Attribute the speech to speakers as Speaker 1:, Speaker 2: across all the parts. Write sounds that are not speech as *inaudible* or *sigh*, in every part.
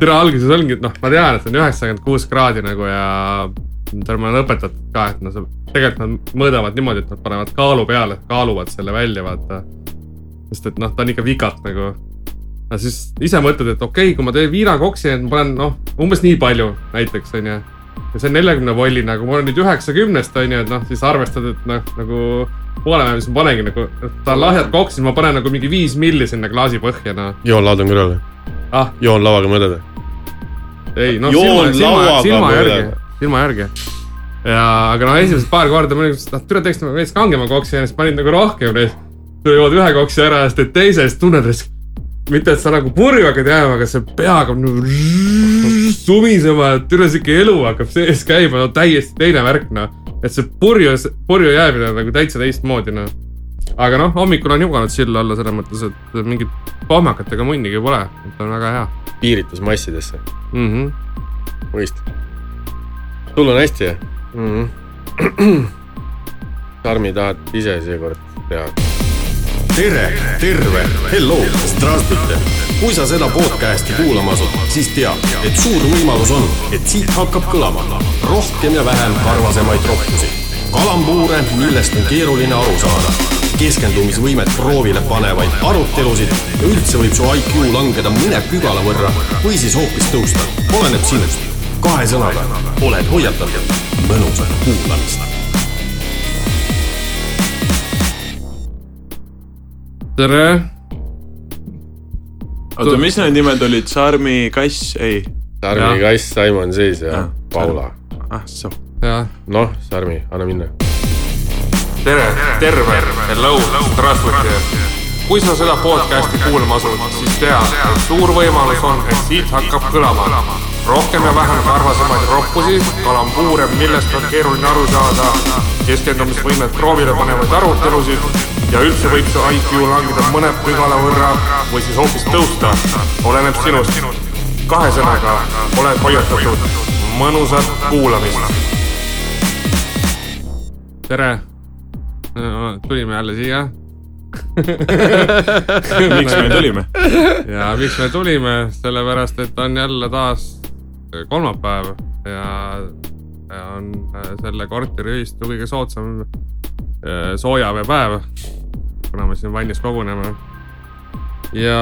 Speaker 1: türa alguses ongi , et noh , ma tean , et see on üheksakümmend kuus kraadi nagu ja ma olen õpetatud ka , et noh , tegelikult nad mõõdavad niimoodi , et nad panevad kaalu peale , kaaluvad selle välja , vaata . sest et noh , ta on ikka vikalt nagu . aga siis ise mõtled , et okei okay, , kui ma teen viinakoksi , et ma panen noh , umbes nii palju näiteks onju . ja see on neljakümne volli nagu , mul on nüüd üheksakümnest onju , et noh , siis arvestad , et noh , nagu poole vähem , siis ma panengi nagu , ta on lahjalt koks , siis ma panen nagu mingi viis milli sinna klaasi põhja noh .
Speaker 2: joon laadun kõrvale ,
Speaker 1: ah ,
Speaker 2: joon lauaga mööda .
Speaker 1: ei noh , silma ,
Speaker 2: Joon
Speaker 1: silma ,
Speaker 2: lauaga
Speaker 1: silma
Speaker 2: mulle.
Speaker 1: järgi , silma järgi . ja , aga noh , esimesed paar korda ma olin , noh , türa teeks nagu veits kangema koksi ja siis panin nagu rohkem neid . jood ühe koksi ära ja siis teed teise ja siis tunned , et mitte , et sa nagu purju hakkad jääma , aga see pea hakkab nagu sumisema , et türa sihuke elu hakkab sees käima , no täiesti teine värk noh . et see purju , purju jäämine on nagu täitsa teistmoodi noh . aga noh , hommikul on juganud silla alla selles mõttes , et mingit pohmakat ega munnigi pole , et on väga hea
Speaker 2: piiritus massidesse ,
Speaker 1: mm . -hmm
Speaker 2: mõist . sul on hästi , jah ?
Speaker 1: mm -hmm.
Speaker 2: *clears throat* Tarmi tahad ise seekord teha ?
Speaker 3: tere , terve , hello , strasbite . kui sa seda podcasti kuulama asud , siis tea , et suur võimalus on , et siit hakkab kõlama rohkem ja vähem karvasemaid rohkusi , kalambuure , millest on keeruline aru saada , keskendumisvõimet proovile panevaid arutelusid ja üldse võib su IQ langeda mõne pügala võrra või siis hoopis tõusta , oleneb sinust . kahe sõnaga oled hoiatatud , mõnusat kuulamist .
Speaker 1: tere ,
Speaker 4: oota , mis need nimed olid , Sarmi kass , ei ,
Speaker 2: Sarmi
Speaker 1: Jah.
Speaker 2: kass , Simon Seis ja
Speaker 4: Jah.
Speaker 2: Paula .
Speaker 4: ah soo .
Speaker 1: jah ,
Speaker 2: noh , Sarmi , anna minna .
Speaker 5: tere , terve , hello , Strasbourgi . kui sa seda podcasti kuulama asud , siis tea , et suur võimalus on , et siit hakkab kõlama rohkem ja vähem karvasemaid roppusi , kalambuure , millest on keeruline aru saada , keskendumisvõimet proovile panevaid arutelusid ja üldse võib su IQ langeda mõne pügala võrra või siis hoopis tõusta , oleneb sinust . kahe sõnaga oled hoiatatud , mõnusat kuulamist
Speaker 1: tere . tulime jälle siia
Speaker 4: miks me tulime ?
Speaker 1: ja miks me tulime , sellepärast et on jälle taas äh, kolmapäev ja ja on äh, selle korteriühistu kõige soodsam äh, soojaveepäev . kuna me siin vannis koguneme . ja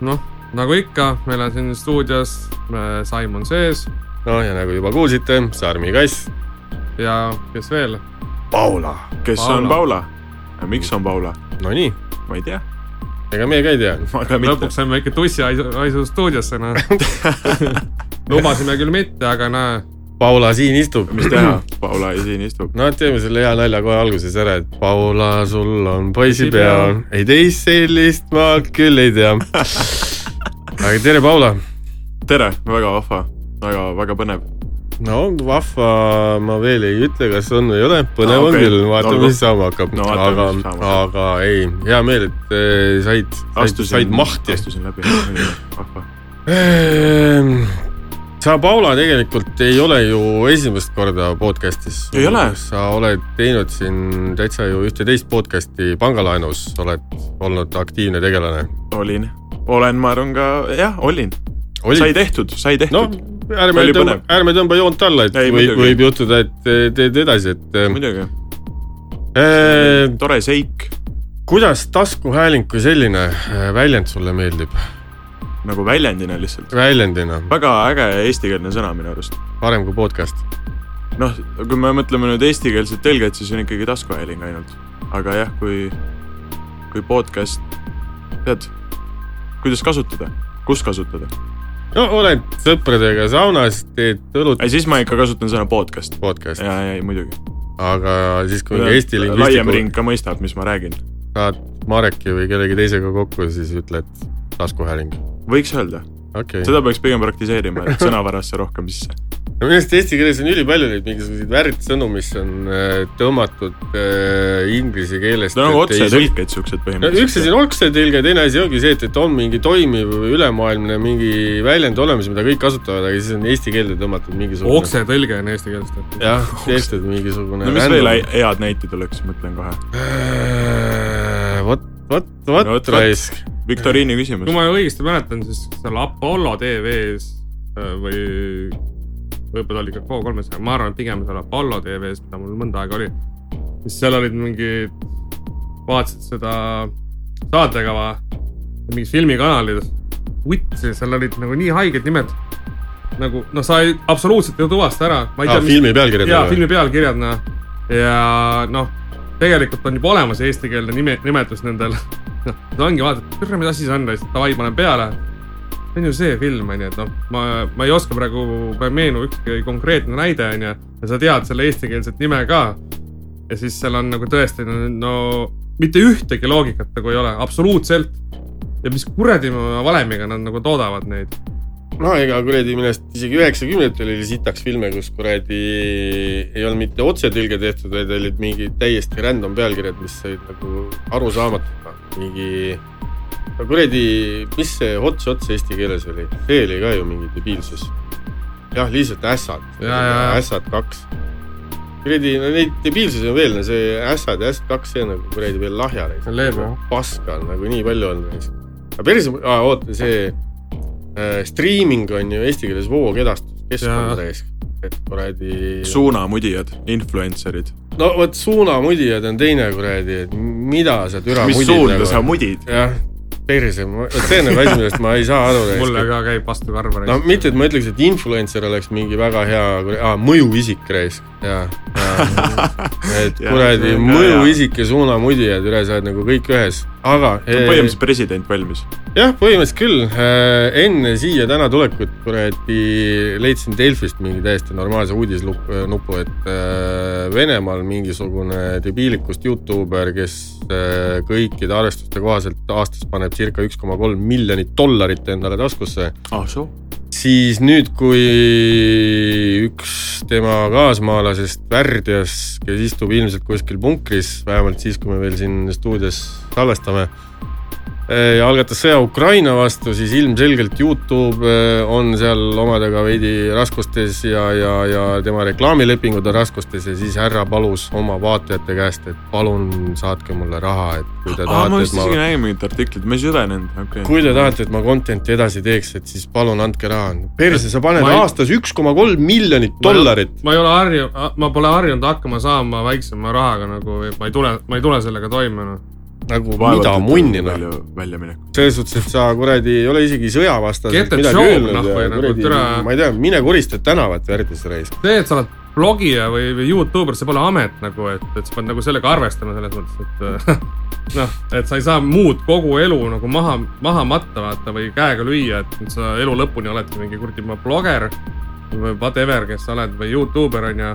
Speaker 1: noh , nagu ikka , meil on siin stuudios äh, Simon sees
Speaker 2: noh , ja nagu juba kuulsite , Sarmi kass .
Speaker 1: ja kes veel ?
Speaker 2: Paula .
Speaker 4: kes Paula. on Paula ? miks on Paula ?
Speaker 2: Nonii ,
Speaker 4: ma ei tea ,
Speaker 2: ega meie ka ei tea .
Speaker 4: ma ka mitte .
Speaker 1: lõpuks saime ikka tussihaisu stuudiosse , noh . lubasime küll mitte , aga noh ,
Speaker 2: Paula siin istub .
Speaker 4: mis teha , Paula siin istub .
Speaker 2: no teeme selle hea nalja kohe alguses ära , et Paula , sul on poisipea . ei teist sellist ma küll ei tea . aga tere , Paula .
Speaker 4: tere , väga vahva , väga , väga põnev .
Speaker 2: no vahva , ma veel ei ütle , kas on või ei ole , põnev
Speaker 4: Aa,
Speaker 2: on
Speaker 4: okei.
Speaker 2: küll , vaatame ,
Speaker 4: Olgu.
Speaker 2: mis saama hakkab
Speaker 4: No vaatame,
Speaker 2: aga
Speaker 4: mis , saama hakkab.
Speaker 2: aga ei , hea meel , et eh, said , said, said mahti .
Speaker 4: astusin läbi , vahva .
Speaker 2: Ehm, sa , Paula , tegelikult ei ole ju esimest korda podcast'is .
Speaker 4: Ei ole.
Speaker 2: sa oled teinud siin täitsa ju ühte-teist podcast'i pangalaenus , oled olnud aktiivne tegelane .
Speaker 4: olin , olen , ma arvan ka , jah , olin . sai
Speaker 2: olid ,
Speaker 4: tehtud , sai
Speaker 2: noh
Speaker 4: tehtud no. ,
Speaker 2: ärme
Speaker 4: Oli
Speaker 2: tõmba
Speaker 4: põnev. ,
Speaker 2: ärme tõmba joont alla , et
Speaker 4: Ei,
Speaker 2: võib ,
Speaker 4: muidugi.
Speaker 2: võib juhtuda , et eh, teed edasi , et eh,
Speaker 4: muidugi ,
Speaker 2: eh,
Speaker 4: tore seik
Speaker 2: kuidas taskuhääling kui selline äh, väljend sulle meeldib ?
Speaker 4: nagu väljendina lihtsalt .
Speaker 2: väljendina ,
Speaker 4: väga äge eestikeelne sõna minu arust .
Speaker 2: parem kui podcast .
Speaker 4: noh , kui me mõtleme nüüd eestikeelset tõlget , siis on ikkagi taskuhääling ainult . aga jah , kui , kui podcast , tead , kuidas kasutada , kus kasutada .
Speaker 2: no oled sõpradega saunas , teed õlut
Speaker 4: ei , siis ma ikka kasutan sõna podcast .
Speaker 2: podcast ,
Speaker 4: ja , ja , ei muidugi .
Speaker 2: aga siis kui mingi Eesti
Speaker 4: laiem ring
Speaker 2: lingvistikuga
Speaker 4: ka mõistab , mis ma räägin .
Speaker 2: saad Mareki või kellegi teisega kokku , siis ütled taskuhääling .
Speaker 4: võiks öelda ,
Speaker 2: okei okay. ,
Speaker 4: seda peaks pigem praktiseerima , et sõnavarasse rohkem sisse .
Speaker 2: minu arust eesti keeles on ülipalju neid mingisuguseid värdsõnu , mis on äh, tõmmatud äh, inglise keelest .
Speaker 4: Need on nagu otsetõlked
Speaker 2: no üks
Speaker 4: siuksed
Speaker 2: asi
Speaker 4: põhimõtteliselt .
Speaker 2: on otsetõlge , teine asi ongi see , et , et on mingi toimiv ülemaailmne mingi väljend olemas , mida kõik kasutavad , aga siis on eesti keelde tõmmatud mingisugune .
Speaker 1: oksetõlge on eesti keeles tehtud .
Speaker 2: jah , tehtud mingisugune .
Speaker 4: no mis veel ? head näited oleks , mõtlen kohe .
Speaker 2: Äh, vot , vot ,
Speaker 4: No vot,
Speaker 2: vot
Speaker 4: vot.
Speaker 2: raisk .
Speaker 4: viktoriini küsimus
Speaker 1: kui . ma õigesti mäletan , siis seal Apollo tv-s või võib-olla oli ka K300, ma arvan , et pigem seal Apollo tv-s , mida mul mõnda aega oli . siis seal olid mingid , vaatasid seda saatekava mingis filmikanalides . vitsi , seal olid nagu nii haiged nimed . nagu noh , sa ei , absoluutselt ei tuvasta ära .
Speaker 2: aa , Ah, filmi pealkirjad .
Speaker 1: jaa , filmi pealkirjad , noh . ja noh , tegelikult on juba olemas eestikeelne nime , nimetus nendel . *laughs* noh , ta ongi vaata , kurat , mis asi see on , lihtsalt davai , panen peale . see on ju see film , onju , et noh , ma , ma ei oska praegu , ma ei meenu ükski konkreetne näide , onju . ja sa tead selle eestikeelset nime ka . ja siis seal on nagu tõesti , no mitte ühtegi loogikat nagu ei ole , absoluutselt . ja mis kuradi valemiga nad nagu toodavad neid .
Speaker 2: no ega kuradi millest isegi üheksakümnendatel oli sitaks filme , kus kuradi ei olnud mitte otsetõlge tehtud , vaid olid mingid täiesti random pealkirjad , mis olid nagu arusaamatud . mingi , no kuradi , mis see Ots Ots eesti keeles oli , see oli ka ju mingi debiilsus . jah , lihtsalt ässad ,
Speaker 1: Ja, ja, ja.
Speaker 2: ässad kaks . kuradi , no neid debiilsusi on veel , no see ässad ja ässad kaks , see on nagu kuradi veel lahja .
Speaker 1: see on leebe , jah .
Speaker 2: paska on nagu nii palju olnud , eks . aga päris , oota , see äh, streaming on ju eesti keeles voogedastus , keskkond
Speaker 1: Jaa.
Speaker 2: täis , et kuradi .
Speaker 4: suunamudijad , influencer'id .
Speaker 2: no vot suunamudijad on teine kuradi , et mida sa türa
Speaker 4: mis suunda
Speaker 2: nagu.
Speaker 4: sa ? mudid ?
Speaker 2: jah , perse , vot see on nagu asi , millest ma ei saa
Speaker 4: *laughs*
Speaker 1: mulle
Speaker 2: aru .
Speaker 1: ka käib vastu karva .
Speaker 2: no mitte , et ma ütleks , et influencer oleks mingi väga hea kuradi, ah, mõjuisik reis , jaa .
Speaker 4: *laughs*
Speaker 2: et
Speaker 4: Jaa,
Speaker 2: kuradi
Speaker 4: see on ka
Speaker 2: mõjuisik ja suunamudijad , üle sa oled nagu kõik ühes , aga . eh,
Speaker 4: põhimõtteliselt president valmis .
Speaker 2: jah , põhimõtteliselt küll . enne siia täna tulekut kuradi leidsin Delfist mingi täiesti normaalse uudisnupu , et äh, Venemaal mingisugune debiilikust Youtuber , kes äh, kõikide arvestuste kohaselt aastas paneb circa üks koma kolm miljonit dollarit endale taskusse ,
Speaker 4: ah soo .
Speaker 2: siis nüüd , kui üks tema kaasmaalasest Värdjas , kes istub ilmselt kuskil punkris , vähemalt siis , kui me veel siin stuudios salvestame , ja algatas sõja Ukraina vastu , siis ilmselgelt Youtube eh, on seal omadega veidi raskustes ja , ja , ja tema reklaamilepingud on raskustes ja siis härra palus oma vaatajate käest , et palun saatke mulle raha , et kui te
Speaker 4: aa , ma
Speaker 2: tahate , et
Speaker 4: vist
Speaker 2: ma
Speaker 4: isegi nägin mingit artiklit , ma ei süvenenud , okei okay. .
Speaker 2: kui te tahate , et ma content'i edasi teeks , et siis palun andke raha . perse , sa paned
Speaker 1: Ma ei-
Speaker 2: ei... aastas üks koma kolm miljonit dollarit .
Speaker 1: ma ei ole harjunud , ma pole harjunud hakkama saama väiksema rahaga nagu , ma ei tule , ma ei tule sellega toime noh .
Speaker 2: nagu mida munni noh ..
Speaker 4: väljaminek .
Speaker 2: selles suhtes , et sa kuradi ei ole isegi sõjavastaselt
Speaker 1: Get a
Speaker 2: midagi
Speaker 1: job,
Speaker 2: öelnud
Speaker 1: noh,
Speaker 2: ja
Speaker 1: või nagu
Speaker 2: kuradi
Speaker 1: türa- ,
Speaker 2: ma ei tea , mine korista tänavat Värdjas reis .
Speaker 1: see , et sa oled blogija või , või Youtuber , see pole amet nagu , et , et sa pead nagu sellega arvestama selles mõttes , et *laughs* noh , et sa ei saa muud kogu elu nagu maha , maha matta vaata või käega lüüa , et nüüd sa elu lõpuni oledki mingi kuradi ma bloger või whatever , kes sa oled või Youtuber on ju ,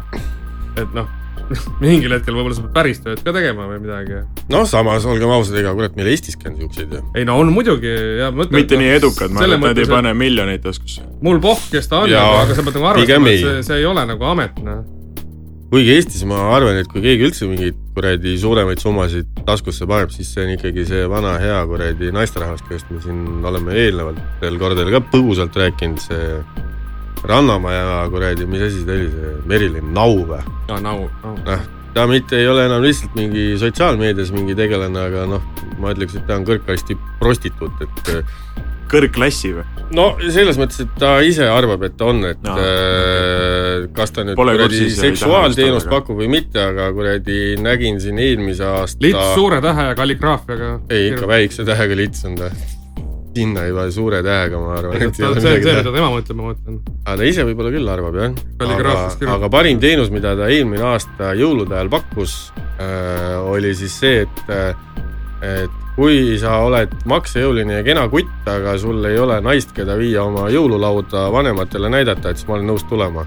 Speaker 1: et noh *laughs* mingil hetkel võib-olla sa pead päris tööd ka tegema või midagi .
Speaker 2: noh , samas olgem ausad , ega kurat meil Eestiski on siukseid ju .
Speaker 1: ei no on muidugi ja ma ütlen . noh,
Speaker 4: mitte nii edukad , ma arvan , et nad ei pane miljoneid taskusse .
Speaker 1: mul pohh , kes ta on ,
Speaker 2: Jaa,
Speaker 1: aga sa pead nagu
Speaker 2: pigem
Speaker 1: arvestama , et
Speaker 2: ei.
Speaker 1: see , see ei ole nagu amet , noh .
Speaker 2: kuigi Eestis ma arvan , et kui keegi üldse mingeid kuradi suuremaid summasid taskusse paneb , siis see on ikkagi see vana hea kuradi naisterahvas , kellest me siin oleme eelnevatel kordadel ka põgusalt rääkinud , see Rannamaja kuradi , mis asi see oli , see Merilin Nau või ?
Speaker 1: jaa , nagu , nagu .
Speaker 2: noh , ta mitte ei ole enam lihtsalt mingi sotsiaalmeedias mingi tegelane , aga noh , ma ütleks , et ta on kõrgkasti prostituut , et
Speaker 4: kõrgklassi või ?
Speaker 2: no selles mõttes , et ta ise arvab , et ta on , et
Speaker 4: Aa,
Speaker 2: no, äh, kas ta nüüd
Speaker 4: Pole
Speaker 2: kuradi
Speaker 4: kursis ja ei taha
Speaker 2: seksuaalteenust
Speaker 4: vastata, aga-
Speaker 2: pakub või mitte , aga kuradi nägin siin eelmise aasta
Speaker 1: lits ta... suure tähe ja kalligraafiaga .
Speaker 2: ei , ikka . väikse tähega lits on ta . sinna juba suure tähega , ma arvan , et ei
Speaker 1: see on
Speaker 2: ole
Speaker 1: see ,
Speaker 2: midagi
Speaker 1: mida
Speaker 2: teha .
Speaker 1: tema mõtleb , ma mõtlen .
Speaker 2: aga ta ise võib-olla küll arvab , jah .
Speaker 1: Kalligraafias
Speaker 2: aga
Speaker 1: küll. ,
Speaker 2: aga parim teenus , mida ta eelmine aasta jõulude ajal pakkus äh, , oli siis see , et äh, et kui sa oled maksejõuline ja kena kutt , aga sul ei ole naist , keda viia oma jõululauda vanematele näidata , et siis ma olen nõus tulema .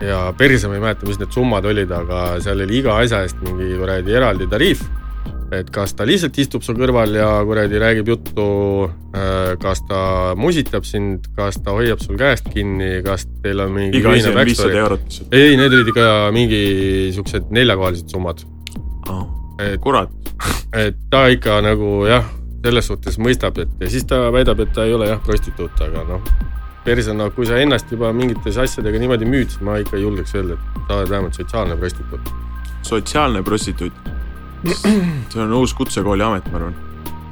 Speaker 2: ja perse ma ei mäleta , mis need summad olid , aga seal oli iga asja eest mingi kuradi eraldi tariif . et kas ta lihtsalt istub su kõrval ja kuradi räägib juttu , kas ta musitab sind , kas ta hoiab sul käest kinni , kas teil on mingi
Speaker 4: iga asi
Speaker 2: ühine
Speaker 4: on viissada
Speaker 2: backstory.
Speaker 4: eurot lihtsalt .
Speaker 2: ei , need olid ikka mingi siuksed neljakohalised summad , et ,
Speaker 4: kurat ,
Speaker 2: et ta ikka nagu jah , selles suhtes mõistab , et ja siis ta väidab , et ta ei ole jah prostituut , aga noh , persena , kui sa ennast juba mingites asjadega niimoodi müüd , siis ma ikka ei julgeks öelda , et sa oled vähemalt sotsiaalne prostituut .
Speaker 4: *clears throat* sotsiaalne prostituut . see on uus kutsekooli amet , ma arvan .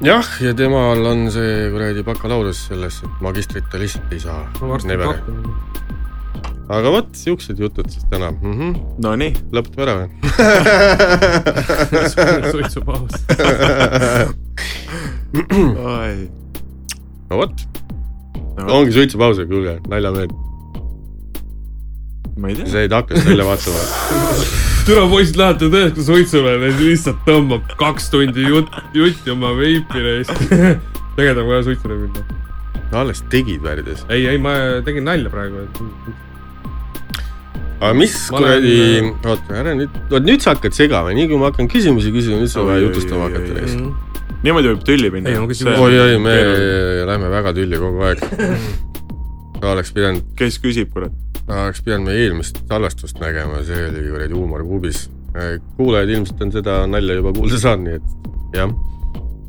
Speaker 2: jah , ja temal on see kuradi bakalaureus selles , et magistrit ta lihtsalt ei saa .
Speaker 1: ma varsti
Speaker 2: Never. *laughs*
Speaker 1: kohtan .
Speaker 2: aga vot siuksed jutud siis täna mm -hmm. ,
Speaker 4: Nonii ,
Speaker 2: lõpetame ära või ?
Speaker 1: suitsupaus .
Speaker 4: oi ,
Speaker 2: no vot , ongi suitsupaus , aga kuulge , naljamehed ,
Speaker 4: ma ei tea .
Speaker 2: said aknast välja vaatama .
Speaker 1: türa poisid lähevad ju tõesti suitsule , neil lihtsalt tõmbab kaks tundi jutt , jutti oma veipi neist . tegelikult on vaja suitsule minna .
Speaker 2: alles tegid värdjas ,
Speaker 1: ei , ei , ma tegin nalja praegu , et
Speaker 2: aga mis
Speaker 1: Ma olen-
Speaker 2: kuradi ,
Speaker 4: äh,
Speaker 2: oota ära nüüd , vot nüüd sa hakkad segama , nii kui ma hakkan küsimusi küsima , nüüd sa
Speaker 4: Oi,
Speaker 2: vaja
Speaker 4: oi,
Speaker 2: jutustama
Speaker 4: oi,
Speaker 2: hakata
Speaker 4: oi,
Speaker 2: neist .
Speaker 4: niimoodi võib tülli minna .
Speaker 1: Ei, ma küsin-
Speaker 2: oi-oi , me lähme väga tülli kogu
Speaker 4: *laughs*
Speaker 2: aeg . oleks pidanud ,
Speaker 4: kes küsib , kurat .
Speaker 2: oleks pidanud meie eelmist salvestust nägema , see oli kuradi huumorikuubis . kuulajad ilmselt on seda nalja juba kuulda saanud , nii et jah .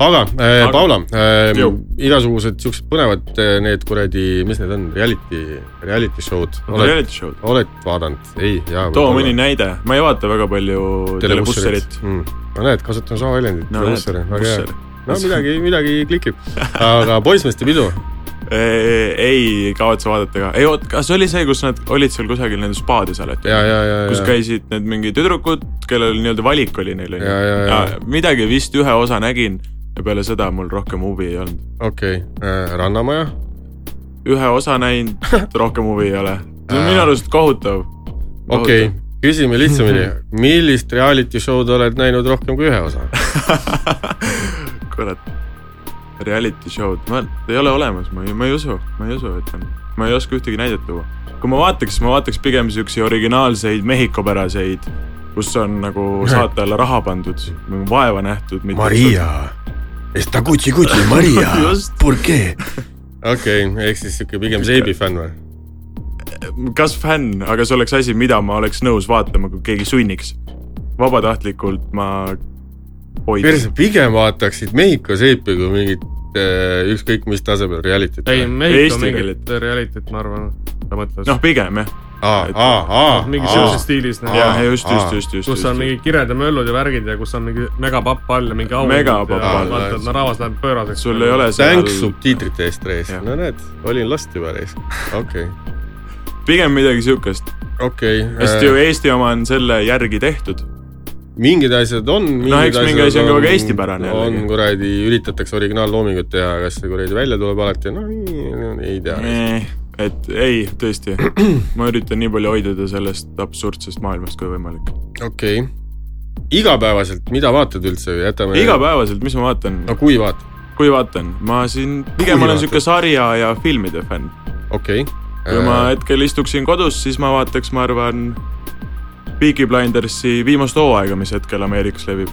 Speaker 2: aga äh,
Speaker 4: Aga-
Speaker 2: Paula äh,
Speaker 4: Jõu. ,
Speaker 2: igasugused siuksed põnevad äh, need kuradi , mis need on , reality , reality show'd oled ,
Speaker 4: reality show'd .
Speaker 2: oled vaadanud ? ei , jaa .
Speaker 4: too mõni näide , ma ei vaata väga palju telebusserit .
Speaker 2: mm. . no näed , kasutan sama väljendit ,
Speaker 4: no näed ,
Speaker 2: telebusser , väga hea
Speaker 4: busser .
Speaker 2: no midagi , midagi klikib .
Speaker 4: *laughs*
Speaker 2: aga poissmeeste pidu ,
Speaker 4: Äh, ei kavatse vaadata ka , ei oot , kas oli see , kus nad olid seal kusagil nende spaade seal , et
Speaker 2: ja , ja , ja , ja .
Speaker 4: kus käisid need mingi tüdrukud , kellel nii-öelda valik oli neil
Speaker 2: Ja, ja, ja.
Speaker 4: onju . midagi vist ühe osa nägin ja peale seda mul rohkem huvi ei olnud .
Speaker 2: okei okay. , Rannamaja ,
Speaker 4: ühe osa näinud , rohkem huvi ei ole . see on minu arust kohutav .
Speaker 2: okei okay. , küsime
Speaker 4: *laughs*
Speaker 2: lihtsamini , millist reality show'd oled näinud rohkem kui ühe osa ?
Speaker 4: *laughs* kurat , reality show'd , ma , ei ole olemas , ma ei , ma ei usu , ma ei usu , et on , ma ei oska ühtegi näidet tuua . kui ma vaataks , ma vaataks pigem siukseid originaalseid mehhikopäraseid , kus on nagu saate alla raha pandud , vaeva nähtud .
Speaker 3: Maria , esta cuchi cuchi Maria
Speaker 4: Just. ,
Speaker 3: por qué ?
Speaker 2: okei okay, , ehk siis sihuke pigem Seibi fänn või ?
Speaker 4: kas fänn , aga see oleks asi , mida ma oleks nõus vaatama , kui keegi sunniks . vabatahtlikult ma hoidsin .
Speaker 2: perse , pigem vaataksid Mehhiko Seipi kui mingit eh, ükskõik mis tasemel reality't .
Speaker 1: ei , Mehhiko
Speaker 4: Eesti
Speaker 1: mingit reality't , ma arvan , ta mõtles .
Speaker 4: noh , pigem jah ,
Speaker 2: aa , aa , aa ,
Speaker 4: noh,
Speaker 1: mingi
Speaker 2: aa
Speaker 1: sihukeses , stiilis , noh.
Speaker 4: jah , just ,
Speaker 2: aa.
Speaker 4: just , just , just .
Speaker 1: kus on mingi kiredad möllud ja värgid ja kus on mingi megapapp all ja mingi au .
Speaker 4: Megapapp
Speaker 2: all,
Speaker 1: vaata , et no rahvas läheb pööraseks .
Speaker 4: sul ei ole seal
Speaker 2: tänks . subtiitrite eest reis
Speaker 4: Jah. ,
Speaker 2: no näed , olin last juba reis , okei ,
Speaker 4: pigem midagi siukest .
Speaker 2: okei . äh,
Speaker 4: hästi ju Eesti oma on selle järgi tehtud .
Speaker 2: mingid asjad on .
Speaker 4: eks mingi asi on ka väga eestipärane jällegi.
Speaker 2: on kuradi , üritatakse originaalloomingut teha , kas see kuradi välja tuleb alati , no ei, no ei tea .
Speaker 4: et ei , tõesti , ma üritan nii palju hoiduda sellest absurdsest maailmast kui võimalik .
Speaker 2: okei okay. , igapäevaselt , mida vaatad üldse , jätame .
Speaker 4: igapäevaselt , mis ma vaatan ,
Speaker 2: no kui vaatad ,
Speaker 4: kui vaatan , ma siin pigem
Speaker 2: Kui
Speaker 4: olen
Speaker 2: vaatad?
Speaker 4: sihuke sarja ja filmide fänn .
Speaker 2: okei
Speaker 4: kui
Speaker 2: Äh.
Speaker 4: ma . hetkel istuksin kodus , siis ma vaataks , ma arvan , Peaky Blindersi viimast hooaega , mis hetkel Ameerikas levib .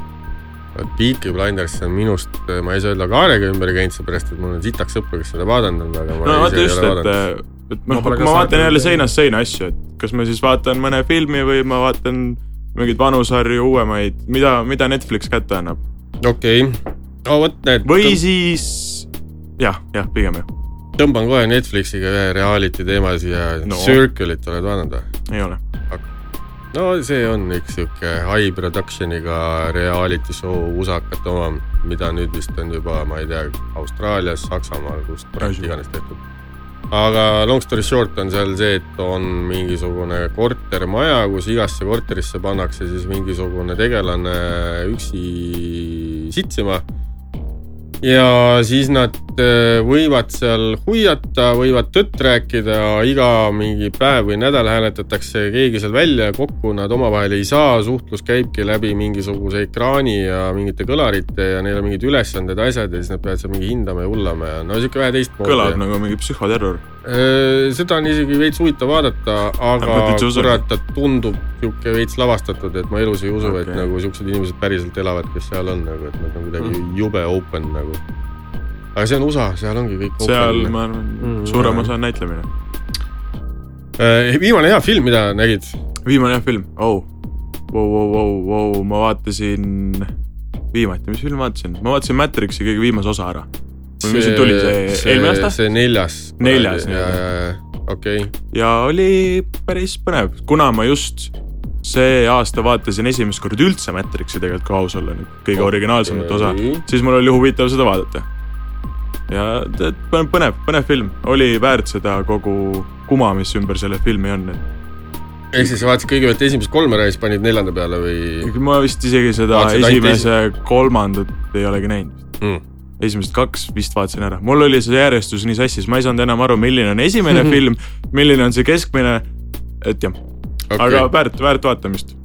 Speaker 2: Peaky Blinders on minust , ma ei saa öelda kaarega ümber käinud , seepärast et mul on sitaks sõpru , kes seda vaadanud on , aga ma
Speaker 4: no
Speaker 2: no,
Speaker 4: vaata
Speaker 2: ise ei
Speaker 4: just ,
Speaker 2: ole
Speaker 4: et
Speaker 2: vaadanud .,
Speaker 4: et noh ,
Speaker 1: Ma pole ka
Speaker 4: kui ma
Speaker 1: saanud
Speaker 4: vaatan jälle
Speaker 1: midagi.
Speaker 4: seinast seina asju , et kas ma siis vaatan mõne filmi või ma vaatan mingeid vanu sarju , uuemaid , mida , mida Netflix kätte annab .
Speaker 2: okei okay. , no vot näed ,
Speaker 4: või siis jah , jah , pigem jah ,
Speaker 2: tõmban kohe Netflixiga ühe reality teema siia
Speaker 4: No.
Speaker 2: no. , Circle'it oled vaadanud või ?
Speaker 4: ei ole .
Speaker 2: no see on üks sihuke high production'iga reality show usakate oma , mida nüüd vist on juba , ma ei tea , Austraalias , Saksamaal , kus kurat iganes tehtud . aga long story short on seal see , et on mingisugune kortermaja , kus igasse korterisse pannakse siis mingisugune tegelane üksi sitsima . ja siis nad eh, võivad seal huiata , võivad tõtt rääkida , iga mingi päev või nädal hääletatakse keegi seal välja ja kokku nad omavahel ei saa , suhtlus käibki läbi mingisuguse ekraani ja mingite kõlarite ja neil on mingid ülesanded , asjad ja siis nad peavad seal mingi hindama ja hullama ja no sihuke vähe teistmoodi .
Speaker 4: kõlab ja. nagu mingi psühhoterror .
Speaker 2: Öö, Äh, seda on isegi veits huvitav vaadata , aga
Speaker 4: Ma täitsa usun.
Speaker 2: kurat , ta tundub niisugune veits lavastatud , et ma elus ei usu okay. , et
Speaker 4: Okei.
Speaker 2: nagu niisugused inimesed päriselt elavad , kes seal on nagu , et nad on kuidagi
Speaker 4: Mhm.
Speaker 2: mm. jube open nagu . aga see on USA , seal ongi kõik
Speaker 4: seal
Speaker 2: open .
Speaker 4: ma arvan
Speaker 1: Mm, ,
Speaker 4: suurem
Speaker 2: jah.
Speaker 4: osa on näitlemine .
Speaker 2: Äh, viimane hea film , mida nägid ?
Speaker 4: viimane jah film , au , vau , vau , vau , vau , ma vaatasin viimati , mis film ma vaatasin , ma vaatasin Matrixi kõige viimase osa ära . või mis see tuli , see eelmine aasta ?
Speaker 2: see neljas .
Speaker 4: Neljas,
Speaker 2: okei ,
Speaker 4: ja oli päris põnev , kuna ma just see aasta vaatasin esimest korda üldse Matrixi tegelikult , kui aus olla , kõige originaalsemat osa
Speaker 2: Okei. ,
Speaker 4: siis mul oli huvitav seda vaadata . ja t- p- põnev , põnev film , oli väärt seda kogu kuma , mis ümber selle filmi on , et
Speaker 2: ehk siis sa vaatasid kõigepealt esimest kolme ära ja siis panid neljanda peale või ?
Speaker 4: ma vist isegi seda
Speaker 2: Vaatasid ainult Hmm.
Speaker 4: esimese kolmandat ei olegi näinud . esimesed kaks vist vaatasin ära , mul oli see järjestus nii sassis , ma ei saanud enam aru , milline on
Speaker 2: *laughs*
Speaker 4: esimene film , milline on see keskmine , et jah okay. , aga väärt , väärt vaatamist .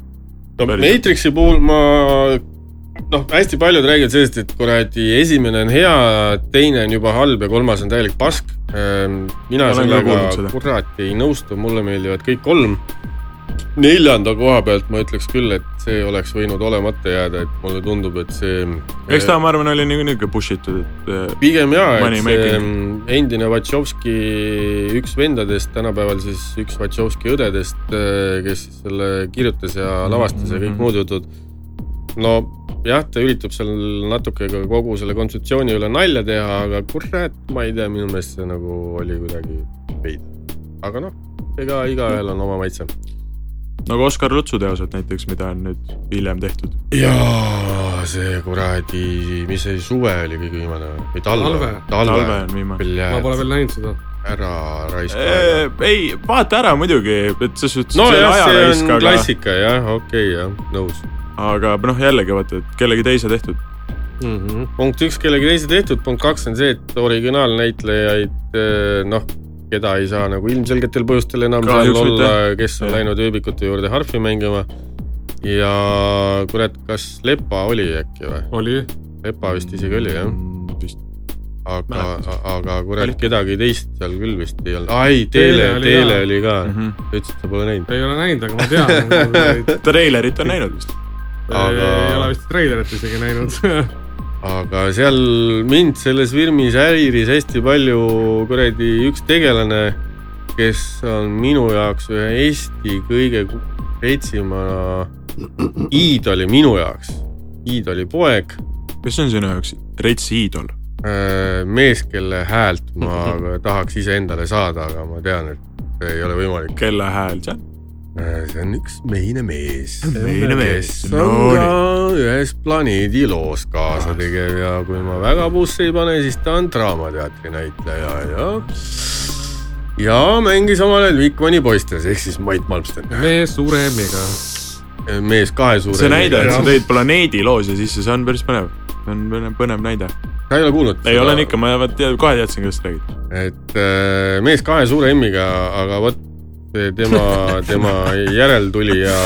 Speaker 2: no
Speaker 4: päriselt.
Speaker 2: Matrixi puhul ma noh , hästi paljud räägivad sellest , et kuradi esimene on hea , teine on juba halb ja kolmas on täielik pask . mina
Speaker 4: olen ka
Speaker 2: sellega
Speaker 4: kuulnud seda.
Speaker 2: kurat ei nõustu , mulle meeldivad kõik kolm . neljanda koha pealt ma ütleks küll , et see oleks võinud olemata jääda , et mulle tundub , et see . Äh,
Speaker 4: eks ta , ma arvan , oli nii- niisugune push itud , et äh,
Speaker 2: pigem jaa ,
Speaker 4: Money
Speaker 2: et see
Speaker 4: making.
Speaker 2: mm, endine Vatšovski üks vendadest , tänapäeval siis üks Vatšovski õdedest , kes siis selle kirjutas ja lavastas ja kõik
Speaker 4: Mhm.
Speaker 2: muud jutud . no jah , ta üritab seal natuke ka kogu selle kontseptsiooni üle nalja teha , aga kurat , ma ei tea , minu meelest see nagu oli kuidagi veider . aga noh , ega igaühel on oma maitse .
Speaker 4: nagu Oskar Lutsu teosed näiteks , mida on nüüd hiljem tehtud .
Speaker 2: jaa , see kuradi , mis see suve oli kõige viimane või? või talve
Speaker 1: Talve. ?
Speaker 4: talve on viimane .
Speaker 1: ma pole
Speaker 2: Pljääd ,
Speaker 1: veel näinud seda .
Speaker 2: ära raiska aega
Speaker 4: ei , vaata ära muidugi , et selles suhtes .
Speaker 2: nojah , see on . klassika jah , okei okay, jah , nõus .
Speaker 4: aga noh , jällegi vaata , et kellegi teise tehtud . Mhm.
Speaker 2: punkt üks , kellegi teise tehtud , punkt kaks on see , et originaalnäitlejaid eh, noh , keda ei saa nagu ilmselgetel põhjustel enam seal
Speaker 4: Kahjuks
Speaker 2: olla , kes on
Speaker 4: Jah.
Speaker 2: läinud ööbikute juurde harfi mängima . ja kurat , kas Lepa oli äkki või ?
Speaker 1: oli ,
Speaker 2: Lepa vist isegi oli jah ,
Speaker 4: Mm, vist
Speaker 2: aga
Speaker 4: Mäletan. ,
Speaker 2: aga kurat
Speaker 4: Oli. ,
Speaker 2: kedagi teist seal küll vist ei olnud . ai , Teele
Speaker 1: Teele , oli
Speaker 2: Teele
Speaker 1: ka.
Speaker 2: oli ka ,
Speaker 4: Mhm.
Speaker 2: ta ütles , et ta pole näinud .
Speaker 1: ei ole näinud , aga ma
Speaker 4: *laughs*
Speaker 1: tean .
Speaker 4: treilerit on näinud vist .
Speaker 2: Aga-
Speaker 1: ei ole vist treilerit isegi näinud . *laughs*
Speaker 2: aga seal mind selles filmis häiris hästi palju kuradi üks tegelane , kes on minu jaoks ühe Eesti kõige ku- retsima iidoli minu jaoks , iidoli poeg ,
Speaker 4: kes on sinu jaoks retsi iidol ?
Speaker 2: äh, mees , kelle häält ma tahaks iseendale saada , aga ma tean , et see ei ole võimalik .
Speaker 4: kelle hääl see
Speaker 2: Äh, see on üks meine mees .
Speaker 4: Meine mees.
Speaker 2: kes on
Speaker 4: No Ah.
Speaker 2: ka ühes planeediloos kaasa tegev ja kui ma väga puusse ei pane , siis ta on Draamateatri näitleja ja , ja mängis omal ajal Vikmani poistes ehk siis Mait Malmsten ,
Speaker 1: mees suure M-iga .
Speaker 2: mees kahe suure .
Speaker 4: on ? see näide , et sa tõid planeediloose sisse , see on päris põnev . see on põnev, põnev näide .
Speaker 2: sa ei ole kuulnud ?
Speaker 4: ei olen ikka , ma tead, kohe teadsin , kellest räägid .
Speaker 2: et äh, mees kahe suure M-iga , aga vot see tema ,
Speaker 4: *laughs*
Speaker 2: tema järeltulija .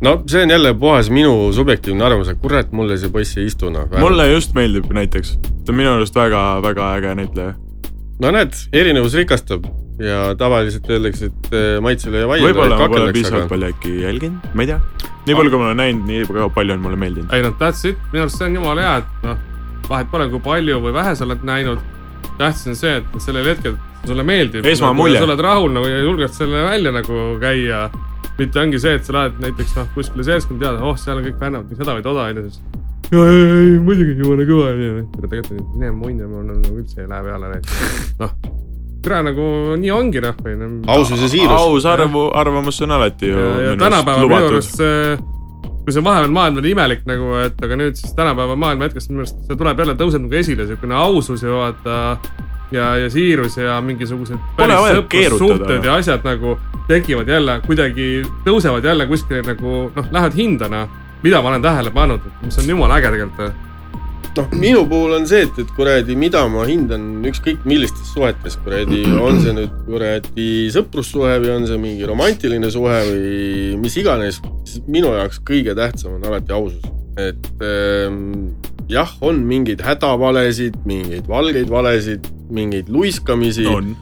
Speaker 2: no see on jälle puhas minu subjektiivne arvamus , et kurat , mulle see poiss ei istu noh .
Speaker 4: mulle just meeldib näiteks , ta on minu arust väga-väga äge näitleja .
Speaker 2: no näed , erinevus rikastab ja tavaliselt öeldakse , et eh, maitsele ja vaiele
Speaker 4: võib-olla ma pole
Speaker 2: kakeldakse ,
Speaker 4: piisavalt
Speaker 2: aga
Speaker 4: palju äkki jälginud , ma ei tea . nii palju , kui ma olen näinud , nii väga palju on mulle meeldinud .
Speaker 1: ei noh , that's it , minu arust see on jumala hea , et noh , vahet pole , kui palju või vähe sa oled näinud . tähtis on see , et sellel hetkel sulle meeldib .
Speaker 4: Esmamulje.
Speaker 1: sa oled rahul nagu ja julged selle välja nagu käia . mitte ongi see , et sa lähed näiteks noh , kuskile seltskonda teada , oh , seal on kõik vännad , mis häda või toda onju , siis . ja , ja , ja muidugi , jumala kõva onju . tegelikult on nii, mine munne , mul on nagu üldse ei lähe peale neid . noh , türa nagu nii ongi noh , või noh .
Speaker 2: ausus ja siirus .
Speaker 4: aus arvu , arvamus on alati ju
Speaker 1: ja, ja
Speaker 4: minu arust
Speaker 1: tänapäeval minu
Speaker 4: lubatud
Speaker 1: arust . see , kui see vahepeal maailm oli imelik nagu , et aga nüüd siis tänapäeva maailma hetkest minu arust see tuleb jälle , tõuseb nagu esile siukene ausus ja vaata ja , ja siirus ja mingisugused
Speaker 4: Pole vaja
Speaker 1: päris
Speaker 4: keerutada, noh.
Speaker 1: sõprussuhted ja asjad nagu tekivad jälle kuidagi , tõusevad jälle kuskile nagu noh , lähevad hindena , mida ma olen tähele pannud , mis on jumala äge tegelikult .
Speaker 2: noh , minu puhul on see , et , et kuradi , mida ma hindan ükskõik millistes suhetes , kuradi , on see nüüd kuradi sõprussuhe või on see mingi romantiline suhe või mis iganes , siis minu jaoks kõige tähtsam on alati ausus . et ähm, jah , on mingeid hädavalesid , mingeid valgeid valesid , mingeid luiskamisi
Speaker 4: on ,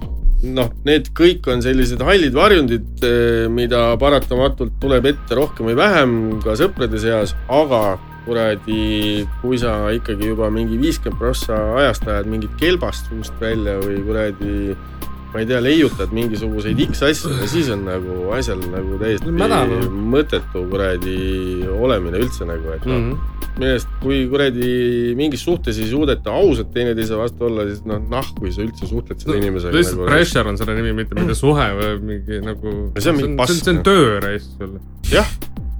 Speaker 2: noh , need kõik on sellised hallid varjundid , mida paratamatult tuleb ette rohkem või vähem ka sõprade seas , aga kuradi , kui sa ikkagi juba mingi viiskümmend prossa ajast ajad mingit kelbast suust välja või kuradi ma ei tea , leiutad mingisuguseid X asju ja siis on nagu asjal nagu täiesti
Speaker 1: Mäda, noh.
Speaker 2: mõttetu kuradi olemine üldse nagu , et
Speaker 4: Mhm.
Speaker 1: Mhm.
Speaker 2: noh mm -hmm. , millest , kui kuradi mingis suhtes ei suudeta ausalt teineteise vastu olla , siis noh , nahku sa üldse suhtled selle inimesega nagu,
Speaker 1: lihtsalt pressure on selle nimi , mitte mitte suhe või mingi nagu .
Speaker 2: No see on mingi pask,
Speaker 1: see on
Speaker 2: noh.
Speaker 1: tööreis sul ,
Speaker 2: jah ,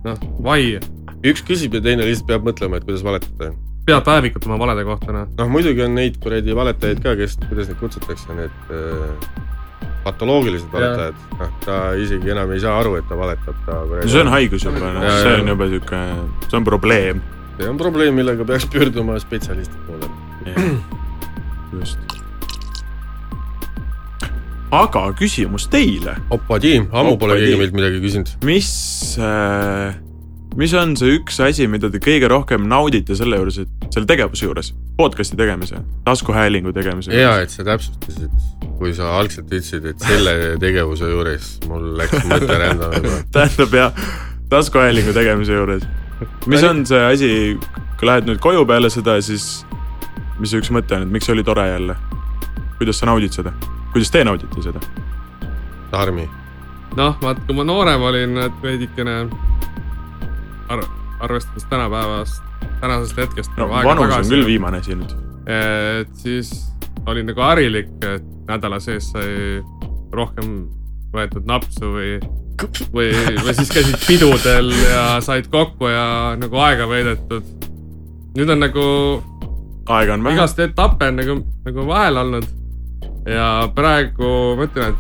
Speaker 1: noh , vai ,
Speaker 2: üks küsib ja teine lihtsalt peab mõtlema , et kuidas valetada .
Speaker 1: peab päevikutama valede kohta , noh .
Speaker 2: noh , muidugi on neid kuradi valetajaid ka , kes , kuidas neid kutsutakse , need äh, patoloogilised valetajad , noh , ta isegi enam ei saa aru , et ta valetab , ta
Speaker 4: no
Speaker 2: kuradi
Speaker 4: see on haigus juba , noh
Speaker 2: Jaa, ,
Speaker 4: see
Speaker 2: jaa.
Speaker 4: on juba sihuke , see on probleem .
Speaker 2: see on probleem , millega peaks pöörduma spetsialisti poole .
Speaker 1: *clears throat*
Speaker 4: just . aga küsimus teile ,
Speaker 2: opadi , ammu pole
Speaker 4: Opadi.
Speaker 2: keegi meilt midagi küsinud .
Speaker 4: mis , mis on see üks asi , mida te kõige rohkem naudite selle juures , et selle tegevuse juures , podcast'i tegemise , taskuhäälingu tegemise
Speaker 2: hea , et sa täpsustasid , kui sa algselt ütlesid , et selle *laughs* tegevuse juures mul läks mõte rändama juba .
Speaker 4: tähendab ja taskuhäälingu tegemise juures . mis on see asi , kui lähed nüüd koju peale seda , siis mis see üks mõte on , et miks see oli tore jälle ? kuidas sa naudid seda ? kuidas te naudite seda ?
Speaker 2: Tarmi ,
Speaker 1: noh , vaat kui ma noorem olin , et veidikene ar arvestades tänapäevast , tänasest hetkest .
Speaker 4: no vanus on küll . viimane asi nüüd .
Speaker 1: et siis olin nagu ärilik , et nädala sees sai rohkem võetud napsu või , või , või siis käisid pidudel ja said kokku ja nagu aega veedetud . nüüd on nagu
Speaker 4: aega on vähe .
Speaker 1: igast etappe on nagu , nagu vahel olnud . ja praegu ma ütlen ,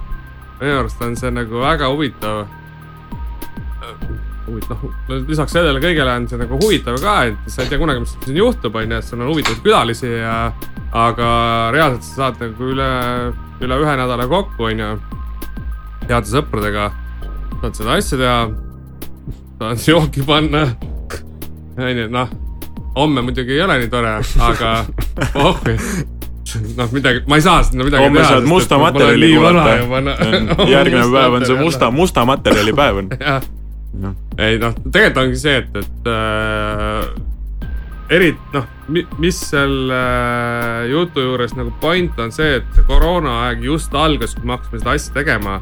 Speaker 1: et minu arust on see nagu väga huvitav . Äh, huvitav , lisaks sellele kõigele on see nagu huvitav ka , et sa ei tea kunagi , mis siin juhtub , onju , et sul on huvitavaid külalisi ja . aga reaalselt sa saad nagu üle , üle ühe nädala kokku , onju . heade sõpradega saad seda asja teha . saad jooki panna . onju , noh homme muidugi ei ole nii tore ,
Speaker 4: *laughs*
Speaker 1: aga oh , noh , midagi , ma ei saa sinna midagi
Speaker 4: homme saad musta materjali kuulata .
Speaker 1: kuulata
Speaker 4: *laughs*
Speaker 1: *laughs*
Speaker 4: järgmine päev on see musta , musta materjali päev on .
Speaker 1: jah
Speaker 4: Jah. ,
Speaker 1: ei noh , tegelikult ongi see , et , et äh, eriti noh , mis selle jutu juures nagu point on see , et koroonaaeg just algas , kui me hakkasime seda asja tegema .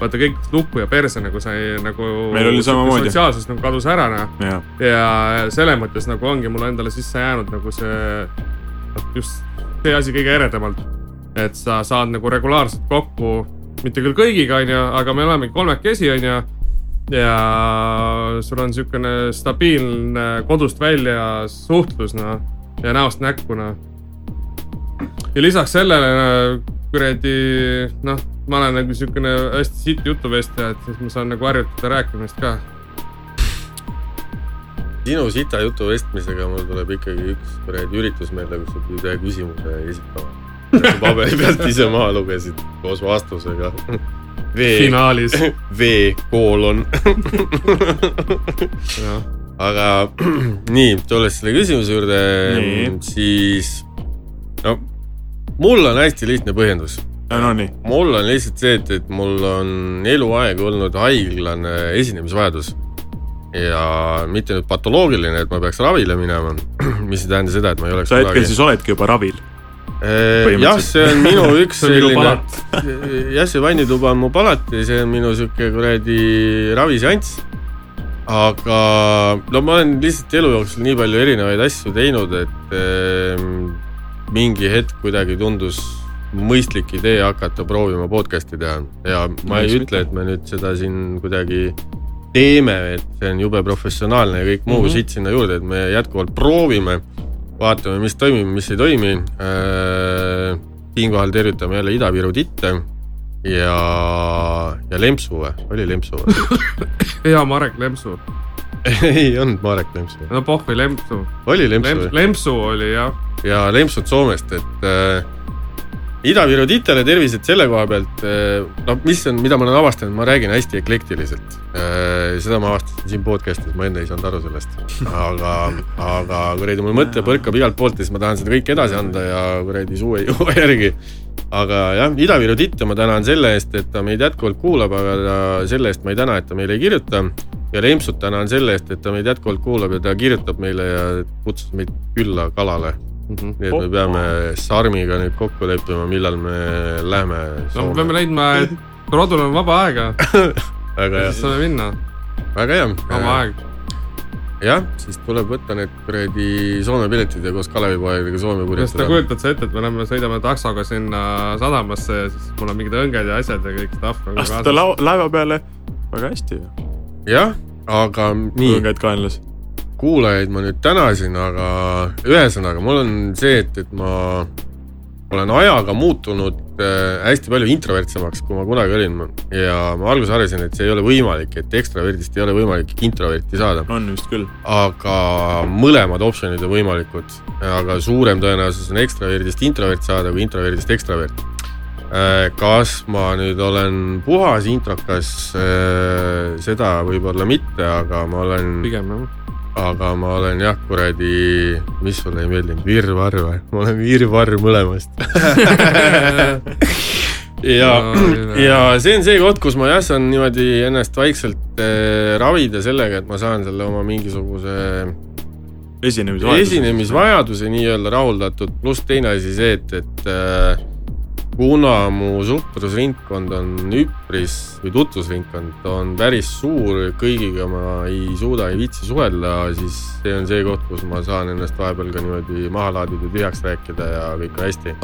Speaker 1: vaata kõik lukku ja perse nagu sai nagu .
Speaker 4: Meil oli samamoodi.
Speaker 1: sotsiaalsus nagu kadus ära noh
Speaker 4: jah ,
Speaker 1: ja selles mõttes nagu ongi mulle endale sisse jäänud nagu see , just see asi kõige eredamalt . et sa saad nagu regulaarselt kokku , mitte küll kõigiga , onju , aga me olemegi kolmekesi , onju . ja sul on siukene stabiilne kodust välja suhtlus , noh , ja näost näkku , noh . ja lisaks sellele no, kuradi , noh , ma olen nagu siukene hästi sitt jutuvestja , et siis ma saan nagu harjutada rääkimist ka
Speaker 2: sinu sita jutu vestmisega mul tuleb ikkagi üks kuradi üritus meelde , kus sa pidid ühe küsimuse esitama . paberi pealt ise maha lugesid koos vastusega . *laughs* V ,
Speaker 1: finaalis ,
Speaker 2: V koolon .
Speaker 1: jah
Speaker 2: aga *clears throat* nii , tulles selle küsimuse juurde
Speaker 4: Nii. ,
Speaker 2: siis no mul on hästi lihtne põhjendus .
Speaker 4: no nii ,
Speaker 2: mul on lihtsalt see , et , et mul on eluaeg olnud haiglane esinemisvajadus . ja mitte nüüd patoloogiline , et ma peaks ravile minema , *clears throat* mis ei tähenda seda , et ma ei oleks
Speaker 4: sa hetkel siis oledki juba ravil .
Speaker 2: Eh, jah ,
Speaker 4: põhimõtteliselt.
Speaker 2: see on minu üks
Speaker 1: See on minu
Speaker 2: selline
Speaker 1: palat. ,
Speaker 2: *laughs* jah , see vannituba on mu palat ja see on minu sihuke kuradi raviseanss . aga no ma olen lihtsalt elu jooksul nii palju erinevaid asju teinud , et ehm, mingi hetk kuidagi tundus mõistlik idee hakata proovima podcast'i teha ja ma ei
Speaker 4: Miks
Speaker 2: ütle , et me nüüd seda siin kuidagi teeme , et see on jube professionaalne ja kõik muu mm
Speaker 1: Mhm.
Speaker 2: -hmm. siit sinna juurde , et me jätkuvalt proovime , vaatame , mis toimib , mis ei toimi . siinkohal tervitame jälle Ida-Viru titte ja , ja Lempsu või , oli Lempsu või ?
Speaker 1: *laughs* ja Marek Lempsu ,
Speaker 2: ei olnud Marek Lempsu ,
Speaker 1: no pohvi Lempsu ,
Speaker 2: oli Lempsu
Speaker 1: Lemps,
Speaker 2: või ?
Speaker 1: Lempsu oli jah ,
Speaker 2: ja Lempsud Soomest , et äh, Ida-Viru titele tervised selle koha pealt äh, , no mis on , mida ma olen avastanud , ma räägin hästi eklektiliselt äh, . seda ma avastasin siin podcast'is , ma enne ei saanud aru sellest , aga , aga kuradi mul mõte põrkab igalt poolt ja siis ma tahan seda kõike edasi anda ja kuradi suu ei jõua järgi . aga jah , Ida-Viru titte ma tänan selle eest , et ta meid jätkuvalt kuulab , aga ta- selle eest ma ei täna , et ta meile ei kirjuta ja Lempsut tänan selle eest , et ta meid jätkuvalt kuulab ja ta kirjutab meile ja kutsus meid külla kalale nii
Speaker 1: Oh.
Speaker 2: et me peame Sarmiga nüüd kokku leppima , millal me lähme
Speaker 1: no me
Speaker 2: Soome
Speaker 1: peame . leidma , et Rodul on vaba aega ,
Speaker 2: väga
Speaker 1: siis
Speaker 2: hea ,
Speaker 1: saame minna ,
Speaker 2: väga
Speaker 1: vaba
Speaker 2: hea .
Speaker 1: aeg .
Speaker 2: jah , siis tuleb võtta need kuradi Soome piletid ja koos Kalevipoegadega
Speaker 1: kas te
Speaker 2: Soome purjetada .
Speaker 1: kujutate sa ette , et me lähme sõidame taksoga sinna sadamasse ja siis mul on mingid õnged ja asjad ja kõik stuff nagu
Speaker 4: astuda lao- , laeva peale , väga hästi ju ,
Speaker 2: jah , aga nii ,
Speaker 4: õnged kaenlas .
Speaker 2: kuulajaid ma nüüd tänasin , aga ühesõnaga , mul on see , et , et ma olen ajaga muutunud äh, hästi palju introvertsemaks , kui ma kunagi olin ma- ja ma alguses arvasin , et see ei ole võimalik , et ekstraverdist ei ole võimalik introverti saada ,
Speaker 4: on vist küll ,
Speaker 2: aga mõlemad optsioonid on võimalikud , aga suurem tõenäosus on ekstraverdist introvert saada kui introverdist ekstravert . kas ma nüüd olen puhas introkas , seda võib-olla mitte , aga ma olen
Speaker 1: pigem jah .
Speaker 2: aga ma olen jah , kuradi , mis sulle ei meeldinud , virvarr või ? ma olen virvarr mõlemast . *laughs* ja
Speaker 1: No, ,
Speaker 2: ja see on see koht , kus ma jah , saan niimoodi ennast vaikselt äh, ravida sellega , et ma saan selle oma mingisuguse
Speaker 4: esinemisvahetus .
Speaker 2: esinemisvajaduse nii-öelda rahuldatud , pluss teine asi see , et , et äh, kuna mu suhtlusringkond on üpris või tutvusringkond on päris suur , kõigiga ma ei suuda , ei viitsi suhelda , siis see on see koht , kus ma saan ennast vahepeal ka niimoodi maha laadida , tühjaks rääkida ja kõik on hästi .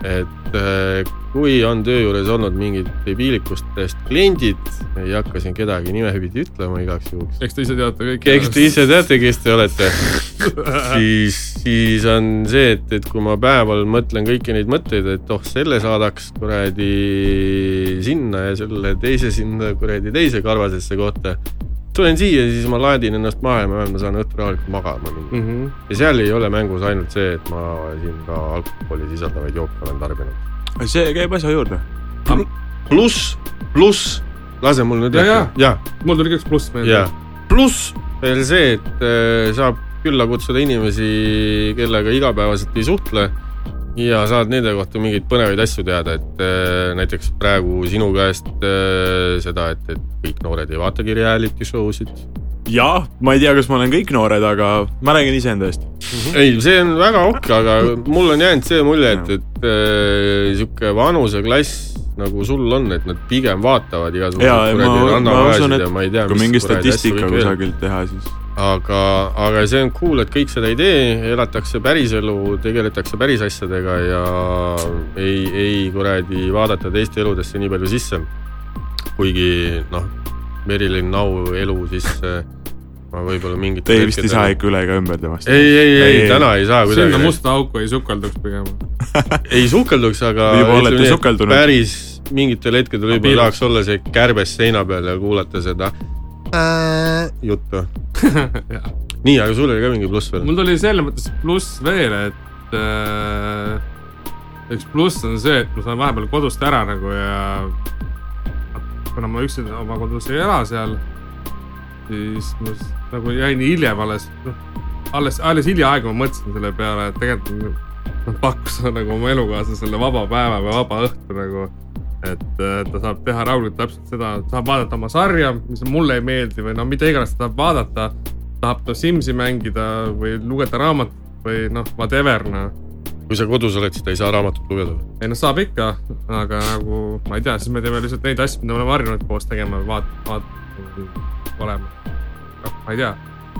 Speaker 2: et äh, kui on töö juures olnud mingid piilikustest kliendid , ei hakka siin kedagi nimepidi ütlema igaks juhuks .
Speaker 1: eks te ise teate kõik .
Speaker 2: eks te ise teate , kes te olete . *laughs* siis , siis on see , et , et kui ma päeval mõtlen kõiki neid mõtteid , et oh , selle saadaks kuradi sinna ja selle teise sinna kuradi teise karvasesse kohta . tulen siia , siis ma laadin ennast maha ja ma ma saan õhtul rahulikult magama minna .
Speaker 1: teate .
Speaker 2: ja seal ei ole mängus ainult see , et ma siin ka alkoholi sisaldavaid jooke olen tarbinud .
Speaker 4: see käib asja juurde .
Speaker 2: pluss , pluss , lase mul nüüd
Speaker 1: Ja,
Speaker 2: rääkida. jaa
Speaker 1: mul tuli ka üks pluss meelde
Speaker 2: ja . pluss veel see , et äh, saab külla kutsuda inimesi , kellega igapäevaselt ei suhtle ja saad nende kohta mingeid põnevaid asju teada , et äh, näiteks praegu sinu käest äh, seda , et , et kõik noored ei vaatagi reality show sid .
Speaker 4: jah , ma ei tea , kas ma olen kõik noored , aga ma räägin iseenda eest .
Speaker 2: ei , see on väga okk , aga mul on jäänud see mulje , et , et äh, sihuke vanuseklass nagu sul on , et nad pigem vaatavad
Speaker 4: Jaa, ja
Speaker 2: igasuguseid
Speaker 4: ma- ma
Speaker 2: kuradi
Speaker 4: usun,
Speaker 2: rannavaesid
Speaker 4: et
Speaker 2: ja ma ei tea .
Speaker 4: kui mingi statistika kusagilt teha , siis
Speaker 2: aga , aga see on cool , et kõik seda ei tee , elatakse päriselu , tegeletakse päris asjadega ja ei , ei kuradi vaadata teiste eludesse nii palju sisse . kuigi noh , Merilin Nau elu sisse ma võib-olla mingit .
Speaker 4: te vist ei saa . ikka üle ega ümber temast .
Speaker 2: ei , ei , ei
Speaker 4: Ei, ,
Speaker 2: täna ei saa
Speaker 1: sinna
Speaker 2: kuidagi ,
Speaker 1: musta auku ei sukelduks pigem .
Speaker 2: ei sukelduks , aga ütleme
Speaker 4: Juba olete
Speaker 2: nii, et
Speaker 4: sukeldunud.
Speaker 2: päris mingitel hetkedel võib-olla
Speaker 1: Abielus.
Speaker 2: tahaks olla see kärbes seina peal ja kuulata seda äh, juttu . nii , aga sul oli ka mingi pluss veel ?
Speaker 1: mul tuli selles mõttes pluss veel , et äh, üks pluss on see , et ma saan vahepeal kodust ära nagu ja kuna ma üksinda oma kodus ei ela seal , siis ma s- nagu jäin hiljem alles , noh , alles , alles hiljaaegu ma mõtlesin selle peale , et tegelikult ma pakkus nagu oma elukaaslasele vaba päeva või vaba õhtu nagu , et äh, ta saab teha rahulikult täpselt seda , saab vaadata oma sarja , mis mulle ei meeldi või no mida iganes ta tahab vaadata , tahab ta Simsi mängida või lugeda raamatut või noh , whatever noh
Speaker 2: kui sa kodus oled , siis ta ei saa raamatut lugeda .
Speaker 1: ei no saab ikka , aga nagu ma ei tea , siis me teeme lihtsalt neid asju , mida me oleme harjunud koos tegema , vaat- , vaat- , olema . noh , ma ei tea ,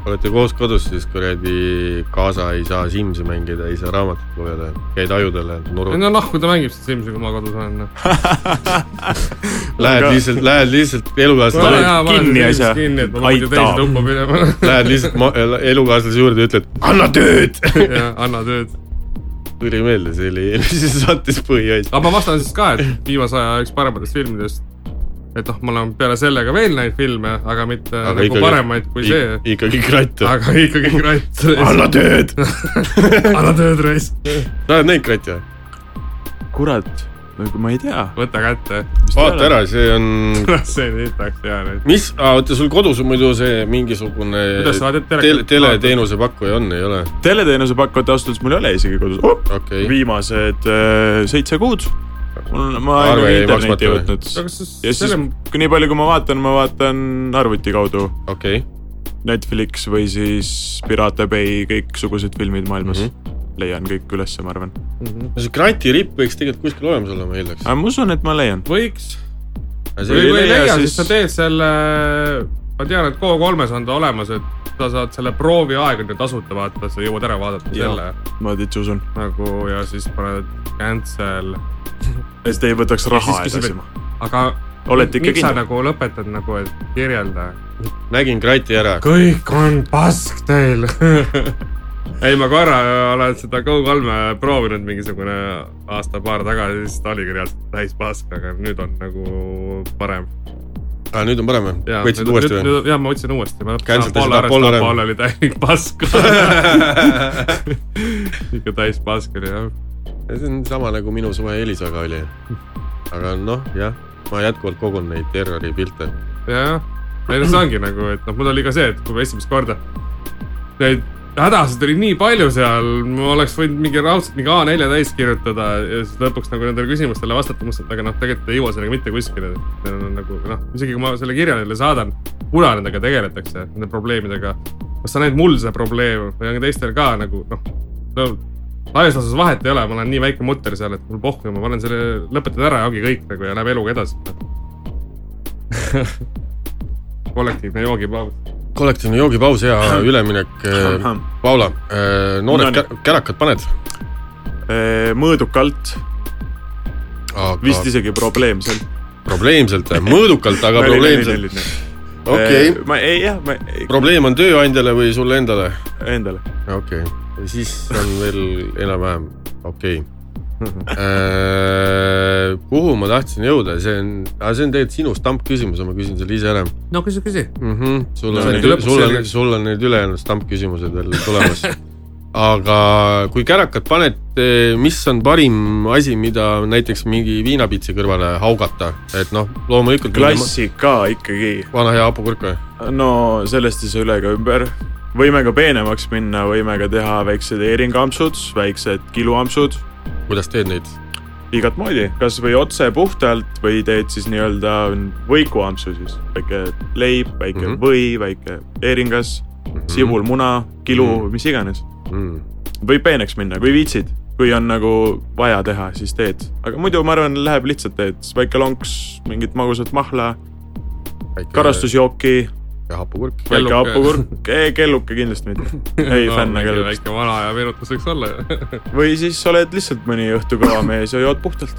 Speaker 2: olete koos kodus , siis kuradi kaasa ei saa Simsi mängida , ei saa raamatut lugeda , käid ajudele nurul .
Speaker 1: no noh , kui ta mängib seda Simsi , kui ma kodus olen , noh .
Speaker 2: Lähed lihtsalt , lähed lihtsalt elukaaslase ,
Speaker 4: kinni asja.
Speaker 1: kinni , et ma muidu
Speaker 4: Aitab.
Speaker 1: teise tuppa minema
Speaker 2: *laughs* lähed lihtsalt ma- elukaaslase juurde ja ütled , anna tööd . *laughs*
Speaker 1: ja anna tööd .
Speaker 2: tuli meelde , see oli eelmises saates põhiasi .
Speaker 1: aga ma vastan siis ka , et viimase aja üks parematest filmidest , et noh , ma olen peale selle ka veel näinud filme , aga mitte aga nagu ikkagi, paremaid kui see .
Speaker 2: ikkagi kratt .
Speaker 1: aga ikkagi kratt .
Speaker 2: anna
Speaker 1: *laughs*
Speaker 2: tööd .
Speaker 1: anna tööd , raisk .
Speaker 2: sa oled näinud kratti või ?
Speaker 4: kurat , ma ei tea .
Speaker 1: võta kätte . *laughs*
Speaker 2: vaata ära , see on ,
Speaker 1: see on hitaks hea nüüd .
Speaker 2: mis , oota , sul kodus on muidu see mingisugune
Speaker 1: Kuidas sa vaatad telekat?
Speaker 2: tele , teleteenuse pakkuja on , ei ole ?
Speaker 4: teleteenuse pakkujat ausalt öeldes mul ei ole isegi kodus oh! .
Speaker 2: okei okay. ,
Speaker 4: viimased äh, seitse kuud . mul , ma
Speaker 2: Arve
Speaker 4: olen
Speaker 2: jäi
Speaker 4: internetti
Speaker 2: maksmata või?
Speaker 4: võtnud .
Speaker 1: aga kas siis
Speaker 4: ja siis
Speaker 1: selle ,
Speaker 4: nii palju , kui ma vaatan , ma vaatan arvuti kaudu
Speaker 2: okei okay. . Mhm.
Speaker 4: Netflix või siis Pirate Bay , kõiksugused filmid maailmas mm . -hmm. leian kõik ülesse , ma arvan .
Speaker 2: no see kratiripp võiks tegelikult kuskil olemas olla , ma eeldaks .
Speaker 4: aga ma usun , et ma leian .
Speaker 1: võiks , või kui ei leia , siis sa teed selle , ma tean , et Go3-s on ta olemas , et sa saad selle proovi aega nüüd tasuta vaata , sa jõuad ära vaadata
Speaker 4: Jaa.
Speaker 1: selle
Speaker 4: ma täitsa usun .
Speaker 1: nagu ja siis paned cancel .
Speaker 4: et te ei võtaks raha
Speaker 1: siis
Speaker 4: edasi
Speaker 1: küsib, . aga
Speaker 4: olete ikka
Speaker 1: miks sa
Speaker 4: kindel ?
Speaker 1: nagu lõpetad nagu , et kirjelda ?
Speaker 2: nägin krati ära .
Speaker 1: kõik on pask teil . *laughs* ei , ma korra äh, olen seda Go3-e proovinud mingisugune aasta-paar tagasi , siis ta oligi reaalselt täis pask , aga nüüd on nagu parem .
Speaker 2: aa , Ah, nüüd on parem või ? võtsid uuesti või ??
Speaker 1: jah , ma võtsin uuesti , ma
Speaker 2: Cancel
Speaker 1: lõpetasin
Speaker 2: te
Speaker 1: Apollo ära , sest
Speaker 2: seda Apollo ära.
Speaker 1: Apollo oli täielik
Speaker 2: *laughs*
Speaker 1: pask . *laughs* ikka täis pask oli jah .
Speaker 2: see on sama nagu minu suhe Elisaga oli . aga noh , jah , ma jätkuvalt kogun neid terroripilte .
Speaker 1: jah , ei no see ongi nagu , et noh , mul oli ka see , et kui ma esimest korda neid hädasid oli nii palju seal , ma oleks võinud mingi raudselt mingi A4 täis kirjutada ja siis lõpuks nagu nendele küsimustele vastata , mõtlesin , et aga noh , tegelikult ei jõua sellega mitte kuskile . nagu noh , isegi kui ma selle kirja neile saadan , kuna nendega tegeletakse , nende probleemidega , kas see on ainult mul see probleem või on ka teistel ka nagu noh , no laias laastus vahet ei ole , ma olen nii väike mutter seal , et mul pohhu , ma panen selle , lõpetan ära ja ongi kõik nagu ja läheb eluga edasi kollektiivne joogipaus .
Speaker 2: kollektiivne joogipaus ja üleminek . Paula , noored
Speaker 4: Nonii.
Speaker 2: kä- kärakad paned ?
Speaker 4: mõõdukalt , Äh, vist
Speaker 2: aga
Speaker 4: isegi probleemselt .
Speaker 2: probleemselt , mõõdukalt , aga probleemselt . okei ,
Speaker 4: Äh, ma ei , jah , ma ei,
Speaker 2: probleem on tööandjale või sulle endale ?
Speaker 4: endale .
Speaker 2: okei okay. , siis on veel enam-vähem
Speaker 1: *laughs*
Speaker 2: okei okay. . kuhu ma tahtsin jõuda , see on , see on tegelikult sinu stampküsimus , ma küsin selle ise ära
Speaker 1: no küsi , küsi .
Speaker 2: mm .
Speaker 1: Mhm.
Speaker 2: -hmm. sul
Speaker 4: No
Speaker 2: on
Speaker 4: see
Speaker 2: nüüd
Speaker 1: tuli , lõpuks
Speaker 2: sul on ,
Speaker 1: selgeks.
Speaker 2: sul on nüüd ülejäänud stampküsimused veel
Speaker 1: *laughs*
Speaker 2: tulemas . aga kui kärakad paned , mis on parim asi , mida näiteks mingi viinapitsi kõrvale haugata , et noh , loomulikult .
Speaker 4: klassika ikkagi .
Speaker 2: vana hea hapukurk või ?
Speaker 4: no sellest ei saa üle ega ümber . võime ka peenemaks minna , võime ka teha väiksed heeringampsud , väiksed kiluampsud ,
Speaker 2: kuidas teed neid ?
Speaker 4: igat moodi , kasvõi otse puhtalt või teed siis nii-öelda võikuampsu siis , väike leib , väike mm
Speaker 2: Mhm.
Speaker 4: -hmm. või , väike heeringas mm , -hmm. sibul , muna , kilu mm ,
Speaker 2: Mhm.
Speaker 4: -hmm. mis iganes .
Speaker 2: Mm.
Speaker 4: võib peeneks minna , kui viitsid , kui on nagu vaja teha , siis teed , aga muidu ma arvan , läheb lihtsalt teed väike lonks , mingit magusat mahla , karastusjooki ,
Speaker 2: ja hapukurk .
Speaker 4: väike
Speaker 1: Kelluke.
Speaker 4: hapukurk , kelluke kindlasti
Speaker 1: *laughs*
Speaker 4: mitte , *laughs* ei fänn
Speaker 1: kellelgi .
Speaker 4: aga kellukest .
Speaker 1: väike vana aja meenutus võiks olla ju .
Speaker 4: või siis oled lihtsalt mõni õhtu kõva mees ja jood puhtalt .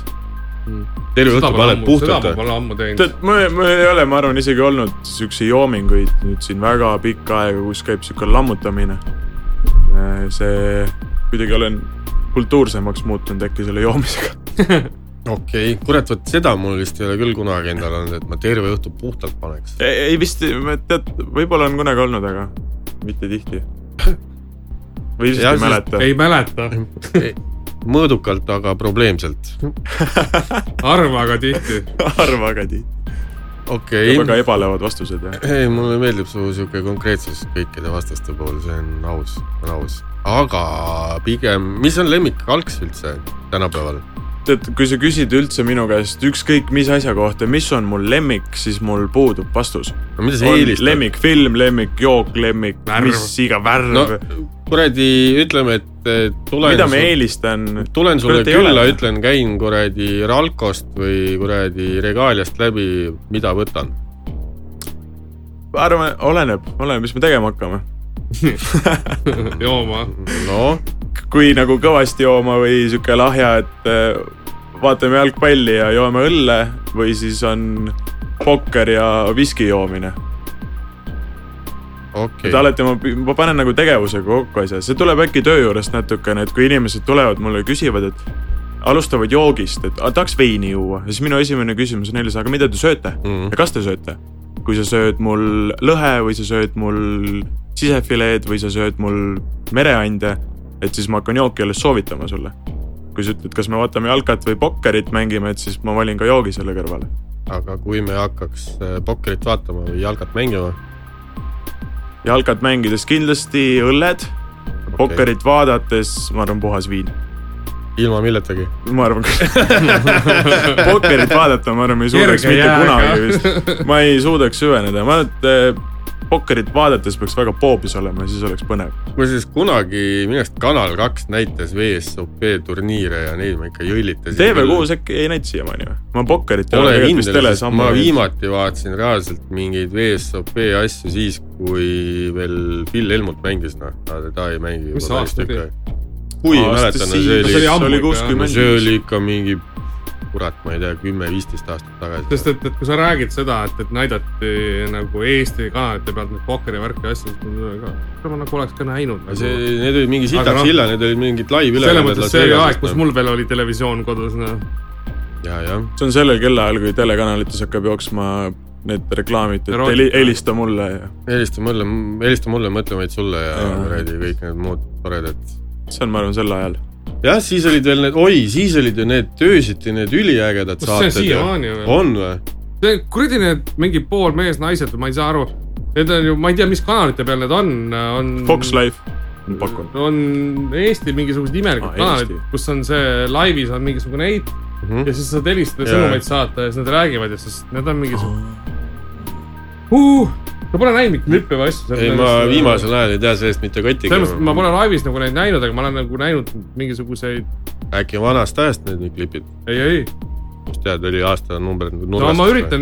Speaker 2: terve õhtu paned puhtalt
Speaker 1: seda ma
Speaker 2: või ?
Speaker 1: pole ammu teinud .
Speaker 4: tead , ma , ma ei ole , ma arvan , isegi olnud siukse joominguid nüüd siin väga pikka aega , kus käib siuke lammutamine . see , kuidagi olen kultuursemaks muutunud äkki selle joomisega .
Speaker 2: okei okay. , kurat , vot seda mul vist ei ole küll kunagi endal olnud , et ma terve õhtu puhtalt paneks .
Speaker 4: ei vist , tead , võib-olla on kunagi olnud , aga mitte tihti .
Speaker 2: Jah,
Speaker 4: või lihtsalt ei
Speaker 2: sest-
Speaker 4: mäleta .
Speaker 1: ei mäleta ,
Speaker 2: mõõdukalt , aga probleemselt .
Speaker 1: harva aga tihti .
Speaker 4: *laughs* harva ka tihti .
Speaker 2: okei
Speaker 4: väga
Speaker 2: okay. ,
Speaker 4: ebalevad vastused ja .
Speaker 2: ei mulle meeldib su sihuke konkreetsus kõikide vastaste puhul , see on aus , on aus . aga pigem , mis on lemmikalks üldse tänapäeval ?
Speaker 4: tead , kui sa küsid üldse minu käest ükskõik mis asja kohta , mis on mul lemmik , siis mul puudub vastus .
Speaker 2: no mida sa
Speaker 4: on
Speaker 2: eelistad ?
Speaker 4: lemmikfilm , lemmikjook , lemmik ,
Speaker 1: Värv.
Speaker 4: mis iga värv
Speaker 2: no
Speaker 4: no, .
Speaker 2: kuradi , ütleme , et eh,
Speaker 4: nagu- mida
Speaker 2: tulen
Speaker 4: ma , eelistan ?
Speaker 2: tulen sulle
Speaker 4: kurat, ei ole.
Speaker 2: külla , ütlen , käin kuradi Ralkost või kuradi Regaaliast läbi , mida võtan ?
Speaker 4: arvan , oleneb , oleneb , mis me tegema hakkame .
Speaker 1: jooma .
Speaker 2: noh ,
Speaker 4: kui nagu kõvasti jooma või sihuke lahja , et äh, vaatame jalgpalli ja joome õlle või siis on pokker ja viski joomine .
Speaker 2: okei
Speaker 4: et
Speaker 2: okay. .
Speaker 4: alati ma , ma panen nagu tegevusega kokku asja , see tuleb äkki töö juurest natukene , et kui inimesed tulevad mulle ja küsivad , et alustavad joogist , et "A, tahaks veini juua , siis minu esimene küsimus on neile , aga mida te sööte
Speaker 2: Mhm.
Speaker 4: ja kas te sööte ? kui sa sööd mul lõhe või sa sööd mul sisefileed või sa sööd mul mereande , et siis ma hakkan jooki alles soovitama sulle . kui sa ütled , kas me vaatame jalkat või pokkerit mängime , et siis ma valin ka joogi selle kõrvale .
Speaker 2: aga kui me hakkaks eh, pokkerit vaatama või jalgat mängima ,
Speaker 4: jalkat mängides kindlasti õlled , pokkerit vaadates , ma arvan , puhas viin
Speaker 2: ilma milletagi ?
Speaker 4: ma arvan , pokkerit vaadata , ma arvan , ma ei suudaks
Speaker 1: Kerge
Speaker 4: mitte
Speaker 1: jääga.
Speaker 4: kunagi vist , ma ei suudaks süveneda , ma arvan , et eh, pokkerit vaadates peaks väga poopis olema ja siis oleks põnev .
Speaker 2: muuseas kunagi minu arust Kanal kaks näitas VSOP turniire ja neid ma ikka jõllitasin .
Speaker 4: TV6 äkki ei näita siiamaani või ? ma pokkerit
Speaker 2: Pole kindel ,
Speaker 4: teles
Speaker 2: sest
Speaker 4: ammu
Speaker 2: ma
Speaker 4: ei-
Speaker 2: viimati vaatasin reaalselt mingeid VSOP asju siis , kui veel Phil Helmut mängis , noh , aga ta ei mängi
Speaker 1: Mis
Speaker 2: juba päris
Speaker 1: aasta
Speaker 2: tükk
Speaker 1: see
Speaker 2: aega . kui
Speaker 4: Aasta
Speaker 2: mäletan , no
Speaker 4: siis-
Speaker 2: see
Speaker 1: see oli
Speaker 2: oli ,
Speaker 1: ammu
Speaker 4: oli
Speaker 1: ikka,
Speaker 4: kuuskümmend
Speaker 2: see oli ikka mingi kurat , ma ei tea , kümme-viisteist aastat tagasi .
Speaker 1: sest et , et kui sa räägid seda , et , et näidati nagu Eesti kanalite pealt neid pokkerivärki ja asju , siis mul tuli ka , ma nagu oleks ka näinud .
Speaker 2: see , need olid mingi
Speaker 1: Aga noh,
Speaker 2: sitad-sillad , need olid mingid
Speaker 1: selles
Speaker 2: live-ülekanded .
Speaker 1: mõttes see oli aeg ,
Speaker 2: noh.
Speaker 1: kus . mul veel oli televisioon kodus , noh .
Speaker 2: ja , jah .
Speaker 4: see on sellel kellaajal , kui telekanalites hakkab jooksma need reklaamid , et
Speaker 1: Erootika.
Speaker 4: heli- , helista mulle ja
Speaker 2: helista mulle , helista mulle , mõtle vaid sulle ja
Speaker 4: Jaa.
Speaker 2: kuradi kõik need muud toredad
Speaker 4: see on , ma arvan , sel ajal .
Speaker 2: jah , siis olid veel need , oi , siis olid ju need töösiti need üliägedad
Speaker 1: Kus see on
Speaker 2: saated .
Speaker 1: siiamaani ju veel?
Speaker 2: on või ?
Speaker 1: see kuradi need mingi pool mees-naised , ma ei saa aru , need on ju , ma ei tea , mis kanalite peal need on , on .
Speaker 2: Mm.
Speaker 4: Fox Life , ma pakun .
Speaker 1: on Eesti mingisugused imelikud
Speaker 2: Ah,
Speaker 4: Aa,
Speaker 1: kanalid
Speaker 4: Eesti. ,
Speaker 1: kus on see laivis on mingisugune eit
Speaker 2: Mhm.
Speaker 1: ja siis saad helistada
Speaker 2: Jaa. Ah.
Speaker 1: yeah. sõnumeid saata ja siis nad räägivad ja siis need on mingisugused uh, . ma pole näinud mitte lüppevaid asju .
Speaker 2: ei , ma viimasel ajal ei tea sellest mitte kottigi
Speaker 1: selles mõttes , et ma pole laivis nagu neid näinud , aga ma olen nagu näinud mingisuguseid ,
Speaker 2: äkki vanast ajast need nüüd klipid ,
Speaker 1: ei , ei .
Speaker 2: mis tead , oli aastanumbrid .
Speaker 1: no ma üritan ,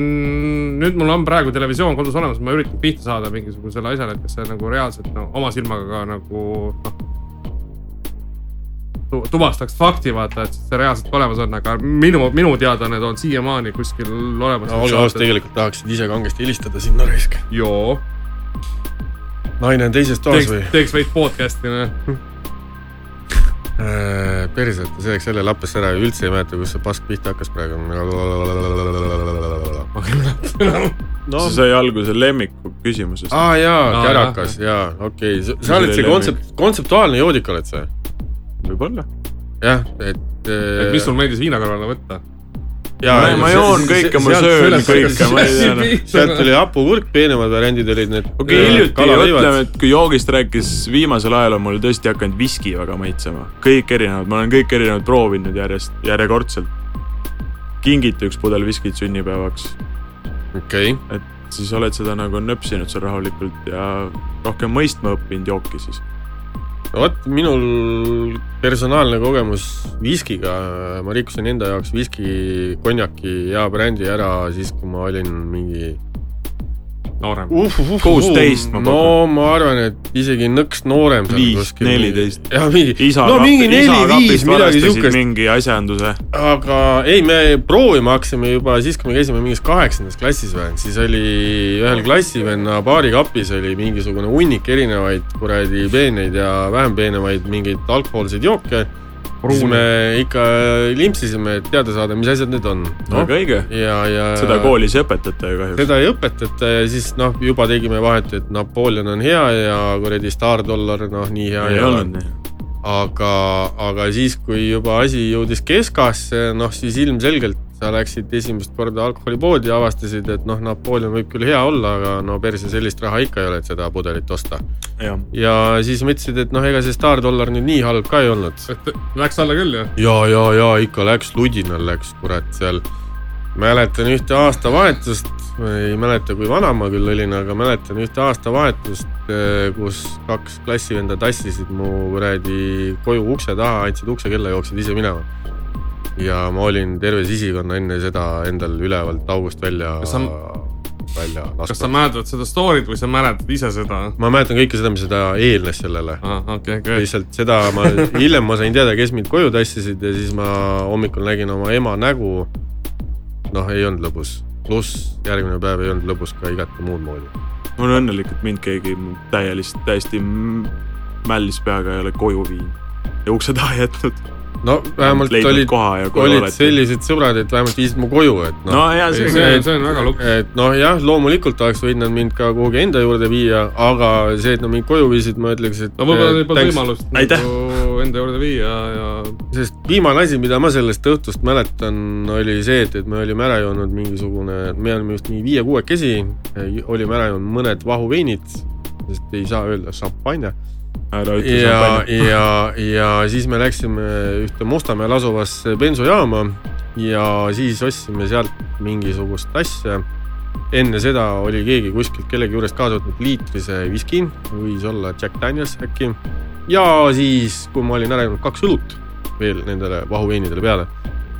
Speaker 1: nüüd mul on praegu televisioon kodus olemas , ma üritan pihta saada mingisugusele asjale , et kas see nagu reaalselt no, oma silmaga ka nagu noh tu- tuvastaks fakti , vaata , et see reaalselt olemas on , aga minu , minu teada need on siiamaani kuskil olemas
Speaker 2: no, . olge ausad ,. tegelikult tahaksid ise kangesti helistada sinna raisk .
Speaker 1: joo ,
Speaker 2: naine on teises toas
Speaker 1: teeks
Speaker 2: või ?,
Speaker 1: teeks veits podcast'i , noh .
Speaker 2: perset , Äh, see läks jälle lappesse ära ja üldse ei mäleta , kus see pask pihta hakkas praegu .
Speaker 4: *laughs*
Speaker 2: no
Speaker 4: see sai alguse lemmiku küsimusest .
Speaker 2: aa ah, jaa ,
Speaker 1: Aa,
Speaker 2: kärakas jaa , okei ,
Speaker 4: See
Speaker 2: sa oled
Speaker 4: oli
Speaker 2: see
Speaker 4: lemmik.
Speaker 2: kontsept , kontseptuaalne joodik oled sa ?
Speaker 4: võib-olla .
Speaker 2: jah , et .
Speaker 1: et mis sul meeldis viina kõrvale võtta ?
Speaker 4: ma ma joon kõike , ma söön kõike , ma ei tea noh .
Speaker 2: *laughs* sealt tuli hapukurk , peenemad variandid olid need .
Speaker 4: okei , hiljuti ütleme , et kui joogist rääkis , viimasel ajal on mul tõesti hakanud viski väga maitsema . kõik erinevad , ma olen kõik erinevad proovinud järjest , järjekordselt . kingiti üks pudel viskit sünnipäevaks ,
Speaker 2: okei ,
Speaker 4: et siis oled seda nagu nöpsinud seal rahulikult ja rohkem mõistma õppinud jooki siis .
Speaker 2: vot minul personaalne kogemus viskiga , ma rikkusin enda jaoks viski , konjaki hea brändi ära siis , kui ma olin mingi
Speaker 1: noorem .
Speaker 2: uh, uh, uh,
Speaker 4: 16 ma
Speaker 2: no ma arvan , et isegi nõks noorem .
Speaker 4: Viis, 14.
Speaker 2: jah , mingi ,
Speaker 4: isa
Speaker 2: no mingi neli-viis , midagi siukest .
Speaker 4: mingi asjanduse .
Speaker 2: aga ei , me proovima hakkasime juba siis , kui me käisime mingis kaheksandas klassis või , siis oli ühel klassivenna baarikapis oli mingisugune hunnik erinevaid kuradi peeneid ja vähem peenemaid mingeid alkohoolseid jooke . siis me ikka limpsisime , et teada saada , mis asjad need on no, .
Speaker 4: väga õige ,
Speaker 2: ja , ja .
Speaker 4: seda koolis ei õpetata ju kahjuks .
Speaker 2: seda ei õpetata ja siis noh , juba tegime vahet , et Napoleon on hea ja kuradi Star Dollar , noh nii hea
Speaker 4: ei olnud nii .
Speaker 2: aga , aga siis , kui juba asi jõudis keskasse , noh siis ilmselgelt sa läksid esimest korda alkoholipoodi ja avastasid , et noh , Napoleon võib küll hea olla , aga no perse sellist raha ikka ei ole , et seda pudelit osta .
Speaker 4: jah ,
Speaker 2: ja siis mõtlesid , et noh , ega see Star Dollar nüüd nii halb ka ei olnud .
Speaker 1: et läks alla küll , jah .
Speaker 2: ja , ja , ja ikka läks , ludinal läks , kurat , seal . mäletan ühte aastavahetust , ei mäleta , kui vana ma küll olin , aga mäletan ühte aastavahetust , kus kaks klassivenda tassisid mu kuradi koju ukse taha , andsid uksekella , jooksid ise minema . ja ma olin terve sisikonna enne seda endal ülevalt august välja
Speaker 1: Kas sa- ,
Speaker 2: välja
Speaker 1: kas sa
Speaker 2: lasknud .
Speaker 1: mäletad seda story't või sa mäletad ise seda ?
Speaker 2: ma mäletan kõike seda , mis seda eelnes sellele .
Speaker 1: okei , okei .
Speaker 2: lihtsalt seda
Speaker 1: *laughs*
Speaker 2: ma , hiljem ma sain teada , kes mind koju tassisid ja siis ma hommikul nägin oma ema nägu . noh , ei olnud lõbus , pluss järgmine päev ei olnud lõbus ka igati muud moodi .
Speaker 4: ma olen õnnelik , et mind keegi täielist , täiesti m- mällis peaga ei ole koju viinud ja ukse taha jätnud .
Speaker 2: no vähemalt
Speaker 4: leidnud
Speaker 2: olid ,
Speaker 4: koha ja koju
Speaker 2: olid
Speaker 4: oled-
Speaker 2: sellised sõbrad , et vähemalt viisid mu koju , et
Speaker 4: no
Speaker 2: noh .
Speaker 4: ja see
Speaker 1: see ,
Speaker 4: see ,
Speaker 1: see on väga luks .
Speaker 2: et noh , jah , loomulikult oleks võinud nad mind ka kuhugi enda juurde viia , aga see , et nad mind koju viisid , ma ütleks , et .
Speaker 1: no võib-olla neil polnud võimalust
Speaker 4: Äh, Aitäh.
Speaker 1: nagu enda juurde viia ja
Speaker 2: sest viimane asi , mida ma sellest õhtust mäletan , oli see , et , et me olime ära joonud mingisugune , me olime vist mingi viie-kuuekesi , olime ära joonud mõned vahuveinid , sest ei saa öelda šampanja .
Speaker 4: ära ütle , see on
Speaker 2: ja ,
Speaker 4: palju .
Speaker 2: ja , ja siis me läksime ühte Mustamäel asuvasse bensujaama ja siis ostsime sealt mingisugust asja . enne seda oli keegi kuskilt kellegi juurest kaasa võtnud liitrise viski , võis olla Jack Daniels äkki . ja siis , kui ma olin ära jäänud kaks õlut veel nendele vahuveinidele peale ,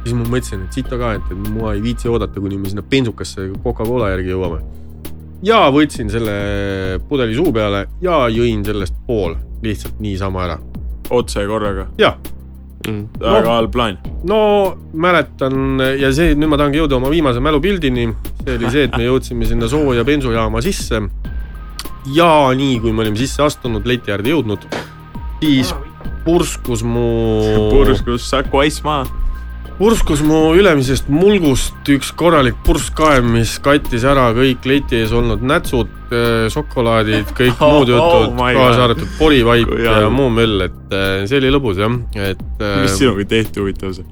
Speaker 2: siis ma mõtlesin , et sita ka , et , et ma ei viitsi oodata , kuni me sinna bensukasse Coca-Cola järgi jõuame . ja võtsin selle pudeli suu peale ja jõin sellest pool lihtsalt niisama ära .
Speaker 4: otse korraga ,
Speaker 2: jah ,
Speaker 4: väga
Speaker 2: No.
Speaker 4: halb plaan .
Speaker 2: no mäletan ja see , nüüd ma tahangi jõuda oma viimase mälupildini , see oli see , et me jõudsime sinna sooja bensujaama sisse . ja nii , kui me olime sisse astunud , leti äärde jõudnud , siis purskus mu ,
Speaker 4: purskus Saku Ice maha .
Speaker 2: purskus mu ülemisest mulgust üks korralik purskkaev , mis kattis ära kõik leti ees olnud nätsud , šokolaadid , kõik
Speaker 4: *laughs* Oh,
Speaker 2: muud jutud
Speaker 4: oh , my God.
Speaker 2: kaasa arvatud porivaip
Speaker 4: Kui
Speaker 2: ja
Speaker 4: halb.
Speaker 2: muu möll , et eh, see oli lõbus jah , et .
Speaker 4: mis sinuga tehti huvitav see ?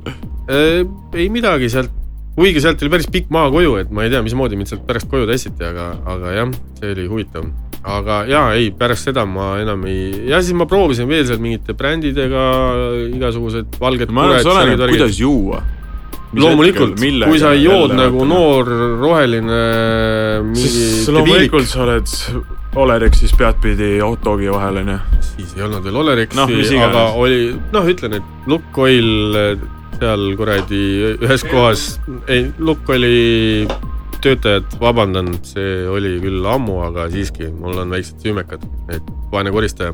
Speaker 2: Äh, ei midagi sealt , kuigi sealt oli päris pikk maa koju , et ma ei tea , mismoodi mind sealt pärast koju tassiti , aga , aga jah , see oli huvitav . aga ja ei , pärast seda ma enam ei , ja siis ma proovisin veel seal mingite brändidega igasugused valged .
Speaker 4: ma arvan , see oleneb , kuidas juua .
Speaker 2: loomulikult , kui sa jood nagu . noor roheline
Speaker 4: siis
Speaker 2: mingi debiilik ,
Speaker 4: loomulikult sa oled Olerexis peadpidi hot dogi vahel onju .
Speaker 2: siis ei olnud veel Olerexi
Speaker 4: Noh, mis
Speaker 2: no, ,
Speaker 4: iganes.
Speaker 2: aga oli , noh , ütlen , et Lukoil seal kuradi ühes kohas , ei , Lukoili töötajad , vabandan , see oli küll ammu , aga siiski , mul on väiksed süümekad , et vaene koristaja .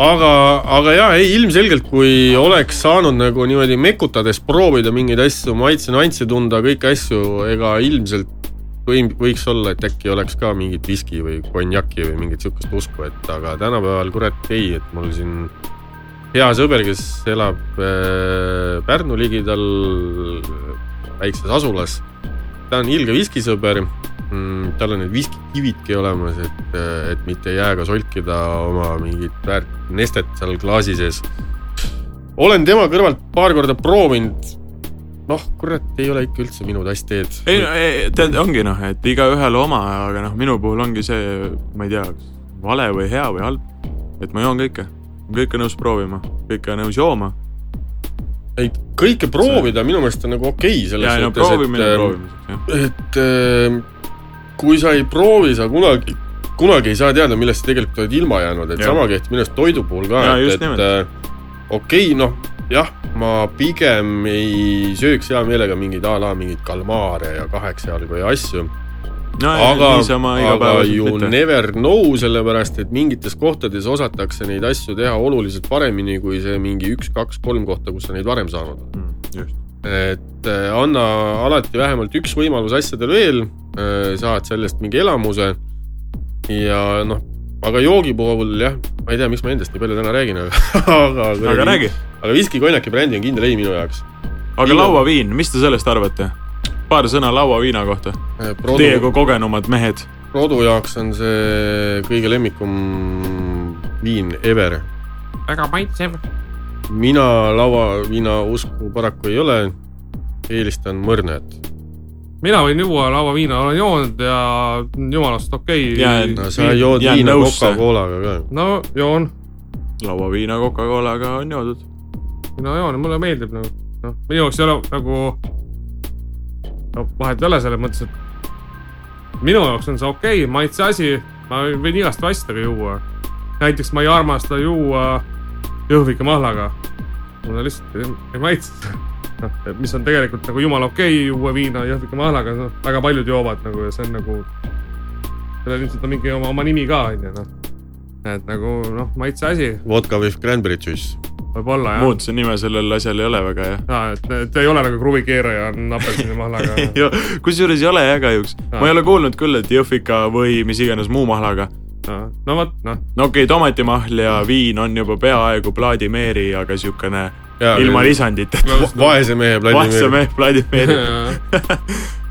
Speaker 2: aga , aga jaa , ei ilmselgelt , kui oleks saanud nagu niimoodi mekutades proovida mingeid asju , maitse-nüansse tunda , kõiki asju , ega ilmselt võim- võiks olla , et äkki oleks ka mingit viski või konjaki või mingit sihukest usku , et aga tänapäeval kurat ei , et mul siin hea sõber , kes elab äh, Pärnu ligidal väikses asulas . ta on ilge viskisõber mm, , tal on need viskikividki olemas , et , et mitte jääga solkida oma mingit väärt nestet seal klaasi sees . olen tema kõrvalt paar korda proovinud . noh , kurat , ei ole ikka üldse minu tass teed .
Speaker 4: ei no ei, tead , ongi noh , et igaühel oma , aga noh , minu puhul ongi see , ma ei tea , kas vale või hea või halb . et ma joon kõike , kõike nõus proovima , kõike nõus jooma .
Speaker 2: ei , kõike proovida minu meelest on nagu okei okay, selles
Speaker 4: ja no
Speaker 2: suhtes , ähm,
Speaker 4: proovimine proovimiseks jah .
Speaker 2: et , et ähm, kui sa ei proovi , sa kunagi , kunagi ei saa teada , millest sa tegelikult oled ilma jäänud , et
Speaker 4: Jah.
Speaker 2: ja. sama kehtib minu arust toidu puhul ka
Speaker 4: Jaa, , just
Speaker 2: et , et
Speaker 4: nimelt.
Speaker 2: äh, okei okay, , noh , jah , ma pigem ei sööks hea meelega mingeid a la mingeid kalmaare ja kaheksa jalgu ja asju
Speaker 4: no aga,
Speaker 2: aga ,
Speaker 4: niisama
Speaker 2: aga
Speaker 4: igapäevaselt
Speaker 2: you mitte.
Speaker 4: mitte .
Speaker 2: never know , sellepärast et mingites kohtades osatakse neid asju teha oluliselt paremini kui see mingi üks-kaks-kolm kohta , kus sa neid varem saanud oled .
Speaker 4: Mm, just ,
Speaker 2: et äh, anna alati vähemalt üks võimalus asjadel veel , saad sellest mingi elamuse . ja noh , aga joogi puhul jah , ma ei tea , miks ma endast nii palju täna räägin , aga , *laughs* aga .
Speaker 4: aga räägi ,
Speaker 2: aga viski , konjaki brändi on kindel ei minu jaoks .
Speaker 4: aga
Speaker 2: Viina-
Speaker 4: lauaviin , mis te sellest arvate ? paar sõna lauaviina kohta . Teie
Speaker 2: Äh, Produ ,
Speaker 4: kui kogenumad mehed ,
Speaker 2: Produ jaoks on see kõige lemmikum viin ever .
Speaker 5: väga maitsev .
Speaker 2: mina lauaviina usku paraku ei ole , eelistan mõrnat .
Speaker 1: mina võin juua lauaviina , olen joonud ja jumalast okei
Speaker 4: Jään-
Speaker 1: okay. .
Speaker 2: no sa jood
Speaker 4: Jään
Speaker 2: viina
Speaker 4: nõusse.
Speaker 2: Coca-Colaga ka .
Speaker 1: no joon ,
Speaker 4: lauaviina Coca-Colaga on joodud .
Speaker 1: mina joon , mulle meeldib nagu , noh , minu jaoks ei ole nagu , no vahet ei ole selles mõttes , et minu jaoks on see okei okay, , maitse asi , ma võin igast asjadega juua . näiteks ma ei armasta juua jõhvikamahlaga , mulle lihtsalt ei, ei maitse noh , mis on tegelikult nagu jumala okei okay, juua viina jõhvikamahlaga , noh , väga paljud joovad nagu ja see on nagu , sellel ilmselt on mingi oma , oma nimi ka , onju , noh . et nagu noh , maitse asi
Speaker 2: Vodka with cranberry juice .
Speaker 1: võib-olla jah .
Speaker 4: muud see nime sellel asjal ei ole väga jah .
Speaker 1: aa , et , et ei ole nagu kruvikeeraja on apelsinimahlaga .
Speaker 4: *laughs* Ja- kusjuures ei ole jah kahjuks ,
Speaker 1: Ah.
Speaker 4: ma ei ole kuulnud küll , et jõhvika või mis iganes muu mahlaga .
Speaker 1: no vot , noh ,
Speaker 4: no okei okay, , tomatimahl ja viin on juba peaaegu Vladimiri , aga siukene
Speaker 2: Jaa,
Speaker 4: ilma
Speaker 2: jah.
Speaker 4: lisanditeta .
Speaker 2: Va- vaese mehe Vladimir
Speaker 4: vaesem ,
Speaker 1: *laughs*
Speaker 4: Vladimiri .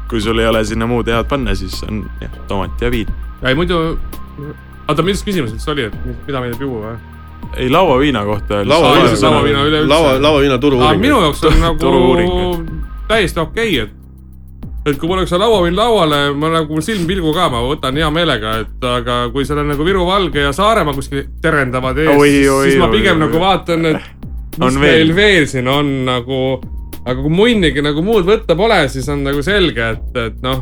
Speaker 4: kui sul ei ole sinna muud head panna , siis on jah , tomat ja viin .
Speaker 1: ei muidu , oota , mis küsimus üldse oli , et mis- mida meeldib juua või ?
Speaker 4: ei , lauaviina kohta .
Speaker 1: Lauaviina-
Speaker 2: lauaviina ,
Speaker 1: lauaviina üleüldse.
Speaker 2: laua , lauaviina
Speaker 1: aga minu
Speaker 2: turu-uuring .
Speaker 1: jaoks
Speaker 4: *laughs*
Speaker 1: on
Speaker 4: Turu-uuring,
Speaker 1: nagu täiesti okei , et , et kui paneks lauaviin lauale , ma nagu silmpilgu ka , ma võtan hea meelega , et aga kui seal on nagu Viru Valge ja Saaremaa kuskil terendavad ees ,
Speaker 4: Oi,
Speaker 1: siis,
Speaker 4: oi,
Speaker 1: siis ma
Speaker 4: oi,
Speaker 1: pigem
Speaker 4: oi.
Speaker 1: nagu vaatan ,
Speaker 4: *laughs*
Speaker 1: et mis
Speaker 4: On veel.
Speaker 1: meil veel siin on nagu , aga kui munnigi nagu muud võtta pole , siis on nagu selge , et , et noh ,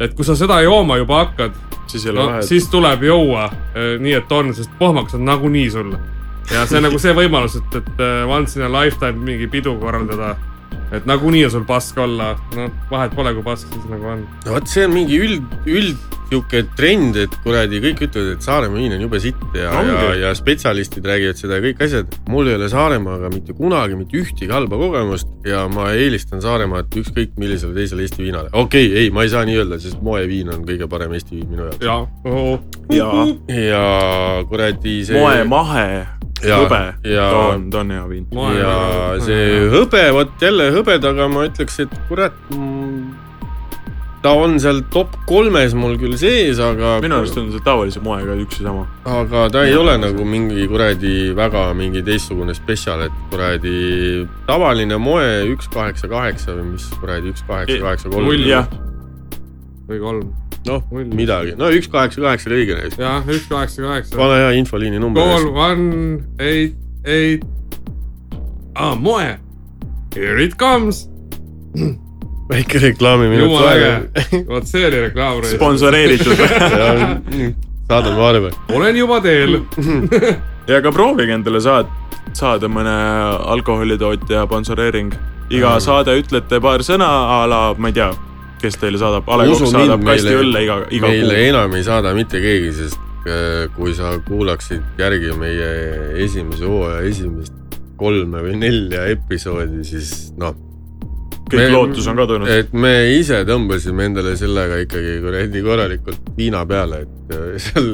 Speaker 1: et kui sa seda jooma juba hakkad ,
Speaker 4: siis ei ole
Speaker 1: no
Speaker 4: vahet
Speaker 1: siis tuleb juua eh, nii , et on , sest pohmakas on nagunii sulle . ja see on nagu see võimalus , et , et eh, once in a lifetime mingi pidu korraldada . et nagunii on sul pask olla , noh , vahet pole , kui pask siis nagu on .
Speaker 2: no vot , see on mingi üld , üld sihuke trend , et kuradi kõik ütlevad , et Saaremaa viin on jube sitt ja ,
Speaker 4: Ongi.
Speaker 2: ja , ja spetsialistid räägivad seda ja kõik asjad . mul ei ole Saaremaaga mitte kunagi mitte ühtegi halba kogemust ja ma eelistan Saaremaad ükskõik millisele teisele Eesti viinale . okei okay, , ei , ma ei saa nii öelda , sest moeviin on kõige parem Eesti viin minu jaoks .
Speaker 1: ja ,
Speaker 4: ja
Speaker 2: ja kuradi see .
Speaker 4: moemahe
Speaker 2: Ja-
Speaker 4: hõbe ,
Speaker 2: ja-
Speaker 4: too on , too on hea viin .
Speaker 2: ja
Speaker 1: nagu-
Speaker 2: see hõbe , vot jälle hõbedaga ma ütleks , et kurat , ta on seal top kolmes mul küll sees , aga
Speaker 4: minu arust on see tavalise moega üks ja sama .
Speaker 2: aga ta ei ole nagu mingi kuradi väga mingi teistsugune spetsial , et kuradi tavaline moe üks kaheksa kaheksa või mis kuradi üks kaheksa kaheksa kolm ,
Speaker 4: jah ,
Speaker 1: või kolm .
Speaker 2: noh midagi , no üks kaheksa kaheksa oli õige näiteks .
Speaker 1: jah , üks kaheksa kaheksa .
Speaker 2: pane hea infoliini number
Speaker 1: Call . one eight eight . aa , moe . Here it comes .
Speaker 2: väike reklaamiminut
Speaker 1: jumala
Speaker 2: *laughs*
Speaker 1: äge . vot see oli reklaam .
Speaker 4: sponsoreeritud *laughs*
Speaker 2: saadame arve .
Speaker 1: olen juba teel .
Speaker 4: ja ka proovige endale saad- , saada mõne alkoholitootja sponsoreering . iga mm. saade ütlete paar sõna a la , ma ei tea , kes teile saadab , A Le Coq
Speaker 2: Usu
Speaker 4: saadab
Speaker 2: mind,
Speaker 4: kasti
Speaker 2: meile-
Speaker 4: õlle iga , iga
Speaker 2: meile
Speaker 4: kuu .
Speaker 2: enam ei saada mitte keegi , sest äh, kui sa kuulaksid järgi meie esimese hooaja esimest kolme või nelja episoodi , siis noh ,
Speaker 4: kõik
Speaker 2: me-
Speaker 4: me... lootus on kadunud
Speaker 2: et me ise tõmbasime endale sellega ikkagi kuradi korralikult viina peale , et äh, seal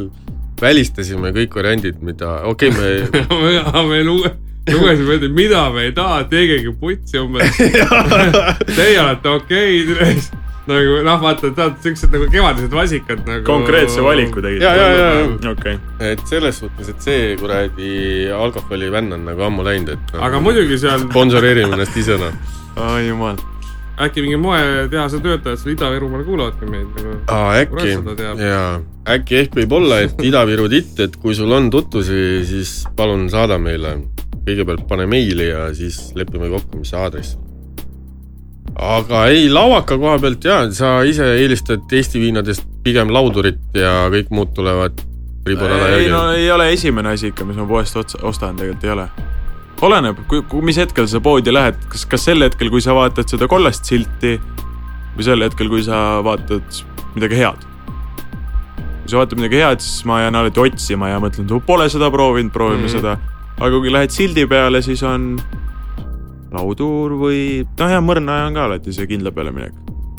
Speaker 2: välistasime kõik variandid , mida , okei okay, ,
Speaker 4: *laughs*
Speaker 1: me ah, luge- lugesime ette , mida me ei taha , tegegi putsi umbes . Teie olete okeid nagu noh , vaata , tead siuksed nagu kevadised vasikad nagu .
Speaker 4: konkreetse valiku
Speaker 2: me
Speaker 4: tegid .
Speaker 2: ja , ja , ja ,
Speaker 4: okei ,
Speaker 2: et selles suhtes , et see kuradi alkoholivänn on nagu ammu läinud , et
Speaker 1: aga muidugi seal
Speaker 2: sponsoreerime ennast ise noh .
Speaker 4: ai jumal .
Speaker 1: äkki mingi moetehase töötajad seal Ida-Virumaal kuulavadki meid nagu .
Speaker 2: aa , äkki
Speaker 1: Kurat seda , teab.
Speaker 2: jaa , äkki ehk võib-olla , et Ida-Viru titt , et kui sul on tutvusi , siis palun saada meile . kõigepealt pane meili ja siis lepime kokku , mis see aadress on . aga ei , lauaka koha pealt jaa , sa ise eelistad Eesti viinadest pigem laudurit ja kõik muud tulevad riburada
Speaker 4: ei
Speaker 2: järgi
Speaker 4: no . ei ole esimene asi ikka , mis ma poest otsa , ostan tegelikult ei ole . oleneb , kui, kui , mis hetkel sa poodi lähed , kas , kas sel hetkel , kui sa vaatad seda kollast silti või sel hetkel , kui sa vaatad midagi head . kui sa vaatad midagi head , siis ma jään alati otsima ja mõtlen , pole seda proovinud , proovime mm
Speaker 1: Mhm.
Speaker 4: -hmm. seda . aga kui lähed sildi peale , siis on laudur või noh , ja mõrna on ka alati see kindla peale minek .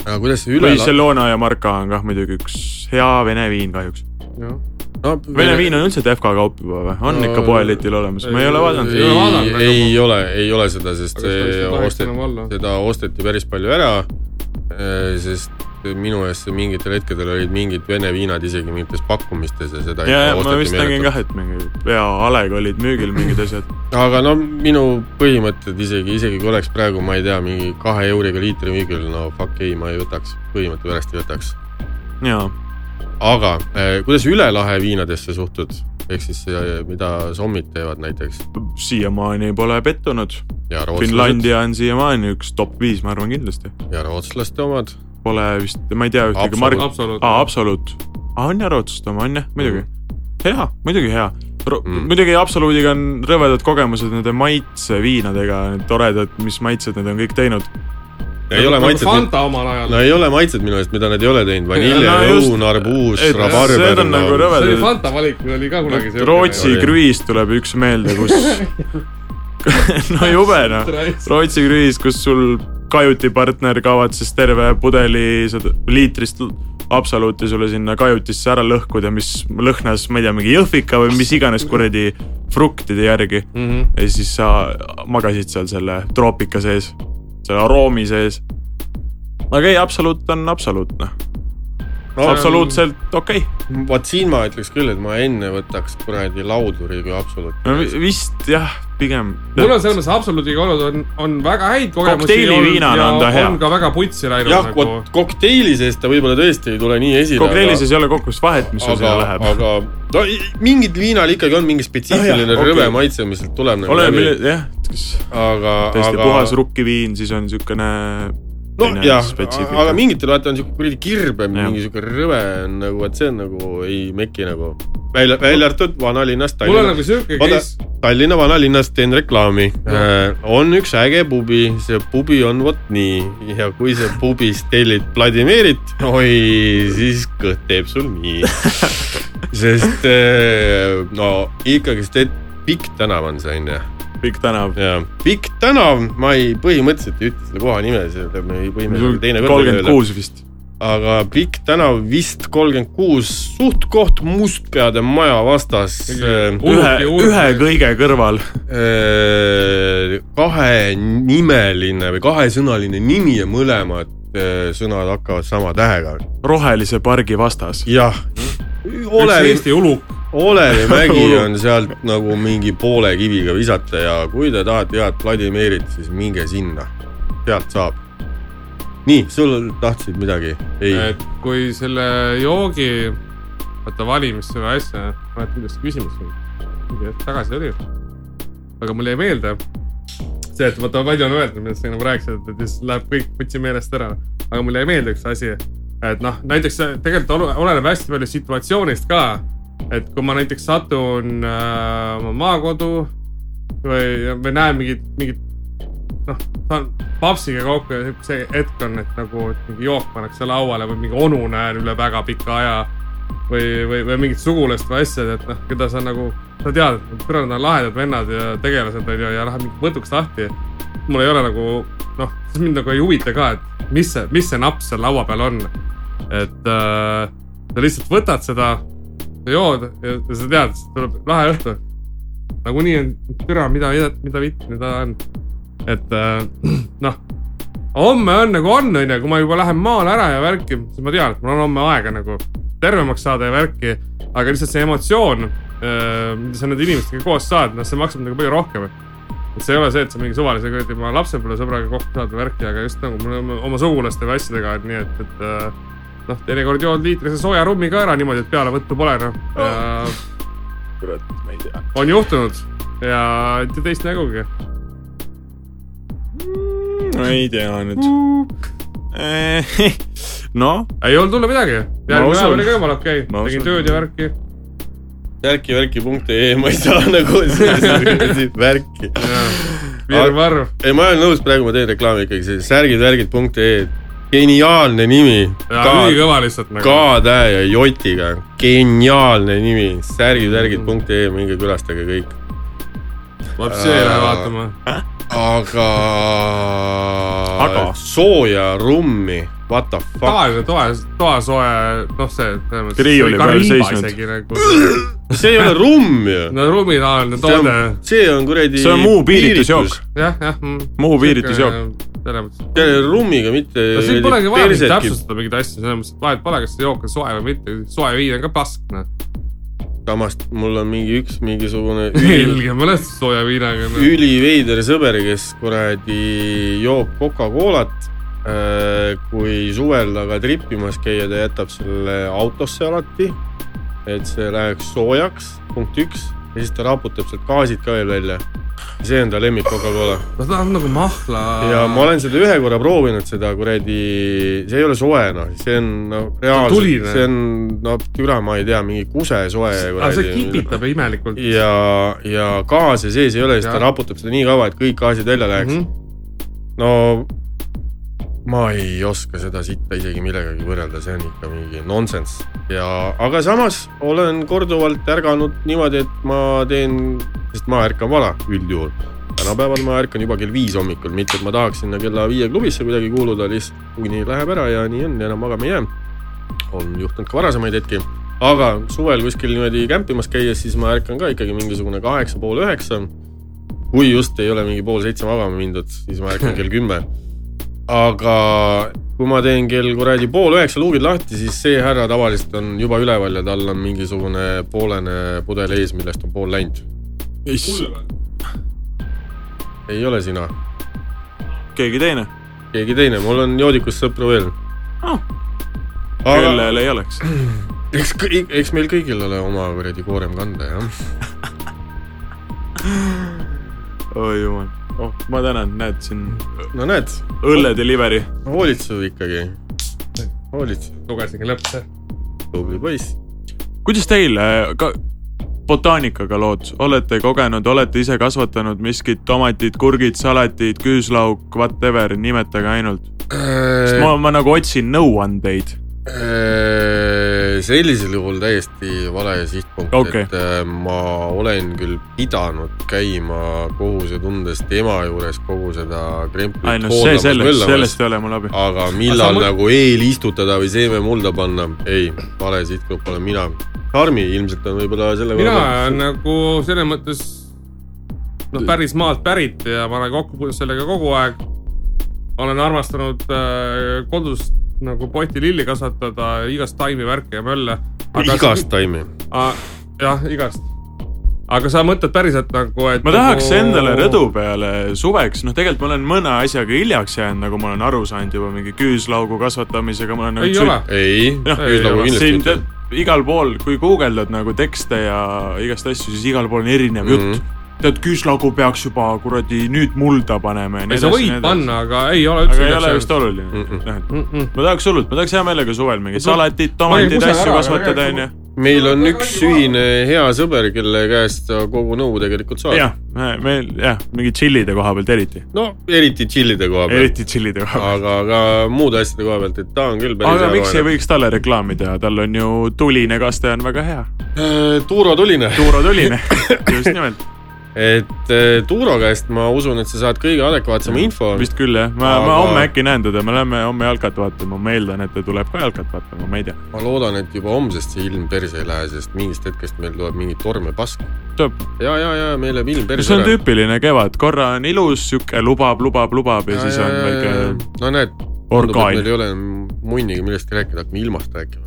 Speaker 2: aga kuidas see üle
Speaker 4: või ? Selona ja Marka on kah muidugi üks hea vene viin kahjuks .
Speaker 1: noh.
Speaker 4: Vene viin on üldse Defka kaup juba või ? on
Speaker 2: No-
Speaker 4: ikka poeletil olemas , ma ei ole vaadanud
Speaker 1: Ei ole vaadanud,
Speaker 2: ei ,
Speaker 1: aga
Speaker 2: ei ole , ei ole seda , sest
Speaker 1: Aga kas ta
Speaker 2: see
Speaker 1: üldse tohiks
Speaker 2: osteti
Speaker 1: enam olla? ,
Speaker 2: seda osteti päris palju ära . sest minu eest see mingitel hetkedel olid mingid vene viinad isegi mingites pakkumistes ja seda .
Speaker 4: ja , ja ma vist nägin . kah , et mingi pea alega olid müügil mingid asjad .
Speaker 2: aga no minu põhimõtted isegi , isegi kui oleks praegu , ma ei tea , mingi kahe euriga liitri müügil , no fuck ei , ma ei võtaks , põhimõtte pärast ei võtaks .
Speaker 4: jaa ,
Speaker 2: aga eh, kuidas üle lahe viinadesse suhtud , ehk siis eh, mida sommid teevad näiteks
Speaker 4: siiamaani pole pettunud .
Speaker 2: ja rootslased
Speaker 4: Finlandia on siiamaani üks top viis , ma arvan kindlasti .
Speaker 2: ja rootslaste omad
Speaker 4: Pole vist , ma ei tea ühtegi
Speaker 2: Absolut.
Speaker 4: marki .
Speaker 1: absoluut .
Speaker 4: aa , Absolut . aa , on ja Rootsist oma , on jah , muidugi . hea , muidugi hea .
Speaker 2: Mm.
Speaker 4: Mm. muidugi Absolutiga on rõvedad kogemused nende maitseviinadega , need toredad , mis maitsed need on kõik teinud .
Speaker 2: ei ole maitset nii-
Speaker 1: Nagu Fanta omal ajal
Speaker 2: no . ei ole maitsed minu meelest , mida nad ei ole teinud , vanilje
Speaker 4: No
Speaker 2: no, ,
Speaker 4: just.
Speaker 2: õun , arbuus
Speaker 4: Et ,
Speaker 2: rabarber
Speaker 4: see on . nagu rõve-
Speaker 1: see oli Fanta valik , mul oli ka kunagi see .
Speaker 4: Rootsi
Speaker 2: Oli.
Speaker 4: krüüs tuleb üks meelde ,
Speaker 1: *laughs*
Speaker 4: kus no jube noh , Rootsi krüüs , kus sul kajutipartner kavatses terve pudeli seda liitrist l- absoluuti sulle sinna kajutisse ära lõhkuda , mis lõhnas , ma ei tea , mingi jõhvika või mis iganes kuradi fruktide järgi .
Speaker 1: Mhm.
Speaker 4: ja siis sa magasid seal selle troopika sees , selle aroomi sees . aga ei , absoluut on absoluut noh , absoluutselt okei okay. .
Speaker 2: vot siin ma ütleks küll , et ma enne võtaks kuradi lauduri kui absoluut .
Speaker 4: no vi- vist jah , pigem .
Speaker 1: mul on selles mõttes absoluutiga olnud , on , on väga häid kogemusi .
Speaker 4: Kokteiliviinana on ta hea.
Speaker 1: on ka väga putsi läinud
Speaker 2: jah ,
Speaker 1: nagu
Speaker 2: vot . kokteili sees ta võib-olla tõesti ei tule nii esile .
Speaker 4: kokteili sees ei ole kokku vist vahet , mis sul
Speaker 2: aga
Speaker 4: sinna , läheb .
Speaker 2: aga no i- mingil viinal ikkagi on mingi spetsiifiline
Speaker 4: Ah,
Speaker 2: ah,
Speaker 4: jah,
Speaker 2: rõve
Speaker 4: okei.
Speaker 2: okay. maitse , mis sealt tuleb nagu
Speaker 4: ole
Speaker 2: läbi ,
Speaker 4: jah ,
Speaker 2: aga ,
Speaker 4: täiesti
Speaker 2: aga
Speaker 4: puhas rukkiviin , siis on siukene
Speaker 2: nojah ,
Speaker 4: spetsiifika.
Speaker 2: aga mingitel vaata on siuke kuradi kirbem ,
Speaker 4: Jah.
Speaker 2: mingi siuke rõve on nagu , et see on nagu ei meki nagu . välja , välja arvatud vanalinnas
Speaker 1: mul on
Speaker 2: Tallinnas .
Speaker 1: nagu siuke
Speaker 2: Oota.
Speaker 1: case ,
Speaker 2: Tallinna vanalinnas teen reklaami . on üks äge pubi , see pubi on vot nii ja kui sa pubis tellid Vladimirit , oi , siis kõht teeb sul nii .
Speaker 4: *laughs*
Speaker 2: sest eh, no ikkagist , et pikk tänav on see onju
Speaker 4: pikk tänav .
Speaker 2: ja pikk tänav , ma ei , põhimõtteliselt ei ütle selle koha nime , selle me ei põhimõtteliselt teine kord
Speaker 4: kolmkümmend . kuus vist .
Speaker 2: aga pikk tänav vist kolmkümmend kuus , suht-koht Mustpeade maja vastas eh,
Speaker 4: ühe
Speaker 1: Urki, , Urki.
Speaker 4: ühe kõige kõrval .
Speaker 2: eh, kahenimeline või kahesõnaline nimi ja mõlemad eh, sõnad hakkavad sama tähega .
Speaker 4: rohelise pargi vastas .
Speaker 2: jah ,
Speaker 1: üks
Speaker 2: Olevi ,
Speaker 1: Eesti uluk ,
Speaker 2: Olevi *laughs* mägi on sealt nagu mingi poole kiviga visata ja kui te tahate head Vladimirit , siis minge sinna , sealt saab . nii , sul tahtsid midagi ? ei ,
Speaker 1: et kui selle joogi , vaata valimisse või asja , ma ei mäleta , milles see küsimus oli , mingi hetk tagasi oli . aga mul jäi meelde see , et vaata palju on öeldud , millest sa nagu rääkisid , et siis läheb kõik putsi meelest ära . aga mul jäi meelde üks asi , et noh , näiteks see tegelikult olu- oleneb hästi palju situatsioonist ka . et kui ma näiteks satun äh, oma maakodu või , või näen mingit , mingit noh , saan papsiga kokku ja sihuke- see hetk on , et nagu et mingi jook pannakse lauale või mingi onu näen üle väga pika aja . või , või , või mingit sugulast või asja , et noh , keda sa nagu , sa tead , et kurat , nad on lahedad vennad ja tegelased on ju ja läheb mingi võtuks lahti . mul ei ole nagu noh , siis mind nagu ei huvita ka , et mis see , mis see naps seal laua peal on . et äh, sa lihtsalt võtad seda , jood ja, ja sa tead , tuleb lahe õhtu . nagunii on , türa , mida , mida vitt nüüd on et äh, noh , homme on nagu on , onju , kui ma juba lähen maale ära ja värki , siis ma tean , et mul on homme aega nagu tervemaks saada ja värki . aga lihtsalt see emotsioon , mida sa nende inimestega koos saad , noh , see maksab nagu palju rohkem . et see ei ole see , et sa mingi suvalise kuradi oma lapsepõlvesõbraga kokku saad ja värki , aga just nagu mul on oma sugulaste või asjadega on nii , et , et äh, noh , teinekord jood liitrise sooja rummi ka ära niimoodi , et pealevõttu pole noh ja... .
Speaker 4: kurat , ma ei tea .
Speaker 1: on juhtunud ja teist nägugi .
Speaker 4: ma ei tea nüüd . Eh, *laughs* noh ,
Speaker 1: ei olnud hullu midagi , järgmine
Speaker 4: usun.
Speaker 1: päev oli ka jumala okei okay. ,
Speaker 4: Ma
Speaker 1: tegin
Speaker 4: usun.
Speaker 1: tööd ja värki .
Speaker 2: värki-värki.ee , ma ei saa nagu *laughs* siit värki .
Speaker 1: virvarr ,
Speaker 2: ei , ma olen nõus , praegu ma teen reklaami ikkagi , see särgid-värgid.ee , geniaalne nimi .
Speaker 1: ülikõva lihtsalt nagu .
Speaker 2: K-tähe ja jotiga , geniaalne nimi , särgid-värgid.ee , minge külastage kõik .
Speaker 1: lapsi ei
Speaker 2: Äh,
Speaker 1: lähe vaatama .
Speaker 2: aga .
Speaker 4: Aga?
Speaker 2: sooja rummi , what the fuck ,
Speaker 1: tavaline toa , toasoe , noh , see , selles
Speaker 4: Riiuli peal seisnud.
Speaker 1: seisnud .
Speaker 2: see ei ole rumm ju .
Speaker 1: *laughs* no ruumitaoline
Speaker 2: see on
Speaker 1: toode ,,
Speaker 2: see on kuradi .
Speaker 4: see on muu piiritusjook .
Speaker 1: jah , jah .
Speaker 4: Muu piiritusjook. .
Speaker 1: selles mõttes ,
Speaker 2: see ei ole rummiga , mitte .
Speaker 1: no siin polegi vaja mingit täpsustada mingeid asju , selles mõttes , et vahet pole , kas see jook on soe või mitte , soe viin on ka pask ,
Speaker 2: *laughs*
Speaker 1: noh .
Speaker 2: samas mul on mingi üks
Speaker 1: *laughs*
Speaker 2: mingisugune üli-
Speaker 1: ilge mõnes sooja viinaga . noh.
Speaker 2: üliveider sõber , kes kuradi joob Coca-Colat . kui suvel taga tripimas käia , ta jätab selle autosse alati , et see läheks soojaks , punkt üks , ja siis ta raputab sealt gaasid ka veel välja . see on ta lemmik Coca-Cola
Speaker 1: no ta on nagu mahla .
Speaker 2: ja ma olen seda ühe korra proovinud , seda kuradi , see ei ole soe noh , see on noh , reaalselt
Speaker 1: tuline. ,
Speaker 2: see on no türa , ma ei tea , mingi kuse soe .
Speaker 1: aga see kipitab imelikult .
Speaker 2: ja , ja gaase sees ei ole , siis ta
Speaker 1: Jah.
Speaker 2: raputab seda nii kaua , et kõik gaasid välja läheks mm . -hmm. no ma ei oska seda sitta isegi millegagi võrrelda , see on ikka mingi nonsense ja , aga samas olen korduvalt ärganud niimoodi , et ma teen , sest ma ärkan vara üldjuhul . tänapäeval ma ärkan juba kell viis hommikul , mitte et ma tahaks sinna kella viie klubisse kuidagi kuuluda , lihtsalt kuni läheb ära ja nii on ja enam magama ei jää . on juhtunud ka varasemaid hetki , aga suvel kuskil niimoodi kämpimas käies , siis ma ärkan ka ikkagi mingisugune kaheksa , pool üheksa . kui just ei ole mingi pool seitse magama mindud , siis ma
Speaker 4: *laughs*
Speaker 2: ärkan kell kümme . aga kui ma teen kell kuradi pool üheksa luugid lahti , siis see härra tavaliselt on juba üleval ja tal on mingisugune poolene pudel ees , millest on pool läinud . ei ole sina ,
Speaker 4: keegi teine
Speaker 2: keegi teine , mul on joodikust sõpru veel
Speaker 4: Ah. .
Speaker 2: aga
Speaker 4: kellel ei oleks .
Speaker 2: eks , eks meil kõigil ole oma kuradi koorem kanda , jah .
Speaker 4: oi jumal . oh , ma tänan , näed siin
Speaker 2: no näed ,
Speaker 4: õlle delivery .
Speaker 2: hoolitsev ikkagi . hoolitsev ,
Speaker 1: lugesingi lõppu .
Speaker 2: tubli poiss .
Speaker 4: kuidas teil äh, ka botaanikaga lood , olete kogenud , olete ise kasvatanud miskit , tomatid , kurgid , salatid , küüslauk , whatever , nimetage ainult . ma , ma nagu otsin nõuandeid .
Speaker 2: Äh, sellisel juhul täiesti vale sihtpunkt
Speaker 4: Okei.
Speaker 2: et äh, ma olen küll pidanud käima kohusetundest ema juures kogu seda
Speaker 4: ei
Speaker 2: kremplit
Speaker 4: no see
Speaker 1: nagu
Speaker 4: sellest ,
Speaker 2: möllamas
Speaker 4: sellest , ei ole mul abi .
Speaker 2: aga millal
Speaker 1: Aga
Speaker 2: aga
Speaker 1: sa
Speaker 2: nagu eelistutada või seeme mulda panna , ei , vale sihtgrupp olen mina . Tarmi ilmselt on võib-olla selle
Speaker 1: mina olen nagu selles mõttes noh , päris maalt pärit ja ma olen kokku puutunud sellega kogu aeg . olen armastanud äh, kodus nagu potililli kasvatada , igast taimi , värke ja mölle .
Speaker 2: igast taimi .
Speaker 1: jah , igast . aga sa mõtled päriselt nagu , et .
Speaker 4: ma tahaks endale rõdu peale suveks , noh , tegelikult ma olen mõne asjaga hiljaks jäänud , nagu ma olen aru saanud juba mingi küüslaugu kasvatamisega , ma olen nagu
Speaker 1: ei ole .
Speaker 2: ei ,
Speaker 4: Jah,
Speaker 2: nüüd nagu
Speaker 1: ei,
Speaker 2: kindlasti
Speaker 4: siin
Speaker 2: mitte
Speaker 4: te, . igal pool , kui guugeldad nagu tekste ja igast asju , siis igal pool on erinev
Speaker 2: Mhm.
Speaker 4: mm -hmm. jutt . tead , küüslaugu peaks juba kuradi nüüd mulda panema ja nii
Speaker 1: sa võid
Speaker 4: nii
Speaker 1: panna , aga ei ole
Speaker 4: aga
Speaker 1: üldse .
Speaker 4: ei ole vist oluline mm .
Speaker 2: Mm-mm.
Speaker 4: -mm.
Speaker 1: oluline .
Speaker 4: ma tahaks hullult , ma tahaks hea meelega suvel mingeid
Speaker 1: Ma- ma
Speaker 4: salatit ,
Speaker 1: olin
Speaker 4: tomateid ,
Speaker 1: kuse
Speaker 4: asju
Speaker 1: ära,
Speaker 4: kasvatada ,
Speaker 1: aga-
Speaker 4: onju .
Speaker 2: meil on üks ühine hea sõber , kelle käest sa kogu nõu tegelikult saad .
Speaker 4: jah , meil jah , mingi tšillide koha pealt eriti ,
Speaker 2: no eriti tšillide koha peal .
Speaker 4: eriti tšillide koha pealt .
Speaker 2: aga ka muude asjade koha pealt , et ta on küll päris
Speaker 4: aga miks ei
Speaker 2: hea
Speaker 4: võiks talle reklaami teha , tal on ju tuline kaste on väga hea ,
Speaker 2: kohe . Tuuro Tuline ,
Speaker 4: Äh, Tuuro tuline , just nimelt ,
Speaker 2: et eh, Tuuro käest ma usun , et sa saad kõige adekvaatsema info .
Speaker 4: Mm, vist küll jah , ma , ma
Speaker 2: Aga-
Speaker 4: homme äkki näen teda , me läheme homme jalkat vaatama , ma eeldan , et ta tuleb ka jalkat vaatama , ma ei tea ,
Speaker 2: ma loodan , et juba homsest see ilm perse ei lähe , sest mingist hetkest meil tuleb mingi torm ja pask .
Speaker 4: tuleb ,
Speaker 2: ja , ja , ja meil läheb ilm perse
Speaker 4: see on
Speaker 2: ära .
Speaker 4: tüüpiline kevad , korra on ilus , sihuke lubab , lubab , lubab ja siis on väike
Speaker 2: no näed , tundub , et meil
Speaker 4: orkaan .
Speaker 2: ei ole munniga millestki rääkida , hakkame ilmast rääkima .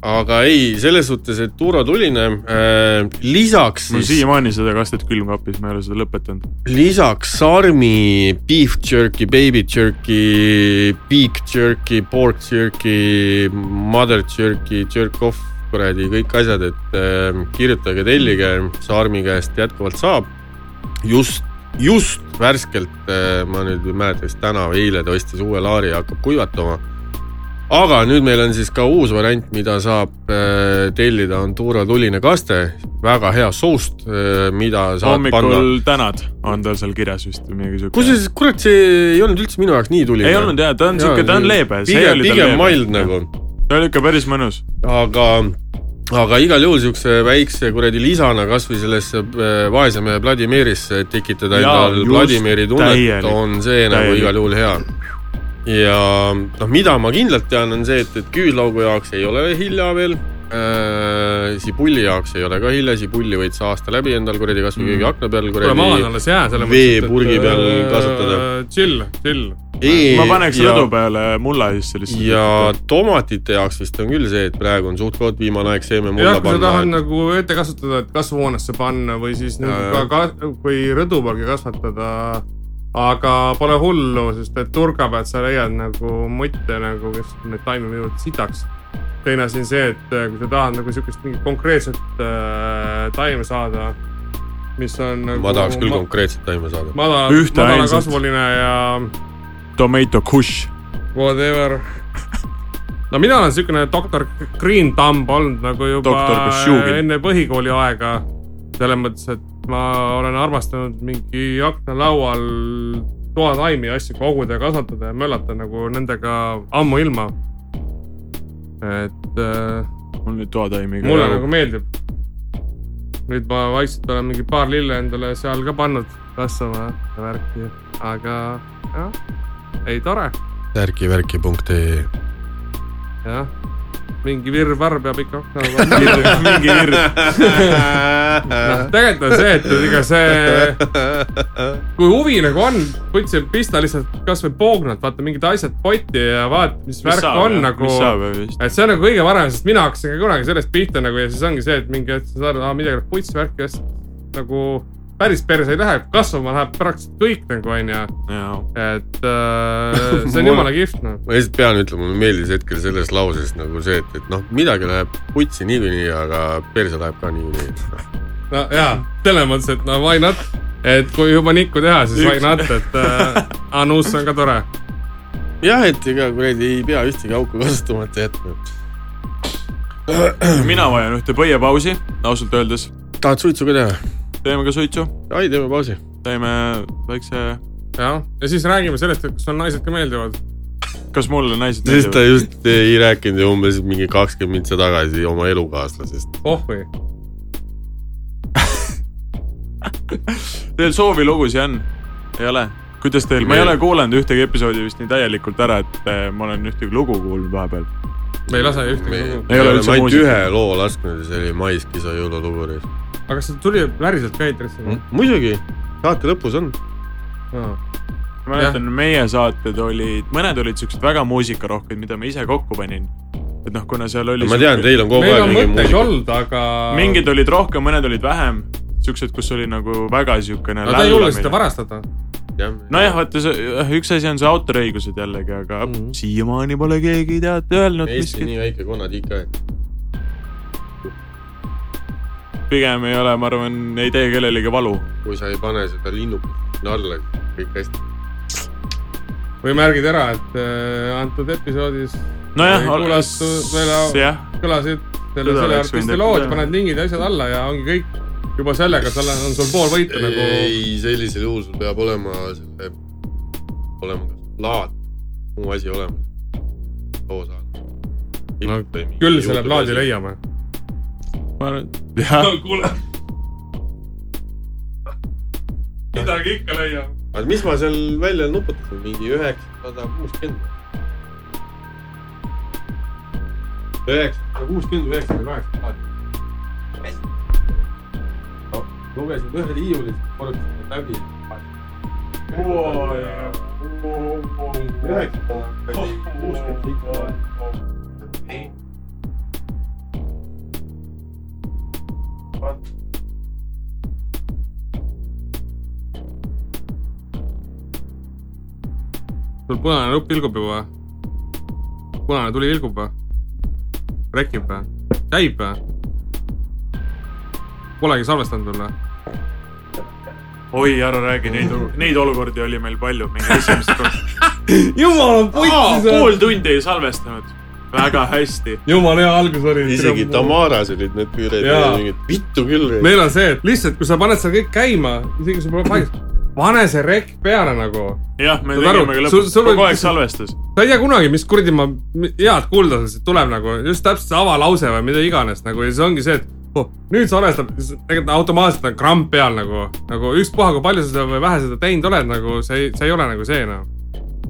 Speaker 2: aga ei , selles suhtes , et Tuuro Tuline äh, lisaks
Speaker 4: mul on
Speaker 2: siis ,
Speaker 4: siiamaani seda kastet külmkapis , ma ei ole seda lõpetanud .
Speaker 2: lisaks sarmi , beef jerky , baby jerky , big jerky , pork jerky , mother jerky , jerk off , kuradi kõik asjad , et äh, kirjutage , tellige , sarmi käest jätkuvalt saab . just , just värskelt äh, , ma nüüd ei mäleta , kas täna või eile ta ostis uue laari ja hakkab kuivatama . aga nüüd meil on siis ka uus variant , mida saab äh, tellida , on Tuura tuline kaste , väga hea soust äh, , mida saab panna
Speaker 4: hommikul tänad on tal seal kirjas vist või mingi siuke .
Speaker 2: kusjuures , kurat , see ei olnud üldse minu jaoks nii tuline .
Speaker 4: ei olnud jah , ta on siuke , ta on leebe .
Speaker 2: pigem , pigem mild nagu ,
Speaker 4: ta oli ikka päris mõnus .
Speaker 2: aga , aga igal juhul siukse väikse kuradi lisana kasvõi sellesse äh, vaese mehe Vladimirisse , et tekitada
Speaker 4: Jaa,
Speaker 2: endal
Speaker 4: just,
Speaker 2: Vladimiri tunnet ,
Speaker 4: täielik,
Speaker 2: on see täielik. nagu
Speaker 4: täielik.
Speaker 2: igal juhul hea . ja noh , mida ma kindlalt tean , on see , et , et küüllaugu jaoks ei ole hilja veel . Sibulli jaoks ei ole ka hilja , sibulli võid sa aasta läbi endal kuradi kasvõi
Speaker 4: Mm.
Speaker 2: köögi akna peal
Speaker 1: kuule , ma olen
Speaker 2: kuradi .
Speaker 1: alles jää selles äh,
Speaker 2: veepurgi peal kasutada. .
Speaker 1: chill , chill .
Speaker 4: ma paneks rõdu peale mulla sisse lihtsalt .
Speaker 2: ja tomatite jaoks vist on küll see , et praegu on suht-koht viimane aeg seeme
Speaker 1: jah , kui
Speaker 2: mulla
Speaker 1: sa
Speaker 2: panna
Speaker 1: tahad
Speaker 2: et... .
Speaker 1: nagu ette kasvatada , et kasvuhoonesse panna või siis nüüd
Speaker 2: Jaa,
Speaker 1: ka, ka , kui rõdu pealgi kasvatada . aga pole hullu , sest et turga pealt sa leiad nagu mutte nagu , kes need taimi mõjuvad sitaks . teine asi on see , et äh, kui sa tahad nagu siukest mingit konkreetset äh, taime saada , mis on nagu,
Speaker 2: ma tahaks küll konkreetset taime saada .
Speaker 1: madala ,
Speaker 4: Ühte
Speaker 1: madala
Speaker 4: ainsat.
Speaker 1: kasvuline ja
Speaker 4: Tomato kush .
Speaker 1: whatever . no mina olen siukene doktor Green Thumb olnud nagu
Speaker 4: Doktor
Speaker 1: juba
Speaker 4: Košugin.
Speaker 1: enne põhikooli aega . selles mõttes , et ma olen armastanud mingi aknalaual toataimi ja asju koguda ja kasvatada ja möllata nagu nendega ammuilma . et äh,
Speaker 4: mul nüüd toataimiga .
Speaker 1: mulle nagu meeldib . nüüd ma vaikselt olen mingi paar lille endale seal ka pannud kasvama ja värki , aga jah , ei tore
Speaker 2: särgivärki.ee
Speaker 1: jah , mingi virvarr peab ikka
Speaker 4: *laughs*
Speaker 1: akna alla panema .
Speaker 4: mingi virv .
Speaker 1: noh , tegelikult on see , et ega see , kui huvi nagu on , võtsin , pista lihtsalt kasvõi poognad , vaata mingid asjad potti ja vaata , mis värk on nagu
Speaker 4: mis . saab ja vist .
Speaker 1: et see on nagu kõige parem , sest mina hakkasin ka kunagi sellest pihta nagu ja siis ongi see , et mingi hetk sa saad , aa midagi läheb putsi värki ja siis nagu päris perse ei lähe , kasvama läheb praktiliselt kõik nagu onju ,
Speaker 4: jaa .
Speaker 1: et äh, see
Speaker 4: *laughs*
Speaker 1: on
Speaker 2: Mul-
Speaker 1: jumala kihvt noh .
Speaker 2: ma lihtsalt pean ütlema , mulle meeldis hetkel selles lauses nagu see , et , et noh , midagi läheb putsi niikuinii , aga perse läheb ka niikuinii .
Speaker 1: no jaa , selles mõttes , et no why not , et kui juba nikku teha , siis why
Speaker 4: Üks-
Speaker 1: not , et äh,
Speaker 4: *laughs*
Speaker 1: anus on ka tore .
Speaker 2: jah , et ega kuradi ei pea ühtegi auku kasutamata jätma .
Speaker 4: mina vajan ühte põiepausi , ausalt öeldes .
Speaker 2: tahad suitsu ka teha ?
Speaker 4: teeme ka suitsu ,
Speaker 2: ai , teeme pausi .
Speaker 4: teeme väikse ,
Speaker 1: jah , ja siis räägime sellest , et kas on naised ka meeldivad .
Speaker 4: kas mulle naised
Speaker 2: siis ta just ei rääkinud ju umbes mingi kakskümmend mintsa tagasi oma elukaaslasest .
Speaker 1: oh või ,
Speaker 4: Teil soovilugusid on ? ei ole ? kuidas teil , ma ei ole kuulanud ühtegi episoodi vist nii täielikult ära , et eh, ma olen ühtegi lugu kuulnud vahepeal .
Speaker 1: me ei lase ühtegi
Speaker 2: me
Speaker 1: lugu .
Speaker 4: Ei
Speaker 2: ei
Speaker 4: ole
Speaker 2: ole
Speaker 4: üldse
Speaker 2: ainult
Speaker 4: muusika.
Speaker 2: ühe loo lasknud ja see oli Mais Kisa jõululugu .
Speaker 1: aga kas see tuli päriselt ka eetrisse
Speaker 2: Hmm?
Speaker 1: või ?
Speaker 2: muidugi , saate lõpus on .
Speaker 4: ma mäletan , meie saated olid , mõned olid siuksed väga muusikarohked , mida ma ise kokku panin . et noh , kuna seal oli .
Speaker 2: ma tean , teil on kogu
Speaker 1: meil
Speaker 2: aeg
Speaker 1: on
Speaker 2: mingi
Speaker 1: mõtteid
Speaker 2: muusika .
Speaker 1: olnud , aga .
Speaker 4: mingid olid rohkem , mõned olid vähem , siuksed , kus oli nagu väga siukene .
Speaker 1: no ta ei julge seda . varastada .
Speaker 4: nojah , vaata see üks asi on see autoriõigused jällegi , aga mm -hmm. siiamaani pole keegi tead öelnud
Speaker 2: Eesti
Speaker 4: miskit .
Speaker 2: nii väike konnad ikka .
Speaker 4: pigem ei ole , ma arvan , ei tee kellelegi valu .
Speaker 2: kui sa ei pane seda linnukest sinna alla , kõik hästi .
Speaker 1: või märgid ära , et äh, antud episoodis
Speaker 4: nojah ,
Speaker 1: Ei kuulatud veel au-
Speaker 4: jah ,
Speaker 1: kõlasid selle , selle
Speaker 4: Seda oleks võinud
Speaker 1: artisti lood ,
Speaker 4: teha.
Speaker 1: paned lingid ja asjad alla ja ongi kõik . juba sellega sa oled , on sul pool võitu
Speaker 2: ei ,
Speaker 1: nagu .
Speaker 2: ei , sellisel juhul sul peab olema selle , olema kas laad , muu asi olemas . loo saada .
Speaker 1: No, küll selle plaadi . leiame .
Speaker 4: ma arvan , et jah .
Speaker 1: kuule . midagi ikka leiame .
Speaker 2: aga mis ma seal välja nuputasin , mingi üheksasada kuuskümmend . üheksasada kuuskümmend , üheksasada kaheksakümmend plaati . lugesin ühe riiulist , korrutasin läbi . üheksasada kuuskümmend ikka .
Speaker 1: sul punane nupp ilgub juba ? punane tuli ilgub või ? rekib või ? käib või ? Polegi salvestanud veel või ?
Speaker 4: *laughs* oi , ära räägi , neid , *laughs* neid olukordi oli meil palju , mingi esimest *laughs* korda .
Speaker 1: jumal on
Speaker 4: pool tundi ei salvestanud . väga hästi .
Speaker 1: jumala hea algus oli .
Speaker 2: isegi . Tamaras olid need püüreid
Speaker 1: Jaa. ,
Speaker 2: mingid vittu küll .
Speaker 1: meil on see , et lihtsalt , kui sa paned seal kõik käima , isegi kui sul pole paigas , pane see rekk peale nagu .
Speaker 4: jah , me
Speaker 1: Saad aru,
Speaker 4: tegime ka
Speaker 1: sul-
Speaker 4: lõpuks ,
Speaker 1: sul
Speaker 4: kogu
Speaker 1: võib-
Speaker 4: aeg salvestas .
Speaker 1: sa ei tea kunagi , mis kuradi ma , head kuulda sellest tuleb nagu , just täpselt see avalause või mida iganes nagu ja siis ongi see , et oh, nüüd sa arvestad , tegelikult automaatselt on kramm peal nagu , nagu ükspuha , kui palju sa seda või vähe seda teinud oled , nagu see ei , see ei ole nagu see noh .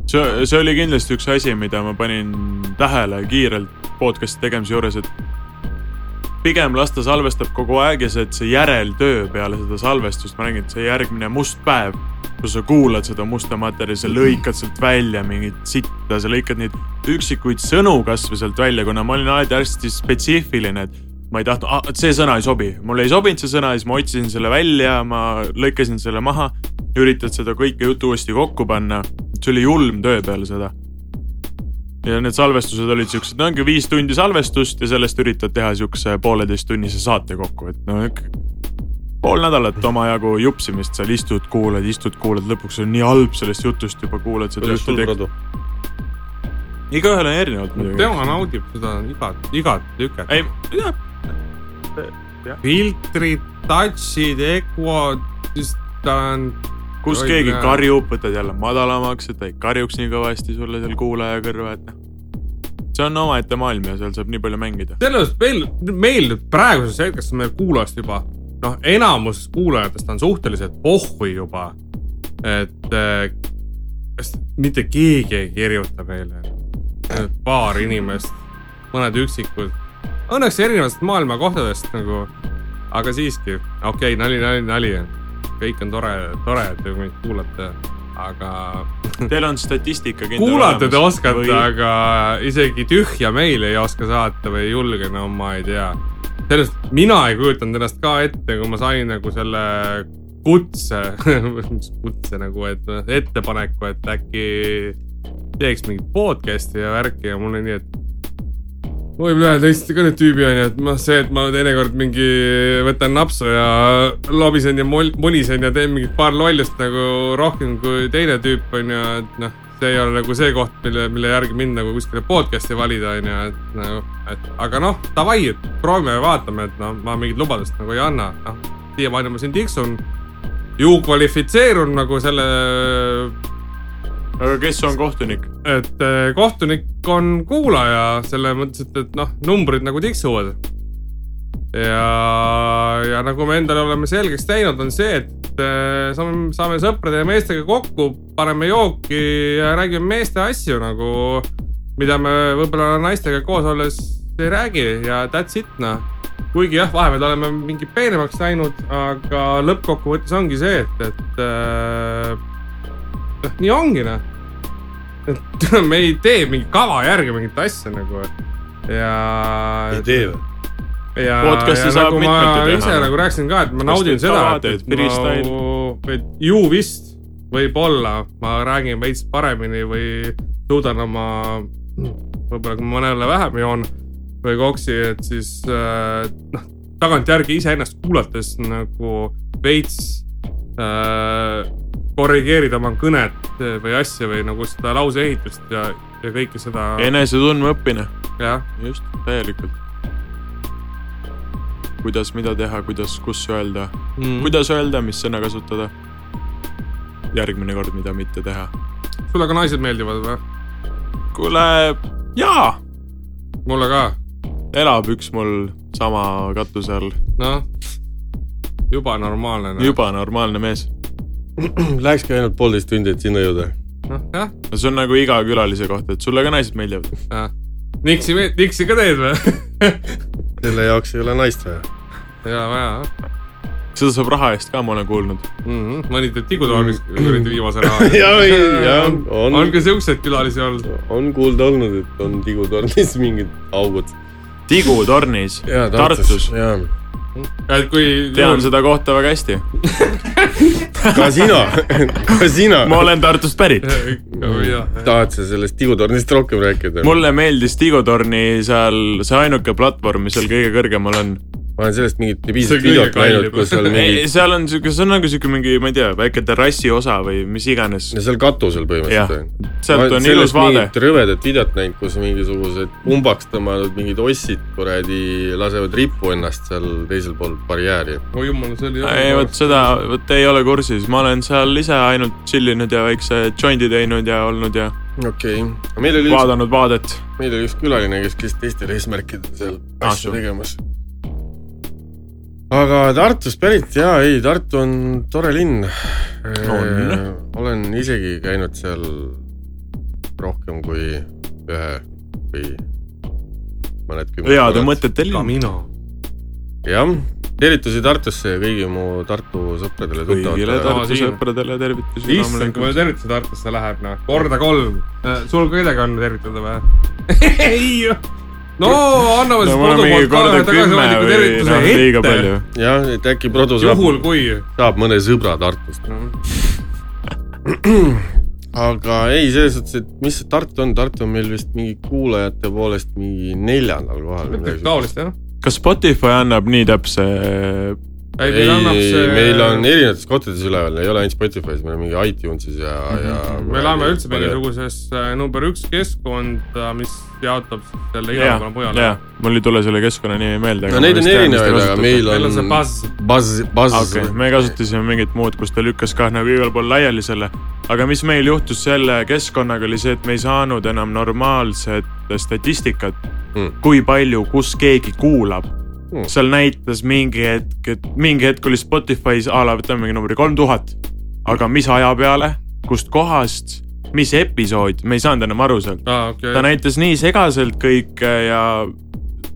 Speaker 4: see , see oli kindlasti üks asi , mida ma panin tähele kiirelt podcast'i tegemise juures , et pigem las ta salvestab kogu aeg ja see , et see järeltöö peale seda salvestust , ma räägin , et see järgmine must päev , kus sa kuulad seda musta materjali , sa lõikad sealt välja mingit sitta , sa lõikad neid üksikuid sõnu kasvõi sealt välja , kuna ma olin alati hästi spetsiifiline , et ma ei tahtnud ah, , see sõna ei sobi , mulle ei sobinud see sõna ja siis ma otsisin selle välja , ma lõikasin selle maha , üritad seda kõike juttu uuesti kokku panna , see oli julm töö peale seda ja need salvestused olid siuksed , no ongi viis tundi salvestust ja sellest üritad teha siukse pooleteisttunnise saate kokku , et no ikka pool nädalat omajagu jupsimist seal istud , kuulad , istud , kuulad , lõpuks on nii halb sellest jutust juba kuulad seda
Speaker 2: kuidas
Speaker 4: juttu
Speaker 2: sul ,
Speaker 4: tek-
Speaker 2: Radu ?
Speaker 4: igaühel on erinevalt muidugi .
Speaker 1: tema naudib seda igat , igat tüket .
Speaker 4: ei , jah ,
Speaker 1: filtrid , touch'id , EQO , siis ta on ,
Speaker 4: kus
Speaker 1: Oi,
Speaker 4: keegi
Speaker 1: näe.
Speaker 4: karjub , võtad jälle madalamaks , et ta ei karjuks nii kõvasti sulle seal kuulaja kõrva , et noh . see on omaette maailm ja seal saab nii palju mängida .
Speaker 1: selles mõttes meil , meil praeguses hetkes on meil kuulajast juba , noh , enamus kuulajatest on suhteliselt pohhui juba . et eh, kas mitte keegi ei kirjuta meile , paar inimest , mõned üksikud , õnneks erinevatest maailma kohtadest nagu , aga siiski , okei okay, , nali , nali , nali , kõik on tore , tore , et te meid kuulate , aga
Speaker 4: Teil on statistika kindel
Speaker 1: kuulata te
Speaker 4: olemas
Speaker 1: oskate või... ,
Speaker 4: või-
Speaker 1: aga isegi tühja meile ei oska saata või ei julge , no ma ei tea . sellest , mina ei kujutanud ennast ka ette , kui ma sain nagu selle kutse *laughs* mis kutse nagu , et noh, ettepaneku , et äkki teeks mingit podcast'i ja värki ja mul oli nii , et . oi , mina tõesti ka nüüd tüübi onju , et noh , see , et ma teinekord mingi võtan napsu ja lobisen ja mol- monisen ja teen mingit paar lollust nagu rohkem kui teine tüüp onju , et noh see ei ole nagu see koht , mille , mille järgi mind nagu kuskile podcast'i valida , onju , et nagu , et aga noh , davai , et proovime ja vaatame , et noh , ma mingit lubadust nagu ei anna , noh . siiamaani ma siin tiksun , ju kvalifitseerun nagu selle ,
Speaker 4: aga kes on kohtunik ?
Speaker 1: et eh, kohtunik on kuulaja selles mõttes , et , et noh , numbrid nagu tiksuvad . ja , ja nagu me endale oleme selgeks teinud , on see , et eh, saame , saame sõprade ja meestega kokku , paneme jooki ja räägime meeste asju nagu , mida me võib-olla naistega koos olles ei räägi ja that's it noh . kuigi jah , vahepeal oleme mingi peenemaks läinud , aga lõppkokkuvõttes ongi see , et , et eh, noh , nii ongi noh . et *laughs* me ei tee mingi kava järgi mingit asja nagu ja .
Speaker 2: ei tee või ?
Speaker 1: ja ,
Speaker 4: Podcasti
Speaker 1: ja
Speaker 4: saab
Speaker 1: nagu ma
Speaker 4: mitmeti teha.
Speaker 1: ise nagu rääkisin ka , et ma
Speaker 4: Kas
Speaker 1: naudin
Speaker 4: teed
Speaker 1: seda
Speaker 4: tava, ,
Speaker 1: et
Speaker 4: teed , freestyle?
Speaker 1: et ma , et ju vist võib-olla ma räägin veits paremini või suudan oma , võib-olla kui ma mõnele vähem joon või koksi , et siis äh, noh , tagantjärgi iseennast kuulates nagu veits äh, korrigeerida oma kõnet või asja või nagu seda lause ehitust ja , ja kõike seda ,
Speaker 4: enesetundme õppimine ,
Speaker 1: jah
Speaker 4: just , täielikult . kuidas , mida teha , kuidas , kus öelda ,
Speaker 1: mm. .
Speaker 4: kuidas öelda , mis sõna kasutada . järgmine kord , mida mitte teha .
Speaker 1: sulle ka naised meeldivad või ?
Speaker 4: kuule , jaa ,
Speaker 1: mulle ka
Speaker 4: elab üks mul sama katuse all ,
Speaker 1: noh , juba normaalne noh. no. .
Speaker 4: juba normaalne mees .
Speaker 2: Läkski ainult poolteist tundi , et sinna jõuda .
Speaker 1: noh jah ,
Speaker 4: see on nagu iga külalise kohta , et sulle ka naised meeldivad .
Speaker 1: jah . Niksi , Niksi ka teed või ? *laughs*
Speaker 2: selle jaoks ei ole naist vaja .
Speaker 1: ei ole vaja jah
Speaker 4: seda saab raha eest ka , ma olen kuulnud .
Speaker 1: mm -hmm. . mõnitab
Speaker 4: *clears throat*
Speaker 1: tigutornis kuradi viimase raha .
Speaker 2: *laughs* Jaa, ei, jaa, on.
Speaker 1: on ka siukseid külalisi olnud .
Speaker 2: on kuulda olnud , et on tigutornis *laughs* mingid augud .
Speaker 4: tigutornis , Tartus .
Speaker 2: jaa .
Speaker 1: et kui .
Speaker 4: tean . seda kohta väga hästi .
Speaker 2: ka *laughs* sina , ka sina .
Speaker 4: ma olen Tartust pärit .
Speaker 1: *laughs*
Speaker 2: tahad sa sellest tigutornist rohkem rääkida ?
Speaker 4: mulle meeldis Tigutorni seal , see ainuke platvorm , mis seal kõige kõrgemal on .
Speaker 2: ma olen sellest mingit
Speaker 1: See on
Speaker 2: piisavalt
Speaker 1: kõige
Speaker 2: videot näinud
Speaker 1: kallim. ,
Speaker 2: kus *laughs* seal mingi ,
Speaker 4: seal on siuke , see on nagu siuke mingi , ma ei tea , väike terrassi osa või mis iganes .
Speaker 2: seal katusel
Speaker 4: jah
Speaker 2: põhimõtteliselt ,
Speaker 4: sealt on ilus vaade .
Speaker 2: rõvedat videot näinud , kus mingisugused pumbaks tõmmanud mingid ossid kuradi lasevad rippu ennast seal teisel pool barjääri .
Speaker 1: oi jumal , see oli .
Speaker 4: ei , vot seda , vot ei ole kursis , ma olen seal ise ainult chill inud ja väikse jondi teinud ja olnud ja
Speaker 2: okei okay. , meil oli üks ,
Speaker 4: vaadanud vaadet .
Speaker 2: meil oli üks külaline , kes käis teistel eesmärkidel seal
Speaker 4: Ah,
Speaker 2: asju
Speaker 4: sure.
Speaker 2: tegemas . aga Tartust pärit jaa , ei Tartu on tore linn . olen isegi käinud seal rohkem kui ühe või mõned kümme .
Speaker 4: heade mõtete linn .
Speaker 1: mina .
Speaker 2: jah , tervitusi Tartusse ja kõigi mu Tartu sõpradele
Speaker 4: kõigile
Speaker 2: tuttavatele .
Speaker 4: Tartu
Speaker 1: siin.
Speaker 4: sõpradele tervitusi .
Speaker 1: issand , kui palju tervitusi Tartusse läheb noh , korda kolm . sul ka kedagi on tervitada või ? *laughs* ei . no anname siis
Speaker 4: no mul on mingi
Speaker 1: kodumaalt ka ühe
Speaker 4: korda kümme
Speaker 1: tagasihoidliku
Speaker 4: või noh , liiga
Speaker 1: tervituse
Speaker 4: palju
Speaker 1: ette ..
Speaker 2: jah , et äkki Produ saab ,
Speaker 1: juhul kui
Speaker 2: saab mõne sõbra Tartust . *clears throat* aga ei , selles suhtes , et mis see Tartu on , Tartu on meil vist mingi kuulajate poolest mingi neljandal
Speaker 1: midagi
Speaker 2: kohal .
Speaker 1: taolist jah .
Speaker 4: kas Spotify annab nii täpse ,
Speaker 1: ei ,
Speaker 2: ei
Speaker 1: meil , annab see .
Speaker 2: meil on . erinevates kohtades üleval , ei ole ainult Spotify's , meil on mingi iTunesis ja , ja .
Speaker 1: Mhm. me läheme üldse . mingisugusesse number üks keskkonda , mis jaotab siis selle
Speaker 4: jaa
Speaker 1: igale , mujale
Speaker 4: jaa ., mul ei tule selle keskkonna nimi meelde .
Speaker 2: no neid on erinevaid , aga meil
Speaker 1: meil
Speaker 2: on
Speaker 1: on see . baas ,
Speaker 2: Buzz , Buzz
Speaker 4: okei okay, , me kasutasime mingit muud , kus ta lükkas kah nagu igal pool laiali selle . aga mis meil juhtus selle keskkonnaga , oli see , et me ei saanud enam normaalset statistikat
Speaker 2: Mm.
Speaker 4: mm. . kui palju , kus keegi kuulab
Speaker 2: Mm.
Speaker 4: mm. . seal näitas mingi hetk , et mingi hetk oli Spotify's a la võtame mingi numbri kolm tuhat . aga mis aja peale , kust kohast , mis episood , me ei saanud enam aru sealt .
Speaker 1: aa
Speaker 4: ta
Speaker 1: Ah, okei .
Speaker 4: näitas nii segaselt kõike ja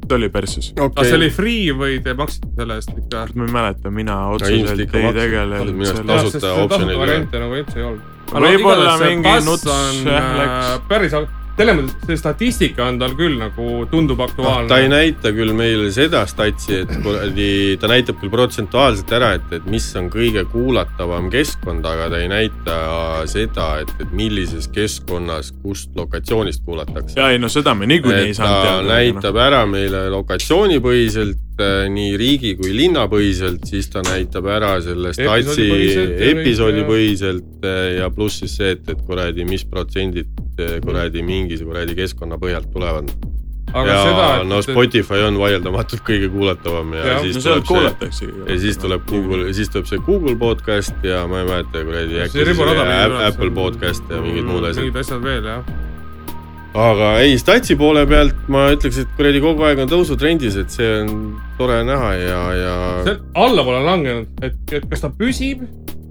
Speaker 4: ta oli perses .
Speaker 1: kas Ah, see oli free või te maksite selle eest ikka ?
Speaker 4: ma ei mäleta , mina
Speaker 2: ilmselt
Speaker 4: otseselt
Speaker 2: ikka
Speaker 4: ei
Speaker 2: maksis.
Speaker 4: tegelenud
Speaker 2: Minu arust
Speaker 4: selle
Speaker 2: tasuta optsioonid ei ole.
Speaker 1: variante nagu üldse ei olnud .
Speaker 4: Võib-olla mingi nuts, jah,
Speaker 1: läks
Speaker 4: läks. .
Speaker 1: äh, päris , selles mõttes see statistika on tal küll nagu tundub aktuaalne .
Speaker 2: ta ei näita küll meile seda statsi , et kuradi , ta näitab küll protsentuaalselt ära , et , et mis on kõige kuulatavam keskkond , aga ta ei näita seda , et , et millises keskkonnas , kust lokatsioonist kuulatakse .
Speaker 4: ja ei no seda me niikuinii ei
Speaker 2: et
Speaker 4: saanud
Speaker 2: ta
Speaker 4: teada . noh.
Speaker 2: näitab ära meile lokatsioonipõhiselt , nii riigi kui linnapõhiselt , siis ta näitab ära selle statsi
Speaker 1: Episoodipõhiselt ja kõik,
Speaker 2: episoodipõhiselt eh, ja pluss siis see , et , et kuradi , mis protsendid eh, kuradi mingis kuradi keskkonna põhjalt tulevad .
Speaker 1: aga
Speaker 2: ja
Speaker 1: seda ,
Speaker 2: no Spotify on vaieldamatult kõige kuulatavam ja, ja
Speaker 1: Jah,
Speaker 2: siis
Speaker 4: no
Speaker 2: tuleb
Speaker 4: sealt
Speaker 2: see ,
Speaker 4: kuulataksegi . noh.
Speaker 2: ja siis tuleb Google , siis tuleb see Google podcast ja ma ei mäleta kuradi
Speaker 1: See
Speaker 2: äkki siis
Speaker 1: riburada
Speaker 2: oli
Speaker 1: meil
Speaker 2: Ä-
Speaker 1: üles-
Speaker 2: Apple podcast ja mingid muud asjad .
Speaker 1: mingid asjad veel jah .
Speaker 2: aga ei , statsi poole pealt ma ütleks , et kuradi kogu aeg on tõusutrendis , et see on tore näha ja , ja ,
Speaker 1: see allapoole on langenud , et , et kas ta püsib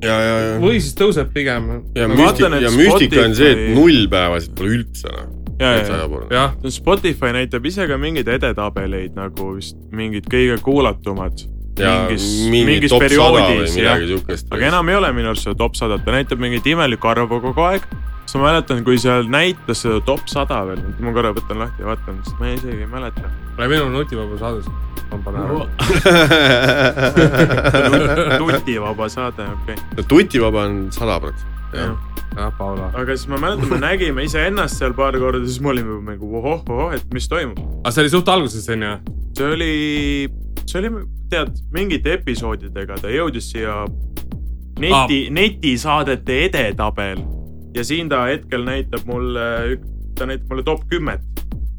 Speaker 2: ja , ja ,
Speaker 1: või siis tõuseb pigem .
Speaker 2: ja
Speaker 4: Ma vaatan,
Speaker 2: müstika ,
Speaker 4: et
Speaker 2: ja müstika on see , et
Speaker 4: Spotify-
Speaker 2: null päevasid pole üldse noh ,
Speaker 4: ja , ja , ja .
Speaker 2: sajapoolne .
Speaker 1: jah ,
Speaker 4: Noh, Spotify näitab ise ka mingeid edetabeleid nagu vist mingid kõige kuulatumad . mingis , mingis perioodis , jah .
Speaker 2: *laughs*
Speaker 4: aga
Speaker 2: jah .
Speaker 4: enam *laughs* ei ole minu arust seda top sadat , ta näitab mingit imelikku arvu kogu aeg . siis ma mäletan , kui seal näitas seda top sada veel , ma korra võtan lahti ja vaatan , sest ma isegi ei mäleta .
Speaker 1: meil on nutivaba saade , ma panen ära .
Speaker 2: *laughs*
Speaker 4: nutivaba saade , okei okay. .
Speaker 2: tutivaba on sada protsenti , jah .
Speaker 1: jah , Paula .
Speaker 4: aga siis ma mäletan , me nägime iseennast seal paar korda , siis me olime nagu ohoh , ohoh , et mis toimub .
Speaker 1: aga Ah, see oli suht alguses onju .
Speaker 4: see oli , see oli , tead , mingite episoodidega ta jõudis siia neti ah. , netisaadete edetabel ja siin ta hetkel näitab mulle , ta näitab mulle top kümmet .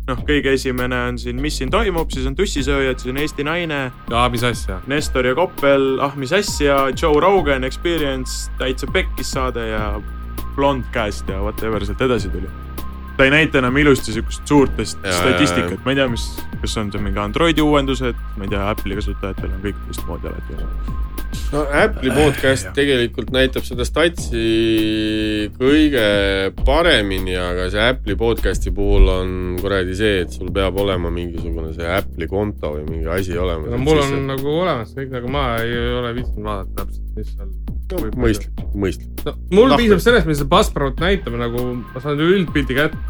Speaker 4: noh , kõige esimene on siin , mis siin toimub , siis on tussisööjad , siis on Eesti Naine ,
Speaker 1: aa , mis asja .
Speaker 4: Nestor ja Koppel , ah mis asja , Joe Rogan , Experience , täitsa pekkis saade ja Blondcast ja whatever sealt edasi tuli . ta ei näita enam ilusti siukest suurt est-
Speaker 2: Jaa, jaa,
Speaker 4: statistikat , ma ei tea , mis , kas on see mingi Androidi uuendused , ma ei tea , Apple'i kasutajatel on kõik teistmoodi alati olnud .
Speaker 2: no Apple'i
Speaker 1: Äh,
Speaker 2: podcast
Speaker 4: Jah.
Speaker 2: tegelikult näitab seda statsi kõige paremini , aga see Apple'i podcast'i puhul on kuradi see , et sul peab olema mingisugune see Apple'i konto või mingi asi olemas .
Speaker 1: no mul on see... nagu olemas kõik , aga ma ei ole viitsinud vaadata täpselt , mis seal . nagu-
Speaker 2: mõistlik , mõistlik .
Speaker 1: no mul
Speaker 2: Tahtnud.
Speaker 1: piisab sellest , mis see Buzzsprout näitab nagu , ma saan üldpildi kätte .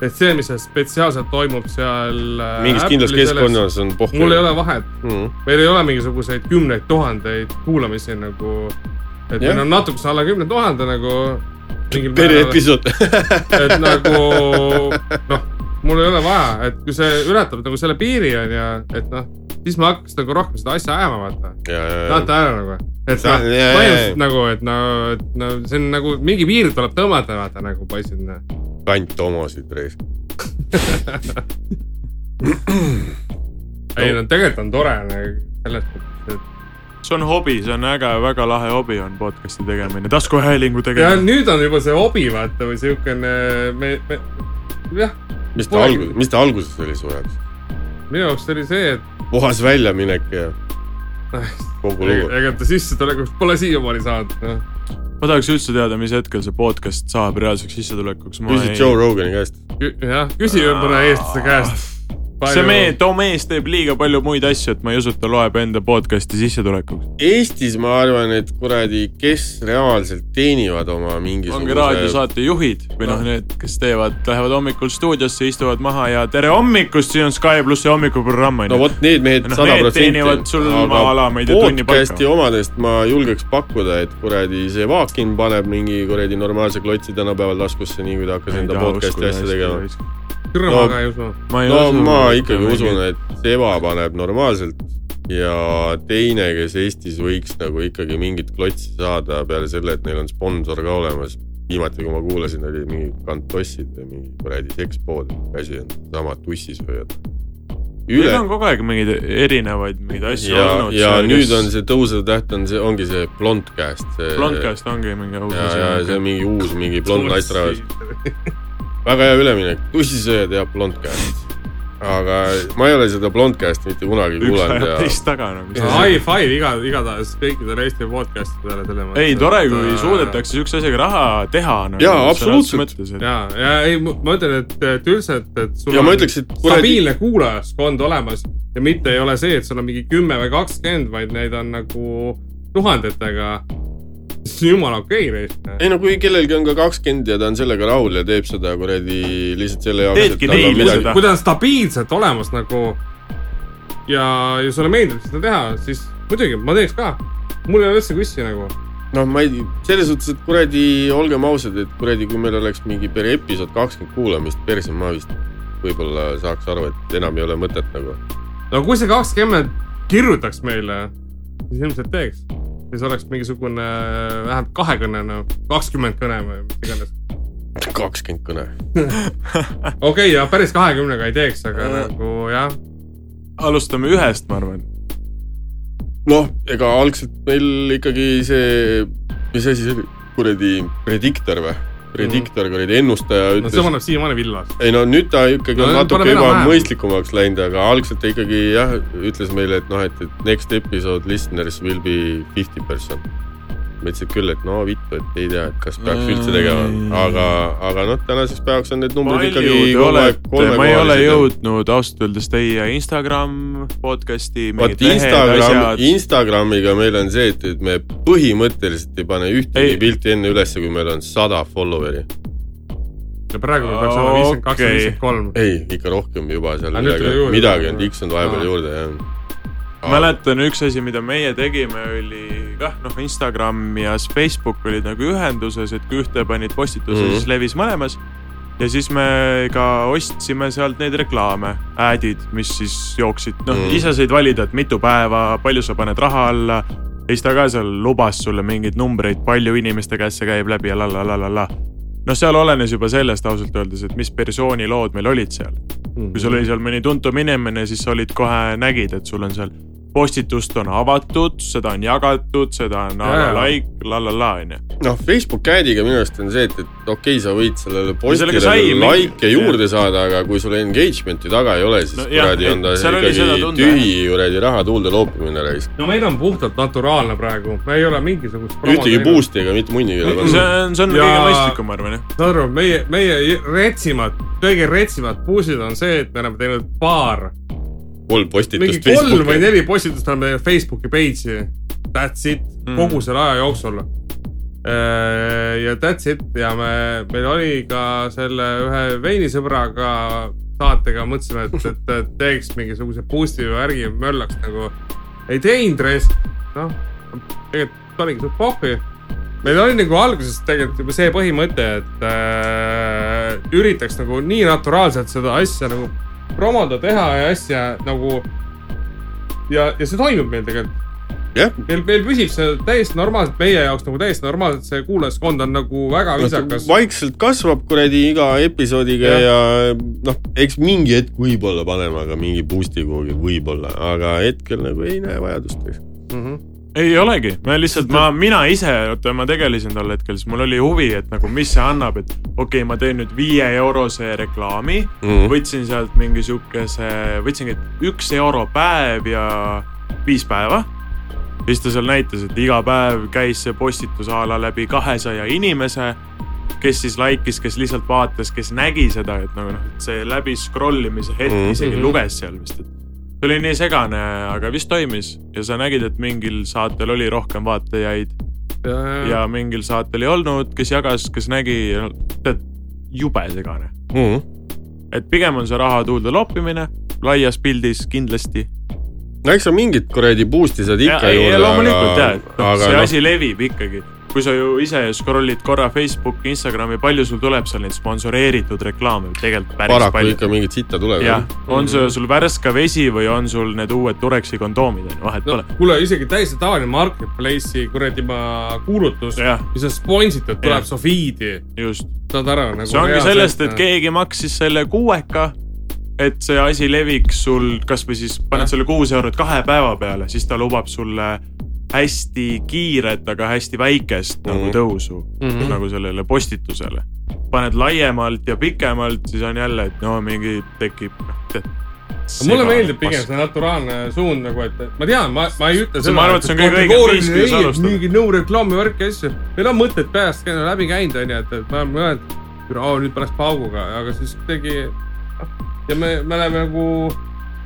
Speaker 1: et see , mis seal spetsiaalselt toimub seal .
Speaker 2: mingis kindlas . keskkonnas on pohhu .
Speaker 1: Äh, mul ei ole vahet ,
Speaker 2: mm .
Speaker 1: meil ei ole mingisuguseid kümneid tuhandeid kuulamisi nagu . et
Speaker 2: Jah.
Speaker 1: meil on natukese alla kümne tuhande nagu .
Speaker 2: tere .
Speaker 1: *laughs*
Speaker 2: episood .
Speaker 1: et nagu noh , mul ei ole vaja , et kui see ületab nagu selle piiri on ju , et noh , siis ma hakkasin nagu rohkem seda asja ajama , vaata . saate ära nagu , et
Speaker 2: Sa-
Speaker 1: noh ,
Speaker 2: jaa, jaa, jaa.
Speaker 1: põhimõtteliselt nagu , et no , et no see on nagu mingi piir tuleb tõmmata , vaata nagu poisid .
Speaker 2: kant homosid reis .
Speaker 1: ei no tegelikult on tore nagu selles mõttes , et
Speaker 4: see on hobi , see on äge , väga lahe hobi on podcast'i tegemine , taskuhäälingu
Speaker 1: ja
Speaker 4: tegemine .
Speaker 1: nüüd on juba see hobi , vaata või siukene , me , me , jah ,
Speaker 2: mis ta
Speaker 1: Polegi-
Speaker 2: alguses , mis ta alguses oli su jaoks ?
Speaker 1: minu jaoks oli see , et
Speaker 2: puhas väljaminek ja
Speaker 1: noh ,
Speaker 2: kogu lugu .
Speaker 1: ega ta sissetulekust pole siiamaani saanud , noh .
Speaker 4: ma tahaks üldse teada , mis hetkel see podcast saab reaalseks sissetulekuks .
Speaker 2: küsid Joe Rogani käest .
Speaker 1: Kü- jah , küsi mõne eestlase käest .
Speaker 4: see mees , too mees teeb liiga palju muid asju , et ma ei usu , et ta loeb enda podcast'i sissetulekuks .
Speaker 2: Eestis ma arvan , et kuradi , kes reaalselt teenivad oma
Speaker 4: ongi
Speaker 2: mingisuguse .
Speaker 4: raadiosaate juhid või noh , need , kes teevad , lähevad hommikul stuudiosse , istuvad maha ja tere hommikust , siin on Sky plussi hommikuprogramm on
Speaker 2: no
Speaker 4: ju .
Speaker 2: vot need mehed
Speaker 4: Noh,
Speaker 2: sada
Speaker 4: need teenivad
Speaker 2: protsenti
Speaker 4: sul maa-ala, ma ei tea, tunni palka.
Speaker 2: podcast'i omadest ma julgeks pakkuda , et kuradi see Vaakin paneb mingi kuradi normaalse klotsi tänapäeval taskusse , nii kui ta hakkas enda podcast'i asja tegema .
Speaker 1: türa
Speaker 2: no-
Speaker 1: ma ka ei usu .
Speaker 2: no ma ikkagi usun , et Eva paneb normaalselt ja teine , kes Eestis võiks nagu ikkagi mingit klotsi saada peale selle , et neil on sponsor ka olemas . viimati , kui ma kuulasin , oli mingi Kantossid või mingi kuradi sekspood , asi on sama tussisööjad .
Speaker 4: Üle.
Speaker 2: üle
Speaker 4: on kogu aeg mingeid erinevaid mingeid asju
Speaker 2: ja ,
Speaker 4: olnud .
Speaker 2: ja nüüd on see tõusev täht on see , ongi see blond käest .
Speaker 4: Blondcast ongi mingi uus
Speaker 2: ja , ja see on
Speaker 4: asi .
Speaker 2: mingi uus , mingi blond naisterahvas . väga hea üleminek , tussisööjad ja blondcast . aga ma ei ole seda blondcast mitte kunagi
Speaker 4: üks
Speaker 2: kuulanud
Speaker 4: ajab
Speaker 2: ja
Speaker 4: teist taga nagu .
Speaker 1: High five iga , igatahes kõikidele Eesti podcast'idele äh, selles mõttes .
Speaker 4: ei , tore , kui . suudetakse siukse asjaga raha teha nagu, .
Speaker 2: Jaa, absoluutselt.
Speaker 4: et
Speaker 1: ja , ja ei , ma ütlen , et , et üldse , et , et sul
Speaker 2: ja
Speaker 1: on
Speaker 2: ma ütleks , et kuradi ,
Speaker 1: stabiilne kuulajaskond olemas ja mitte ei ole see , et sul on mingi kümme või kakskümmend , vaid neid on nagu tuhandetega . *laughs* jumala okei reis .
Speaker 2: ei no kui kellelgi on ka kakskümmend ja ta on sellega rahul ja teeb seda kuradi lihtsalt selle jaoks .
Speaker 4: Teedki neile seda.
Speaker 1: kui ta on stabiilselt olemas nagu ja , ja sulle meeldib seda teha , siis muidugi ma teeks ka . mul ei ole üldse kussi nagu .
Speaker 2: noh , ma ei , selles suhtes , et kuradi , olgem ausad , et kuradi , kui meil oleks mingi per episood kakskümmend kuulamist , perse ma vist võib-olla saaks aru , et enam ei ole mõtet nagu .
Speaker 1: no kui see kakskümmend kirjutaks meile , siis ilmselt teeks . siis oleks mingisugune äh, vähemalt kahekõne , no kakskümmend kõne või mis iganes .
Speaker 2: kakskümmend kõne .
Speaker 1: okei okay, , ja päris kahekümnega ei teeks , aga nagu jah ,
Speaker 4: alustame ühest , ma arvan .
Speaker 2: noh , ega algselt meil ikkagi see , mis asi see oli , kuradi prediktor või ?
Speaker 4: Mhm.
Speaker 2: prediktor , kuradi ennustaja
Speaker 1: no see
Speaker 2: ütles .
Speaker 1: paneb siiamaani villas .
Speaker 2: ei no nüüd ta ikkagi
Speaker 1: No
Speaker 2: on
Speaker 1: nüüd
Speaker 2: natuke
Speaker 1: paneb
Speaker 2: juba
Speaker 1: enam-vähem.
Speaker 2: mõistlikumaks läinud , aga algselt ta ikkagi jah , ütles meile , et noh , et , et next episode listeners will be fifty person . ma ütlesin küll , et no vittu , et ei tea , et kas peaks üldse tegema , aga , aga noh , tänaseks päevaks on need numbrid ikkagi
Speaker 4: palju te
Speaker 2: kolme ,
Speaker 4: olete , ma ei ole
Speaker 2: kolmekohalised .
Speaker 4: jõudnud ausalt öeldes teie Instagram podcast'i .
Speaker 2: vot Instagram , Instagramiga meil on see , et , et me põhimõtteliselt ei pane ühtegi
Speaker 4: Ei.
Speaker 2: pilti enne ülesse , kui meil on sada follower'i .
Speaker 1: ja praegu me peaks olema viiskümmend kaks ,
Speaker 4: Okei.
Speaker 1: viiskümmend kolm .
Speaker 2: ei , ikka rohkem juba seal
Speaker 1: Aga nüüd tuli
Speaker 2: midagi ,
Speaker 1: juurde.
Speaker 2: midagi on tiksunud vahepeal
Speaker 1: Aa.
Speaker 2: juurde jah
Speaker 4: mäletan , üks asi , mida meie tegime , oli kah noh , Instagram ja siis Facebook olid nagu ühenduses , et kui ühte panid postituse mm ,
Speaker 2: Mhm.
Speaker 4: -hmm. siis levis mõlemas . ja siis me ka ostsime sealt neid reklaame , ad'id , mis siis jooksid , noh mm
Speaker 2: Mhm.
Speaker 4: -hmm. ise said valida , et mitu päeva , palju sa paned raha alla . ja siis ta ka seal lubas sulle mingeid numbreid , palju inimeste käest see käib läbi ja la la la la la . noh , seal olenes juba sellest ausalt öeldes , et mis persooni lood meil olid seal
Speaker 1: Mhm.
Speaker 4: kui sul oli seal mõni tuntum inimene , siis sa olid kohe , nägid , et sul on seal postitust on avatud , seda on jagatud , seda on
Speaker 1: Jaa, jaa.
Speaker 4: like , la la la onju .
Speaker 2: noh , Facebook Ad'iga minu arust on see , et , et okei okay, , sa võid sellele
Speaker 4: sellega
Speaker 2: postile
Speaker 4: sai
Speaker 2: veel
Speaker 4: mingi-
Speaker 2: likee juurde saada , aga kui sul engagement'i taga ei ole , siis
Speaker 4: No
Speaker 2: no,
Speaker 4: jah,
Speaker 2: kuradi
Speaker 4: et
Speaker 2: on ta
Speaker 4: seal oli seda
Speaker 2: ikkagi
Speaker 4: tunda,
Speaker 2: tühi kuradi raha tuulde loopimine raisk .
Speaker 1: no meil on puhtalt naturaalne praegu , me ei ole mingisugust .
Speaker 2: ühtegi . boost'i ega mitte munnigi ei ole
Speaker 4: see
Speaker 2: pandud .
Speaker 4: on , see on
Speaker 1: Ja-
Speaker 4: kõige mõistlikum , ma arvan jah .
Speaker 1: saad aru , meie , meie retsimad , kõige retsimad puusid on see , et me oleme teinud paar ,
Speaker 2: kolm
Speaker 1: mingi
Speaker 2: postitust
Speaker 1: kolm või
Speaker 2: Facebooki .
Speaker 1: neli postitust oleme teinud Facebooki page'i . That's it mm. , kogu selle aja jooksul . ja that's it ja me , meil oli ka selle ühe veinisõbraga saatega mõtlesime , et , et , et teeks mingisuguse boost'i või värgi möllaks nagu . ei teinud raisk , noh , tegelikult oligi suht pohvi meil oli nagu alguses tegelikult juba see põhimõte , et äh, üritaks nagu nii naturaalselt seda asja nagu promoda , teha ja asja nagu . ja , ja see toimub meil tegelikult ,
Speaker 2: jah ,
Speaker 1: meil , meil püsib see täiesti normaalselt , meie jaoks nagu täiesti normaalselt , see kuulajaskond on nagu väga viisakas .
Speaker 2: vaikselt kasvab kuradi iga episoodiga
Speaker 1: Jah.
Speaker 2: ja, ja noh , eks mingi hetk võib-olla paneme ka mingi boost'i kuhugi , võib-olla , aga hetkel nagu ei näe vajadust .
Speaker 4: ei olegi , ma lihtsalt , ma , mina ise , oota ma tegelesin tol hetkel , siis mul oli huvi , et nagu mis see annab , et okei okay, , ma teen nüüd viie eurose reklaami mm ,
Speaker 2: Mhm.
Speaker 4: -hmm. võtsin sealt mingi siukese , võtsingi üks euro päev ja viis päeva . ja siis ta seal näitas , et iga päev käis see postitus a la läbi kahesaja inimese , kes siis like'is , kes lihtsalt vaatas , kes nägi seda , et nagu noh , see läbi scroll imise hetk mm
Speaker 2: Mhm.
Speaker 4: -hmm. isegi luges seal vist , et see oli nii segane , aga vist toimis ja sa nägid , et mingil saatel oli rohkem vaatajaid
Speaker 1: ja,
Speaker 4: ja mingil saatel ei olnud , kes jagas , kes nägi , tead , jube segane . et pigem on see raha tuulde loppimine laias pildis kindlasti .
Speaker 2: no eks sa mingit kuradi boost'i saad ikka juurde ,
Speaker 4: loomulikult
Speaker 2: aga
Speaker 4: jah , et , noh, see asi levib ikkagi . kui sa ju ise scroll'id korra Facebooki , Instagrami , palju sul tuleb seal neid sponsoreeritud reklaame , tegelikult päris
Speaker 2: paraku
Speaker 4: palju .
Speaker 2: ikka mingit sitta tuleb .
Speaker 4: jah , on see sul värske vesi või on sul need uued Tureksi kondoomid , on ju , vahet
Speaker 1: no
Speaker 4: pole .
Speaker 1: kuule , isegi täiesti tavaline marketplace'i kuradi ma kuulutus ,
Speaker 4: Jah.
Speaker 1: mis on sponsitud ,
Speaker 4: Jah.
Speaker 1: tuleb su feed'i ,
Speaker 4: just .
Speaker 1: saad aru nagu .
Speaker 4: see ongi sellest , et keegi maksis selle kuueka , et see asi leviks sul kasvõi siis paned selle kuus eurot kahe päeva peale , siis ta lubab sulle hästi kiiret , aga hästi väikest mm -hmm.
Speaker 1: Mhm.
Speaker 4: nagu tõusu mm , -hmm. nagu sellele postitusele . paned laiemalt ja pikemalt , siis on jälle , et no mingi tekib . noh,
Speaker 1: Aga mulle meeldib pigem see naturaalne suund nagu , et et ma tean , ma , ma ei ütle
Speaker 4: See- ma arvan, et see on kõige õigem viis, kuidas alustada.
Speaker 1: mingi no reklaami värki ja asju , meil on mõtted peast käinud läbi käinud , onju , et , et me oleme mõelnud , et aa, nüüd pärast pauguga , aga siis kuidagi noh, ja me , me oleme nagu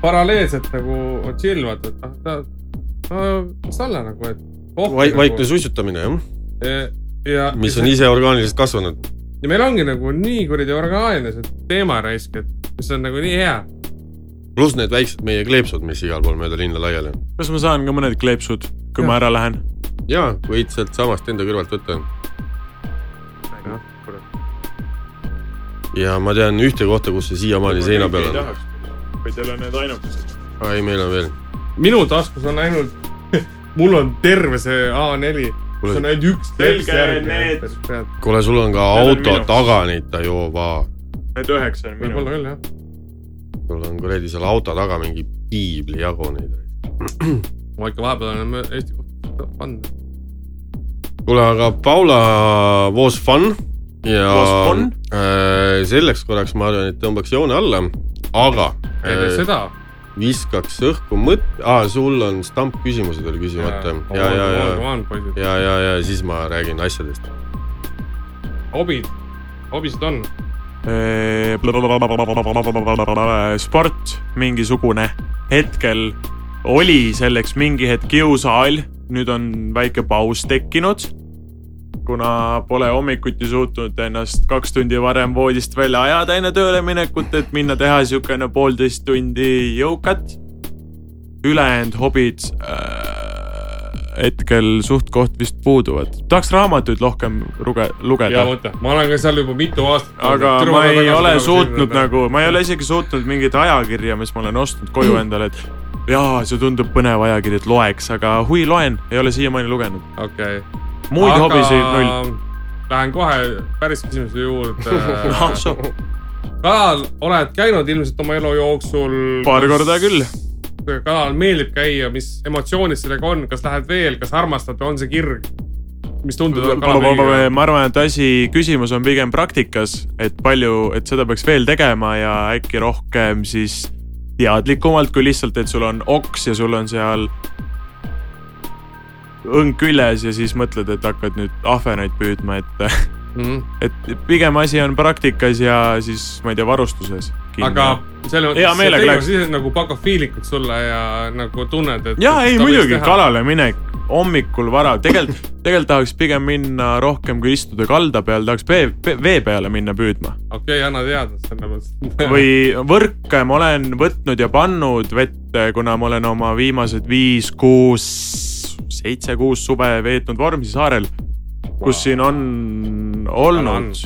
Speaker 1: paralleelselt nagu chill , vaata , et noh , ta , no las olla nagu , et .
Speaker 2: vaikne suitsutamine jah .
Speaker 1: ja .
Speaker 2: mis on ise orgaaniliselt kasvanud .
Speaker 1: ja meil ongi nagu nii kuradi orgaaniline see teema raisk , et mis on nagu nii hea .
Speaker 2: pluss need väiksed meie kleepsud , mis igal pool mööda linna laiali on .
Speaker 4: kas ma saan ka mõned kleepsud , kui ma ära lähen ?
Speaker 2: jaa , võid sealt samast enda kõrvalt võtta . ja ma tean ühte kohta , kus see siiamaani seina peal on .
Speaker 4: või teil on need ainukesed ?
Speaker 2: ei , meil on veel .
Speaker 1: minu taskus on ainult , *laughs* mul on terve see A4 , kus on ainult üks
Speaker 4: Selge,
Speaker 1: kleeps järgi
Speaker 4: need- .
Speaker 2: kuule , sul on ka
Speaker 4: Need on
Speaker 2: auto
Speaker 4: minu.
Speaker 2: taga neid Tajova .
Speaker 4: Need üheksa on minu .
Speaker 1: võib-olla küll jah .
Speaker 2: sul on kuradi seal auto taga mingi piibli jagu neid .
Speaker 1: ma ikka vahepeal olen Eesti kohta pannud .
Speaker 2: kuule , aga Paula was fun ja
Speaker 4: Was fun?
Speaker 2: äh, selleks korraks ma arvan , et tõmbaks joone alla , aga
Speaker 1: enne
Speaker 2: äh,
Speaker 1: seda .
Speaker 2: viskaks õhku mõtte , aa , sul on stamp küsimused veel küsimata ja , ja , ja ,
Speaker 1: ja .
Speaker 2: ja , ja , ja siis ma räägin asjadest .
Speaker 1: hobid , hobisid on .
Speaker 4: Äh, sport mingisugune hetkel oli selleks mingi hetk kiusaal , nüüd on väike paus tekkinud . kuna pole hommikuti suutnud ennast kaks tundi varem voodist välja ajada enne tööle minekut , et minna teha siukene poolteist tundi jõukat . ülejäänud hobid äh, hetkel suht-koht vist puuduvad , tahaks raamatuid rohkem luge- , lugeda
Speaker 1: hea . mõte , ma olen ka seal juba mitu aastat .
Speaker 4: aga ma ei ole suutnud . nagu , ma ei ole isegi suutnud mingit ajakirja , mis ma olen ostnud *clears throat* koju endale , et jaa , see tundub põnev ajakiri , et loeks , aga huvi loen , ei ole siiamaani lugenud .
Speaker 1: okei .
Speaker 4: muid aga... hobisid null .
Speaker 1: Lähen kohe päris küsimuse juurde
Speaker 4: *laughs* ah . soo ,
Speaker 1: kalal oled käinud ilmselt oma elu jooksul .
Speaker 4: paar korda küll ..
Speaker 1: kalal meeldib käia , mis emotsioonid sellega on , kas lähed veel , kas armastad , on see kirg ? mis nagu tunded on kalapüügiga ?
Speaker 4: ma arvan , et asi , küsimus on pigem praktikas , et palju , et seda peaks veel tegema ja äkki rohkem siis teadlikumalt kui lihtsalt , et sul on oks ja sul on seal õng küljes ja siis mõtled , et hakkad nüüd ahvenaid püüdma , et *laughs*
Speaker 1: Mhm.
Speaker 4: et pigem asi on praktikas ja siis ma ei tea , varustuses .
Speaker 1: aga selles
Speaker 4: Hea
Speaker 1: mõttes
Speaker 4: meelega
Speaker 1: see
Speaker 4: läheks.
Speaker 1: tegevus ise nagu pakub feelikut sulle ja nagu tunned , et .
Speaker 4: ja ei muidugi , kalale minek hommikul vara , tegelikult , tegelikult tahaks pigem minna rohkem kui istuda kalda peal , tahaks vee , vee peale minna
Speaker 1: *laughs*
Speaker 4: püüdma .
Speaker 1: okei , anna teada , selles mõttes .
Speaker 4: või võrke ma olen võtnud ja pannud vette , kuna ma olen oma viimased viis , kuus , seitse , kuus suve veetnud Vormsi saarel , kus siin on olnud ,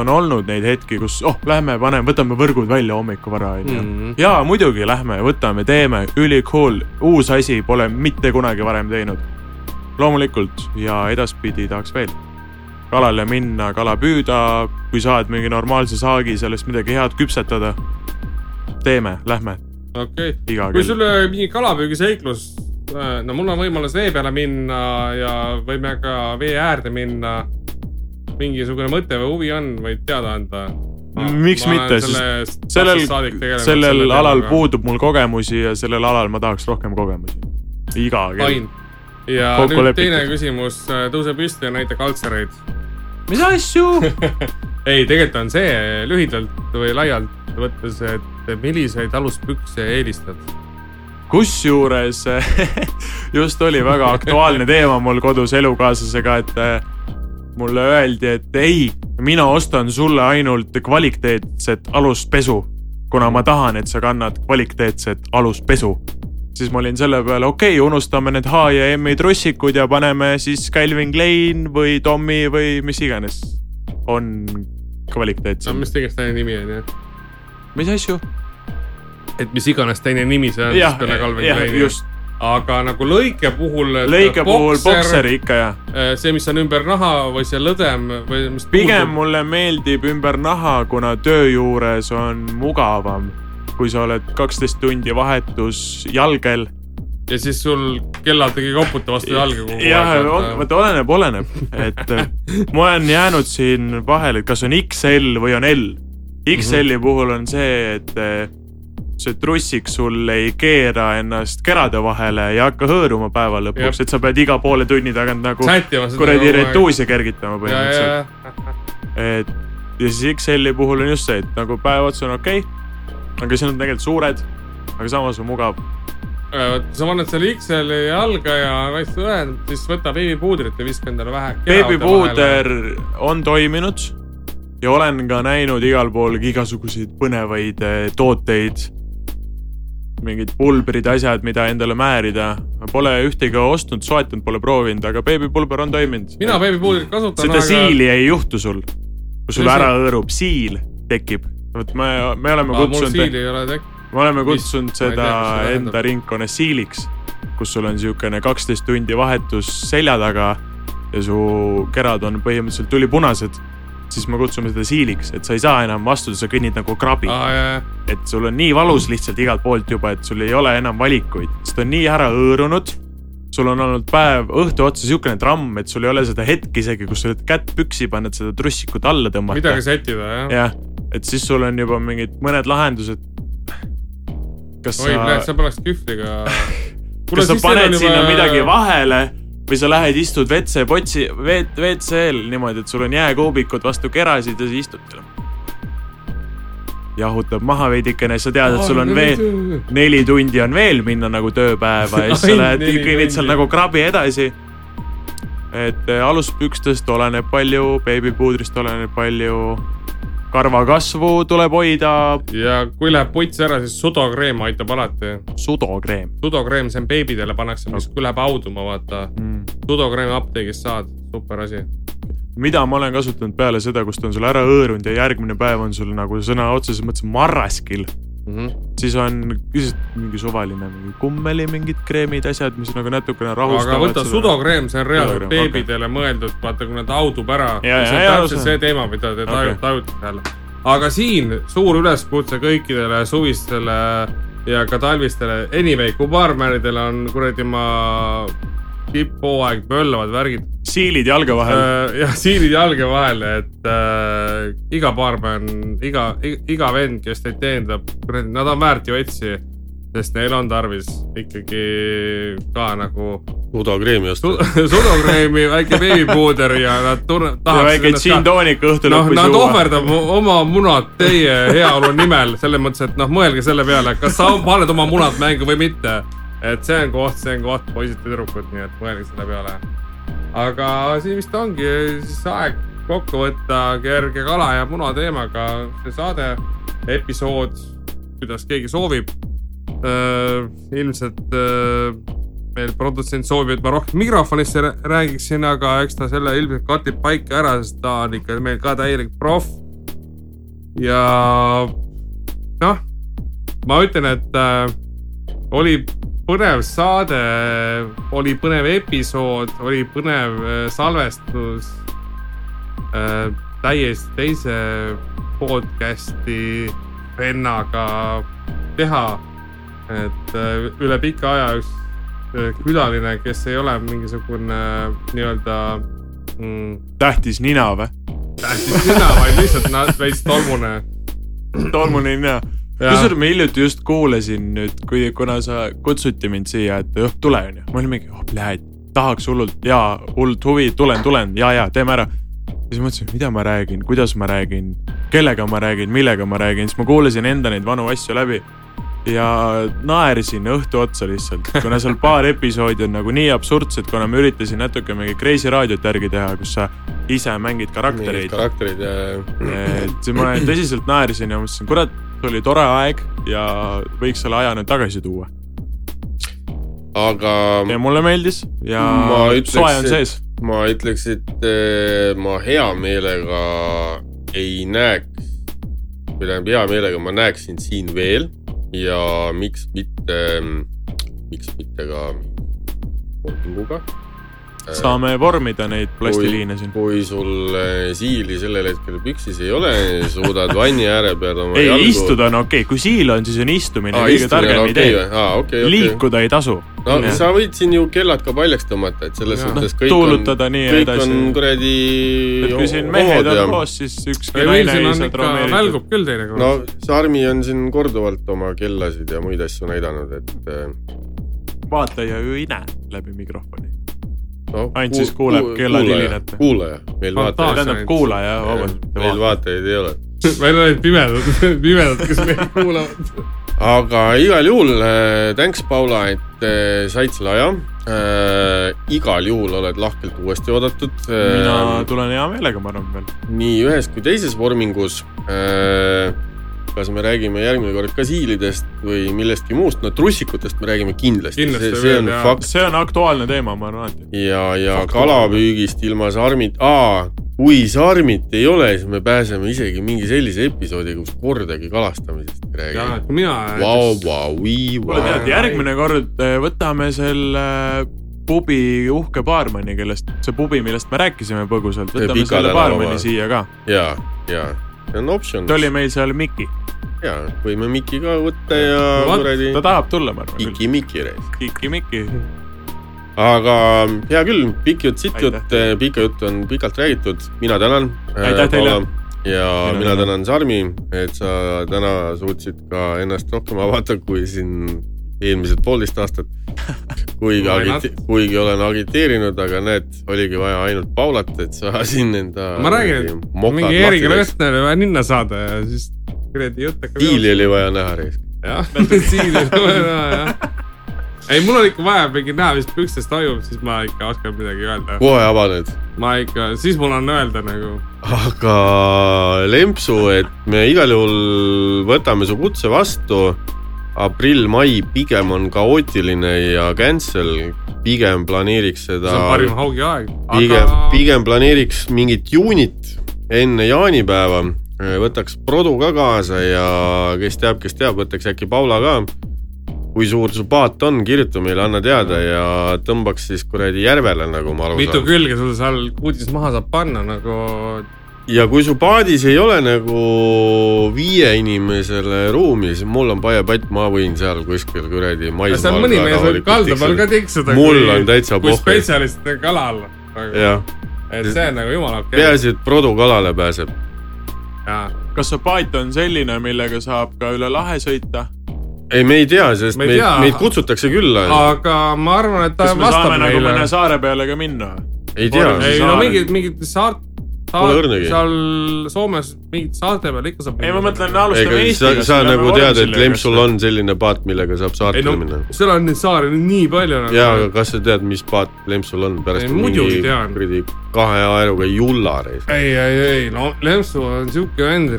Speaker 4: on olnud neid hetki , kus oh , lähme paneme , võtame võrgud välja hommikuvara onju .
Speaker 1: Mm. Mhm.
Speaker 4: jaa , muidugi lähme , võtame , teeme , ülikool , uus asi , pole mitte kunagi varem teinud . loomulikult ja edaspidi tahaks veel kalale minna , kala püüda , kui saad mingi normaalse saagi , sellest midagi head küpsetada . teeme , lähme
Speaker 1: okei , kui
Speaker 4: iga kell .
Speaker 1: sul oli mingi kalapüügiseiklus , no mul on võimalus vee peale minna ja võime ka vee äärde minna . mingisugune mõte või huvi on , võid teada anda .
Speaker 4: Miks mitte,
Speaker 1: sest
Speaker 4: sellel , sellel alal . puudub mul kogemusi ja sellel alal ma tahaks rohkem kogemusi . iga kell .
Speaker 1: fine . ja
Speaker 4: Kokku
Speaker 1: nüüd
Speaker 4: lepitud.
Speaker 1: teine küsimus , tõuse püsti ja näita kaltsereid .
Speaker 4: mis asju ?
Speaker 1: ei , tegelikult on see lühidalt või laialt võttes , et milliseid aluspükse eelistad ?
Speaker 4: kusjuures *laughs* just oli väga aktuaalne teema mul kodus elukaaslasega , et eh, mulle öeldi , et ei , mina ostan sulle ainult kvaliteetset aluspesu , kuna ma tahan , et sa kannad kvaliteetset aluspesu siis ma olin selle peale , okei okay, , unustame need H ja M-i trussikud ja paneme siis Calvin Klein või Tommy või mis iganes on
Speaker 1: no
Speaker 4: kvaliteetsem .
Speaker 1: mis tegelikult teine nimi on jah ?
Speaker 4: mis asju ?
Speaker 1: et mis iganes teine nimi see on , siis
Speaker 4: jah
Speaker 1: peale , Calvin
Speaker 4: jah ,
Speaker 1: Kleini .
Speaker 4: just ,
Speaker 1: aga nagu lõike puhul .
Speaker 4: lõige puhul bokser . ikka jah .
Speaker 1: see , mis on ümber naha või see lõdem või mis .
Speaker 4: pigem . mulle meeldib ümber naha , kuna töö juures on mugavam , kui sa oled kaksteist tundi vahetus jalgel .
Speaker 1: ja siis sul kellal tegi koputa vastu jalga kogu
Speaker 4: jah ,
Speaker 1: aeg .
Speaker 4: vaata oleneb , oleneb , et eh, ma olen jäänud siin vahele , et kas on XL või on L . XL-i puhul on see , et eh, see trussik sul ei keera ennast kerade vahele ja hakka hõõruma päeva lõpuks , et sa pead iga poole tunni tagant nagu
Speaker 1: sättima seda .
Speaker 4: kuradi . retuusi
Speaker 1: ja ,
Speaker 4: kergitama
Speaker 1: ja ,
Speaker 4: põhimõtteliselt .
Speaker 1: ja ,
Speaker 4: et ja siis Exceli puhul on just see , et nagu päev otsa on okei okay, , aga siis on tegelikult suured , aga samas on mugav
Speaker 1: Äh, sa paned selle XL-i jalga ja naist ühend , siis võta beebipuudrit ja viska endale vähe .
Speaker 4: beebipuuder on toiminud ja olen ka näinud igal pool igasuguseid põnevaid eh, tooteid . mingid pulbrid , asjad , mida endale määrida . Pole ühtegi ostnud , soetanud , pole proovinud , aga beebipulber on toiminud .
Speaker 1: mina beebipuudrit kasutan .
Speaker 4: seda siili ei juhtu sul , kui sul
Speaker 1: Mis
Speaker 4: ära hõõrub , siil tekib . vot me , me oleme
Speaker 1: mul
Speaker 4: kutsunud ,
Speaker 1: siili ei ole tekkinud .
Speaker 4: me oleme kutsunud
Speaker 1: Mis? Ma ei
Speaker 4: seda
Speaker 1: tea, mis see tähendab.
Speaker 4: enda ringkonna siiliks , kus sul on niisugune kaksteist tundi vahetus selja taga ja su kerad on põhimõtteliselt tulipunased , siis me kutsume seda siiliks , et sa ei saa enam vastuda , sa kõnnid nagu krabi .
Speaker 1: aa jajah ,
Speaker 4: et sul on nii valus lihtsalt igalt poolt juba , et sul ei ole enam valikuid , sest on nii ära hõõrunud . sul on olnud päev õhtu otsa siukene tramm , et sul ei ole seda hetke isegi , kus sa oled kätt püksi pannud , seda trussikut alla tõmmata
Speaker 1: midagi . sättida jah .
Speaker 4: jah , et siis sul on juba mingid mõned lahendused . kas
Speaker 1: oi , näed ,
Speaker 4: sa ,
Speaker 1: sa paneks kühvliga .
Speaker 4: kas sa paned sinna midagi vahele või sa lähed , istud WC-potsi , WC-l niimoodi , et sul on jääkoobikud vastu kerasid ja sa istud . jahutab maha veidikene , sa tead , et sul on veel neli tundi on veel minna nagu tööpäeva ja siis sa
Speaker 1: Ainult
Speaker 4: lähed
Speaker 1: neli
Speaker 4: kõnnid seal
Speaker 1: tundi.
Speaker 4: nagu krabi edasi . et eh, aluspükstest oleneb palju , beebipuudrist oleneb palju , karva kasvu tuleb hoida ,
Speaker 1: ja kui läheb puts ära , siis sudokreem aitab alati .
Speaker 4: sudokreem
Speaker 1: sudokreem , see on beebidele pannakse , mis kui läheb hauduma , vaata .
Speaker 4: mm. .
Speaker 1: sudokreemi apteegist saad , super asi .
Speaker 4: mida ma olen kasutanud peale seda , kus ta on sul ära hõõrunud ja järgmine päev on sul nagu sõna otseses mõttes marraskil , Mhm. siis on lihtsalt mingi suvaline mingi kummeli mingid kreemid , asjad , mis nagu natukene rahustavad .
Speaker 1: aga võta sudokreem , see on reaalselt
Speaker 4: Sudokreem, okei.
Speaker 1: beebidele mõeldud , vaata kui nad haudub ära . see
Speaker 4: Ja, ja,
Speaker 1: on
Speaker 4: ja,
Speaker 1: täpselt
Speaker 4: arusaadav.
Speaker 1: see teema , mida te
Speaker 4: Okei.
Speaker 1: taju- tajute seal . aga siin suur üleskutse kõikidele suvistele ja ka talvistele , anyway , kui baarmäridel on kuradi ma tipphooaeg , möllavad värgid ,
Speaker 4: siilid jalga vahel äh, .
Speaker 1: Äh, jah , siilid jalge vahele , et äh, iga baarmen , iga , iga vend , kes teid teenindab , nad on väärt ju etsi , sest neil on tarvis ikkagi ka nagu
Speaker 2: udokreemi osta .
Speaker 1: su- *laughs* sudokreemi , väike beebipuuder ja nad tunne- ,
Speaker 4: ja
Speaker 1: tahaks
Speaker 4: väike džinntoonik õhtu
Speaker 1: noh ,
Speaker 4: lõpus
Speaker 1: nad
Speaker 4: juua .
Speaker 1: ohverdab o- oma munad teie heaolu nimel , selles mõttes , et noh , mõelge selle peale , kas sa paned oma munad mängu või mitte . et see on koht , see on koht , poisid ja tüdrukud , nii et mõelge selle peale . aga siin vist ongi siis aeg kokku võtta kerge kala ja muna teemaga see saade , episood , kuidas keegi soovib . Äh, ilmselt öö, meil produtsent soovib , et ma rohkem mikrofonisse rää- räägiksin , aga eks ta selle ilmselt katib paika ära , sest ta on ikka meil ka täielik proff . ja noh , ma ütlen , et äh, oli põnev saade , oli põnev episood , oli põnev äh, salvestus äh, täiesti teise podcast'i vennaga teha et äh, üle pika aja üks äh, külaline , kes ei ole mingisugune äh, nii-öelda mm,
Speaker 4: tähtis nina või ?
Speaker 1: tähtis sina , vaid lihtsalt na- veits tolmune .
Speaker 4: tolmune nina . kusjuures ma hiljuti just kuulasin nüüd , kui , kuna sa kutsuti mind siia , et õh , tule onju . ma olin mingi , oh pljääd , tahaks hullult ja hullult huvi , tulen , tulen ja , ja teeme ära . siis mõtlesin , mida ma räägin , kuidas ma räägin , kellega ma räägin , millega ma räägin , siis ma kuulasin enda neid vanu asju läbi ja naersin õhtu otsa lihtsalt , kuna seal paar episoodi on nagu nii absurdsed , kuna ma üritasin natuke mingi Kreisi raadiot järgi teha , kus sa ise mängid
Speaker 2: mingid
Speaker 4: karaktereid . Äh,
Speaker 2: karakterid ja
Speaker 4: et siis ma tõsiselt naersin ja mõtlesin , kurat , oli tore aeg ja võiks selle aja nüüd tagasi tuua .
Speaker 2: aga
Speaker 4: ja mulle meeldis ja
Speaker 2: Ma ütleks,
Speaker 4: soe on
Speaker 2: et-
Speaker 4: sees .
Speaker 2: ma ütleks , et eh, ma hea meelega ei näeks , või tähendab hea meelega ma näeksin siin veel ja miks mitte , miks mitte ka kolminguga .
Speaker 4: saame vormida neid plastiliine siin .
Speaker 2: äh, kui sul eh, siili sellel hetkel püksis ei ole , suudad vanni ääre peal oma
Speaker 4: ei , istuda on okei okay. , kui siil on , siis on istumine
Speaker 2: aa ,
Speaker 4: ah, , kõige
Speaker 2: istumine
Speaker 4: targem
Speaker 2: on
Speaker 4: okay, idee
Speaker 2: okei või ? aa , okei ,
Speaker 4: okay. .
Speaker 2: okei .
Speaker 4: liikuda ei tasu .
Speaker 2: no sa võid siin ju kellad ka paljaks tõmmata , et selles
Speaker 1: Jaa.
Speaker 2: suhtes kõik on ,
Speaker 4: Noh, tuulutada nii ja
Speaker 2: kõik on
Speaker 4: edasi .
Speaker 2: kuradi .
Speaker 4: kui siin mehed on . koos , siis ükski
Speaker 1: ei , meil
Speaker 4: naine
Speaker 1: siin
Speaker 4: ei
Speaker 1: on
Speaker 4: saa
Speaker 1: ikka ,
Speaker 4: traumeerida .
Speaker 1: välgub küll teinekord
Speaker 2: no
Speaker 1: no. .
Speaker 2: Sarmi on siin korduvalt oma kellasid ja muid asju näidanud , et eh,
Speaker 4: vaataja ju ei näe läbi mikrofoni .
Speaker 2: Ah, no, .
Speaker 4: Ainult siis kuuleb kellad hilinat.
Speaker 2: kuulaja , meil
Speaker 1: Fantaas-
Speaker 2: vaatajaid ,
Speaker 4: tähendab kuulaja , vabandust .
Speaker 2: meil vaatajaid ei ole .
Speaker 1: *laughs* meil olid pimedad , pimedad , kes meid kuulavad .
Speaker 2: aga igal juhul äh, thanks , Paula , et äh, said selle aja . igal juhul oled lahkelt uuesti oodatud .
Speaker 4: mina tulen hea meelega , ma arvan veel .
Speaker 2: nii ühes kui teises vormingus . kas me räägime järgmine kord ka siilidest või millestki muust , no trussikutest me räägime kindlasti,
Speaker 1: Kindlasti
Speaker 2: see, see
Speaker 1: veel,
Speaker 2: on
Speaker 1: jaa.
Speaker 2: fakt
Speaker 4: see on aktuaalne teema , ma arvan alati .
Speaker 2: ja , ja kalapüügist ilma sarmit , aa , kui sarmit ei ole , siis me pääseme isegi mingi sellise episoodi , kus kordagi kalastamisest ei
Speaker 1: ja
Speaker 2: räägi .
Speaker 1: kui mina
Speaker 2: Vau , vau , vii ,
Speaker 4: kuule tead ,
Speaker 2: vau .
Speaker 4: järgmine kord eh, võtame selle eh, pubi uhke baarmani , kellest , see pubi , millest me rääkisime põgusalt ,
Speaker 2: See
Speaker 4: võtame
Speaker 2: Pika
Speaker 4: selle
Speaker 2: tänava
Speaker 4: baarmani
Speaker 2: baar.
Speaker 4: siia ka .
Speaker 2: ja , ja , see on optsioon
Speaker 4: ta . oli meil seal Miki ,
Speaker 2: ja , võime Miki ka võtta ja
Speaker 1: No vot,
Speaker 2: kuradi
Speaker 4: ta tahab tulla , ma arvan küll .
Speaker 2: Iki-Miki reis .
Speaker 4: Kiki Miki ,
Speaker 2: aga mm, hea küll , pikk jutt , sitt jutt
Speaker 4: Aitäh. ,
Speaker 2: pika jutt on pikalt räägitud , mina tänan .
Speaker 4: Aitäh teile.
Speaker 2: ja
Speaker 4: Mina
Speaker 2: mina, mina
Speaker 4: tänan.
Speaker 2: tänan Sarmi , et sa täna suutsid ka ennast rohkem avada , kui siin eelmised poolteist aastat . kuigi
Speaker 1: Why not?
Speaker 2: agite- , kuigi olen agiteerinud , aga näed , oligi vaja ainult Paulat , et sa *laughs* siin enda .
Speaker 1: ma räägin , et mingi Eeriga . Lösner vaja ninna saada ja siis kuradi jutt hakkab .
Speaker 2: *laughs* diili oli vaja näha , Reis .
Speaker 4: *laughs*
Speaker 1: *laughs* jah , siili oli vaja näha jah . ei , mul on ikka vaja mingi näha , mis pükstes toimub , siis ma ikka oskan midagi öelda .
Speaker 2: kohe avaned
Speaker 1: ma ikka , siis mul on öelda nagu ,
Speaker 2: aga lempsu , et me igal juhul võtame su kutse vastu . aprill-mai pigem on kaootiline ja cancel , pigem planeeriks
Speaker 1: see on
Speaker 2: seda ,
Speaker 1: parim haugi aeg .
Speaker 2: pigem , pigem planeeriks mingit juunit enne jaanipäeva . võtaks produ ka kaasa ja kes teab , kes teab , võtaks äkki Paula ka kui suur su paat on , kirjuta meile , anna teada ja tõmbaks siis kuradi järvele , nagu ma aru saan .
Speaker 1: mitu külge sul seal kuudis maha saab panna nagu ,
Speaker 2: ja kui su paadis ei ole nagu viie inimesele ruumi , siis mul on paepatt , ma võin seal kuskil kuradi
Speaker 1: seal mõni mees võib kalda peal ka tiksuda .
Speaker 2: mul on täitsa
Speaker 1: kui
Speaker 2: pohv .
Speaker 1: spetsialist kalal .
Speaker 2: jah ,
Speaker 1: et see on nagu jumala okei okay. .
Speaker 2: peaasi , et Produ kalale pääseb .
Speaker 4: kas see paat on selline , millega saab ka üle lahe sõita ?
Speaker 2: Äh, ei , me ei tea , sest
Speaker 1: Me ei
Speaker 2: meid ,
Speaker 1: tea.
Speaker 2: meid kutsutakse külla .
Speaker 1: aga ma arvan , et ta
Speaker 4: kas me
Speaker 1: vastab
Speaker 4: saame nagu
Speaker 1: meile
Speaker 4: mõne . saare peale ka minna ?
Speaker 2: ei tea
Speaker 1: ei no
Speaker 4: saare-
Speaker 1: mingid , mingid saart ,
Speaker 2: Pole
Speaker 1: saart
Speaker 2: õrnegi.
Speaker 1: seal Soomes mingite saarte peal ikka saab .
Speaker 4: ei , ma mõtlen , alustame
Speaker 2: ega sa
Speaker 4: Eestiga .
Speaker 2: sa nagu tead , et Lempsul . on selline paat , millega saab
Speaker 1: ei
Speaker 2: saatele
Speaker 1: no
Speaker 2: minna .
Speaker 1: seal on neid saari nii palju nagu .
Speaker 2: ja , aga kas sa tead , mis paat Lempsul on pärast
Speaker 1: Ei,
Speaker 2: on
Speaker 1: muidugi
Speaker 2: mingi
Speaker 1: tean.
Speaker 2: kuradi kahe aeruga jullareis ?
Speaker 1: ei , ei , ei no Lempsu on siuke vend ,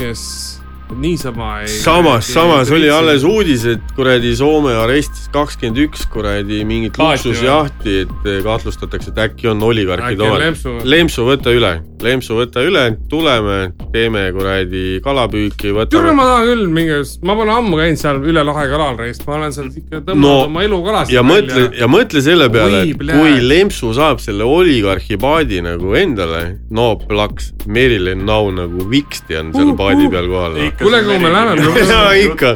Speaker 1: kes niisama ei .
Speaker 2: samas , samas oli alles . uudis , et kuradi Soome arestis kakskümmend üks kuradi mingit
Speaker 1: Paati
Speaker 2: luksusjahti , et eh, kahtlustatakse , et äkki on olivärkid
Speaker 1: Äkki on
Speaker 2: omad
Speaker 1: Lempsu. .
Speaker 2: lempsu võta üle , lempsu võta üle , tuleme , teeme kuradi kalapüüki ,
Speaker 1: türa ,
Speaker 2: võtame .
Speaker 1: ma tahan küll mingi , ma pole ammu käinud seal üle lahe kalal reis , ma olen seal ikka tõmmanud
Speaker 2: No,
Speaker 1: no, oma elu kalast .
Speaker 2: ja mõtle , ja mõtle selle peale ,
Speaker 1: Oi,
Speaker 2: et
Speaker 1: plee.
Speaker 2: kui lempsu saab selle oligarhi paadi nagu endale , no plaks , Merilin Nau nagu viksti on seal
Speaker 1: Uh,
Speaker 2: paadi
Speaker 1: uh.
Speaker 2: peal kohal .
Speaker 1: Kuule, kui me läheme-
Speaker 2: ja *laughs* ikka ,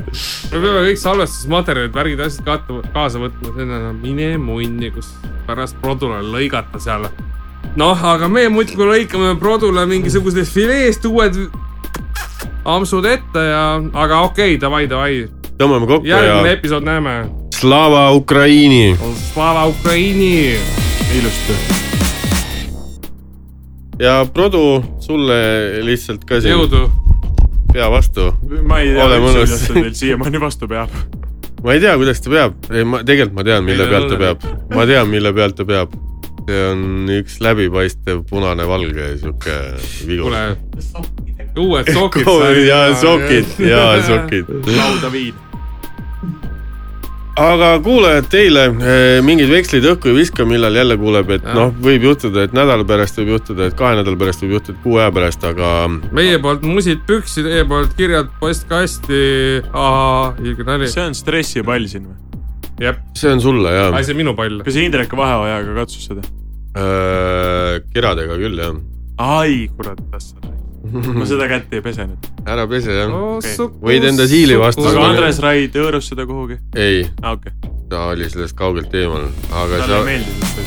Speaker 1: me peame kõik salvestusmaterjalid , värgid , asjad kaata, kaasa võtma , sinna no, mine munni , kus pärast produle lõigata seal . noh , aga me muidugi lõikame produle mingisugusest fileest uued ampsud ette ja , aga okei okay, , davai , davai ,
Speaker 2: tõmbame kokku ja
Speaker 1: järgmine episood näeme .
Speaker 2: Slava Ukraini .
Speaker 1: Slava Ukraini .
Speaker 4: ilusti .
Speaker 2: ja Produ , sulle lihtsalt ka siin
Speaker 1: jõudu .
Speaker 2: pea vastu .
Speaker 4: ma ei tea ,
Speaker 2: Ole mõnus.
Speaker 4: kuidas see teil siiamaani vastu peab .
Speaker 2: ma ei tea , kuidas ta peab , ei ma tegelikult ma tean , mille
Speaker 1: Mille
Speaker 2: pealt ta
Speaker 1: peale?
Speaker 2: peab , ma tean , mille pealt ta peab . see on üks läbipaistev punane-valge sihuke vigur .
Speaker 1: kuule , uued sokid .
Speaker 2: ja sokid ja sokid .
Speaker 4: lauda viin .
Speaker 2: aga kuulajad teile eh, mingid vekslid õhku ei viska , millal jälle kuuleb , et
Speaker 1: Jah.
Speaker 2: noh , võib juhtuda , et nädala pärast võib juhtuda , et kahe nädala pärast võib juhtuda , et kuu aja pärast , aga
Speaker 1: meie poolt musid püksi , teie poolt kirjad postkasti . ahah , ilge nali .
Speaker 4: see on stressipall siin või ?
Speaker 1: jep ,
Speaker 2: see on sulle ja
Speaker 1: asi minu pall .
Speaker 4: kas Indrek vaheajaga katsus seda ?
Speaker 2: Äh, kiradega küll jah .
Speaker 4: ai , kurat , tassad . *laughs* ma seda kätt ei pese nüüd .
Speaker 2: ära pese jah . Võid enda siili vastu
Speaker 4: aga
Speaker 2: Kuulge.
Speaker 4: Andres Raid hõõrus seda kuhugi ?
Speaker 2: ei ,
Speaker 4: aa , okei .
Speaker 2: ta oli sellest kaugelt eemal , aga
Speaker 4: talle ei
Speaker 2: sa ,
Speaker 4: meeldi see .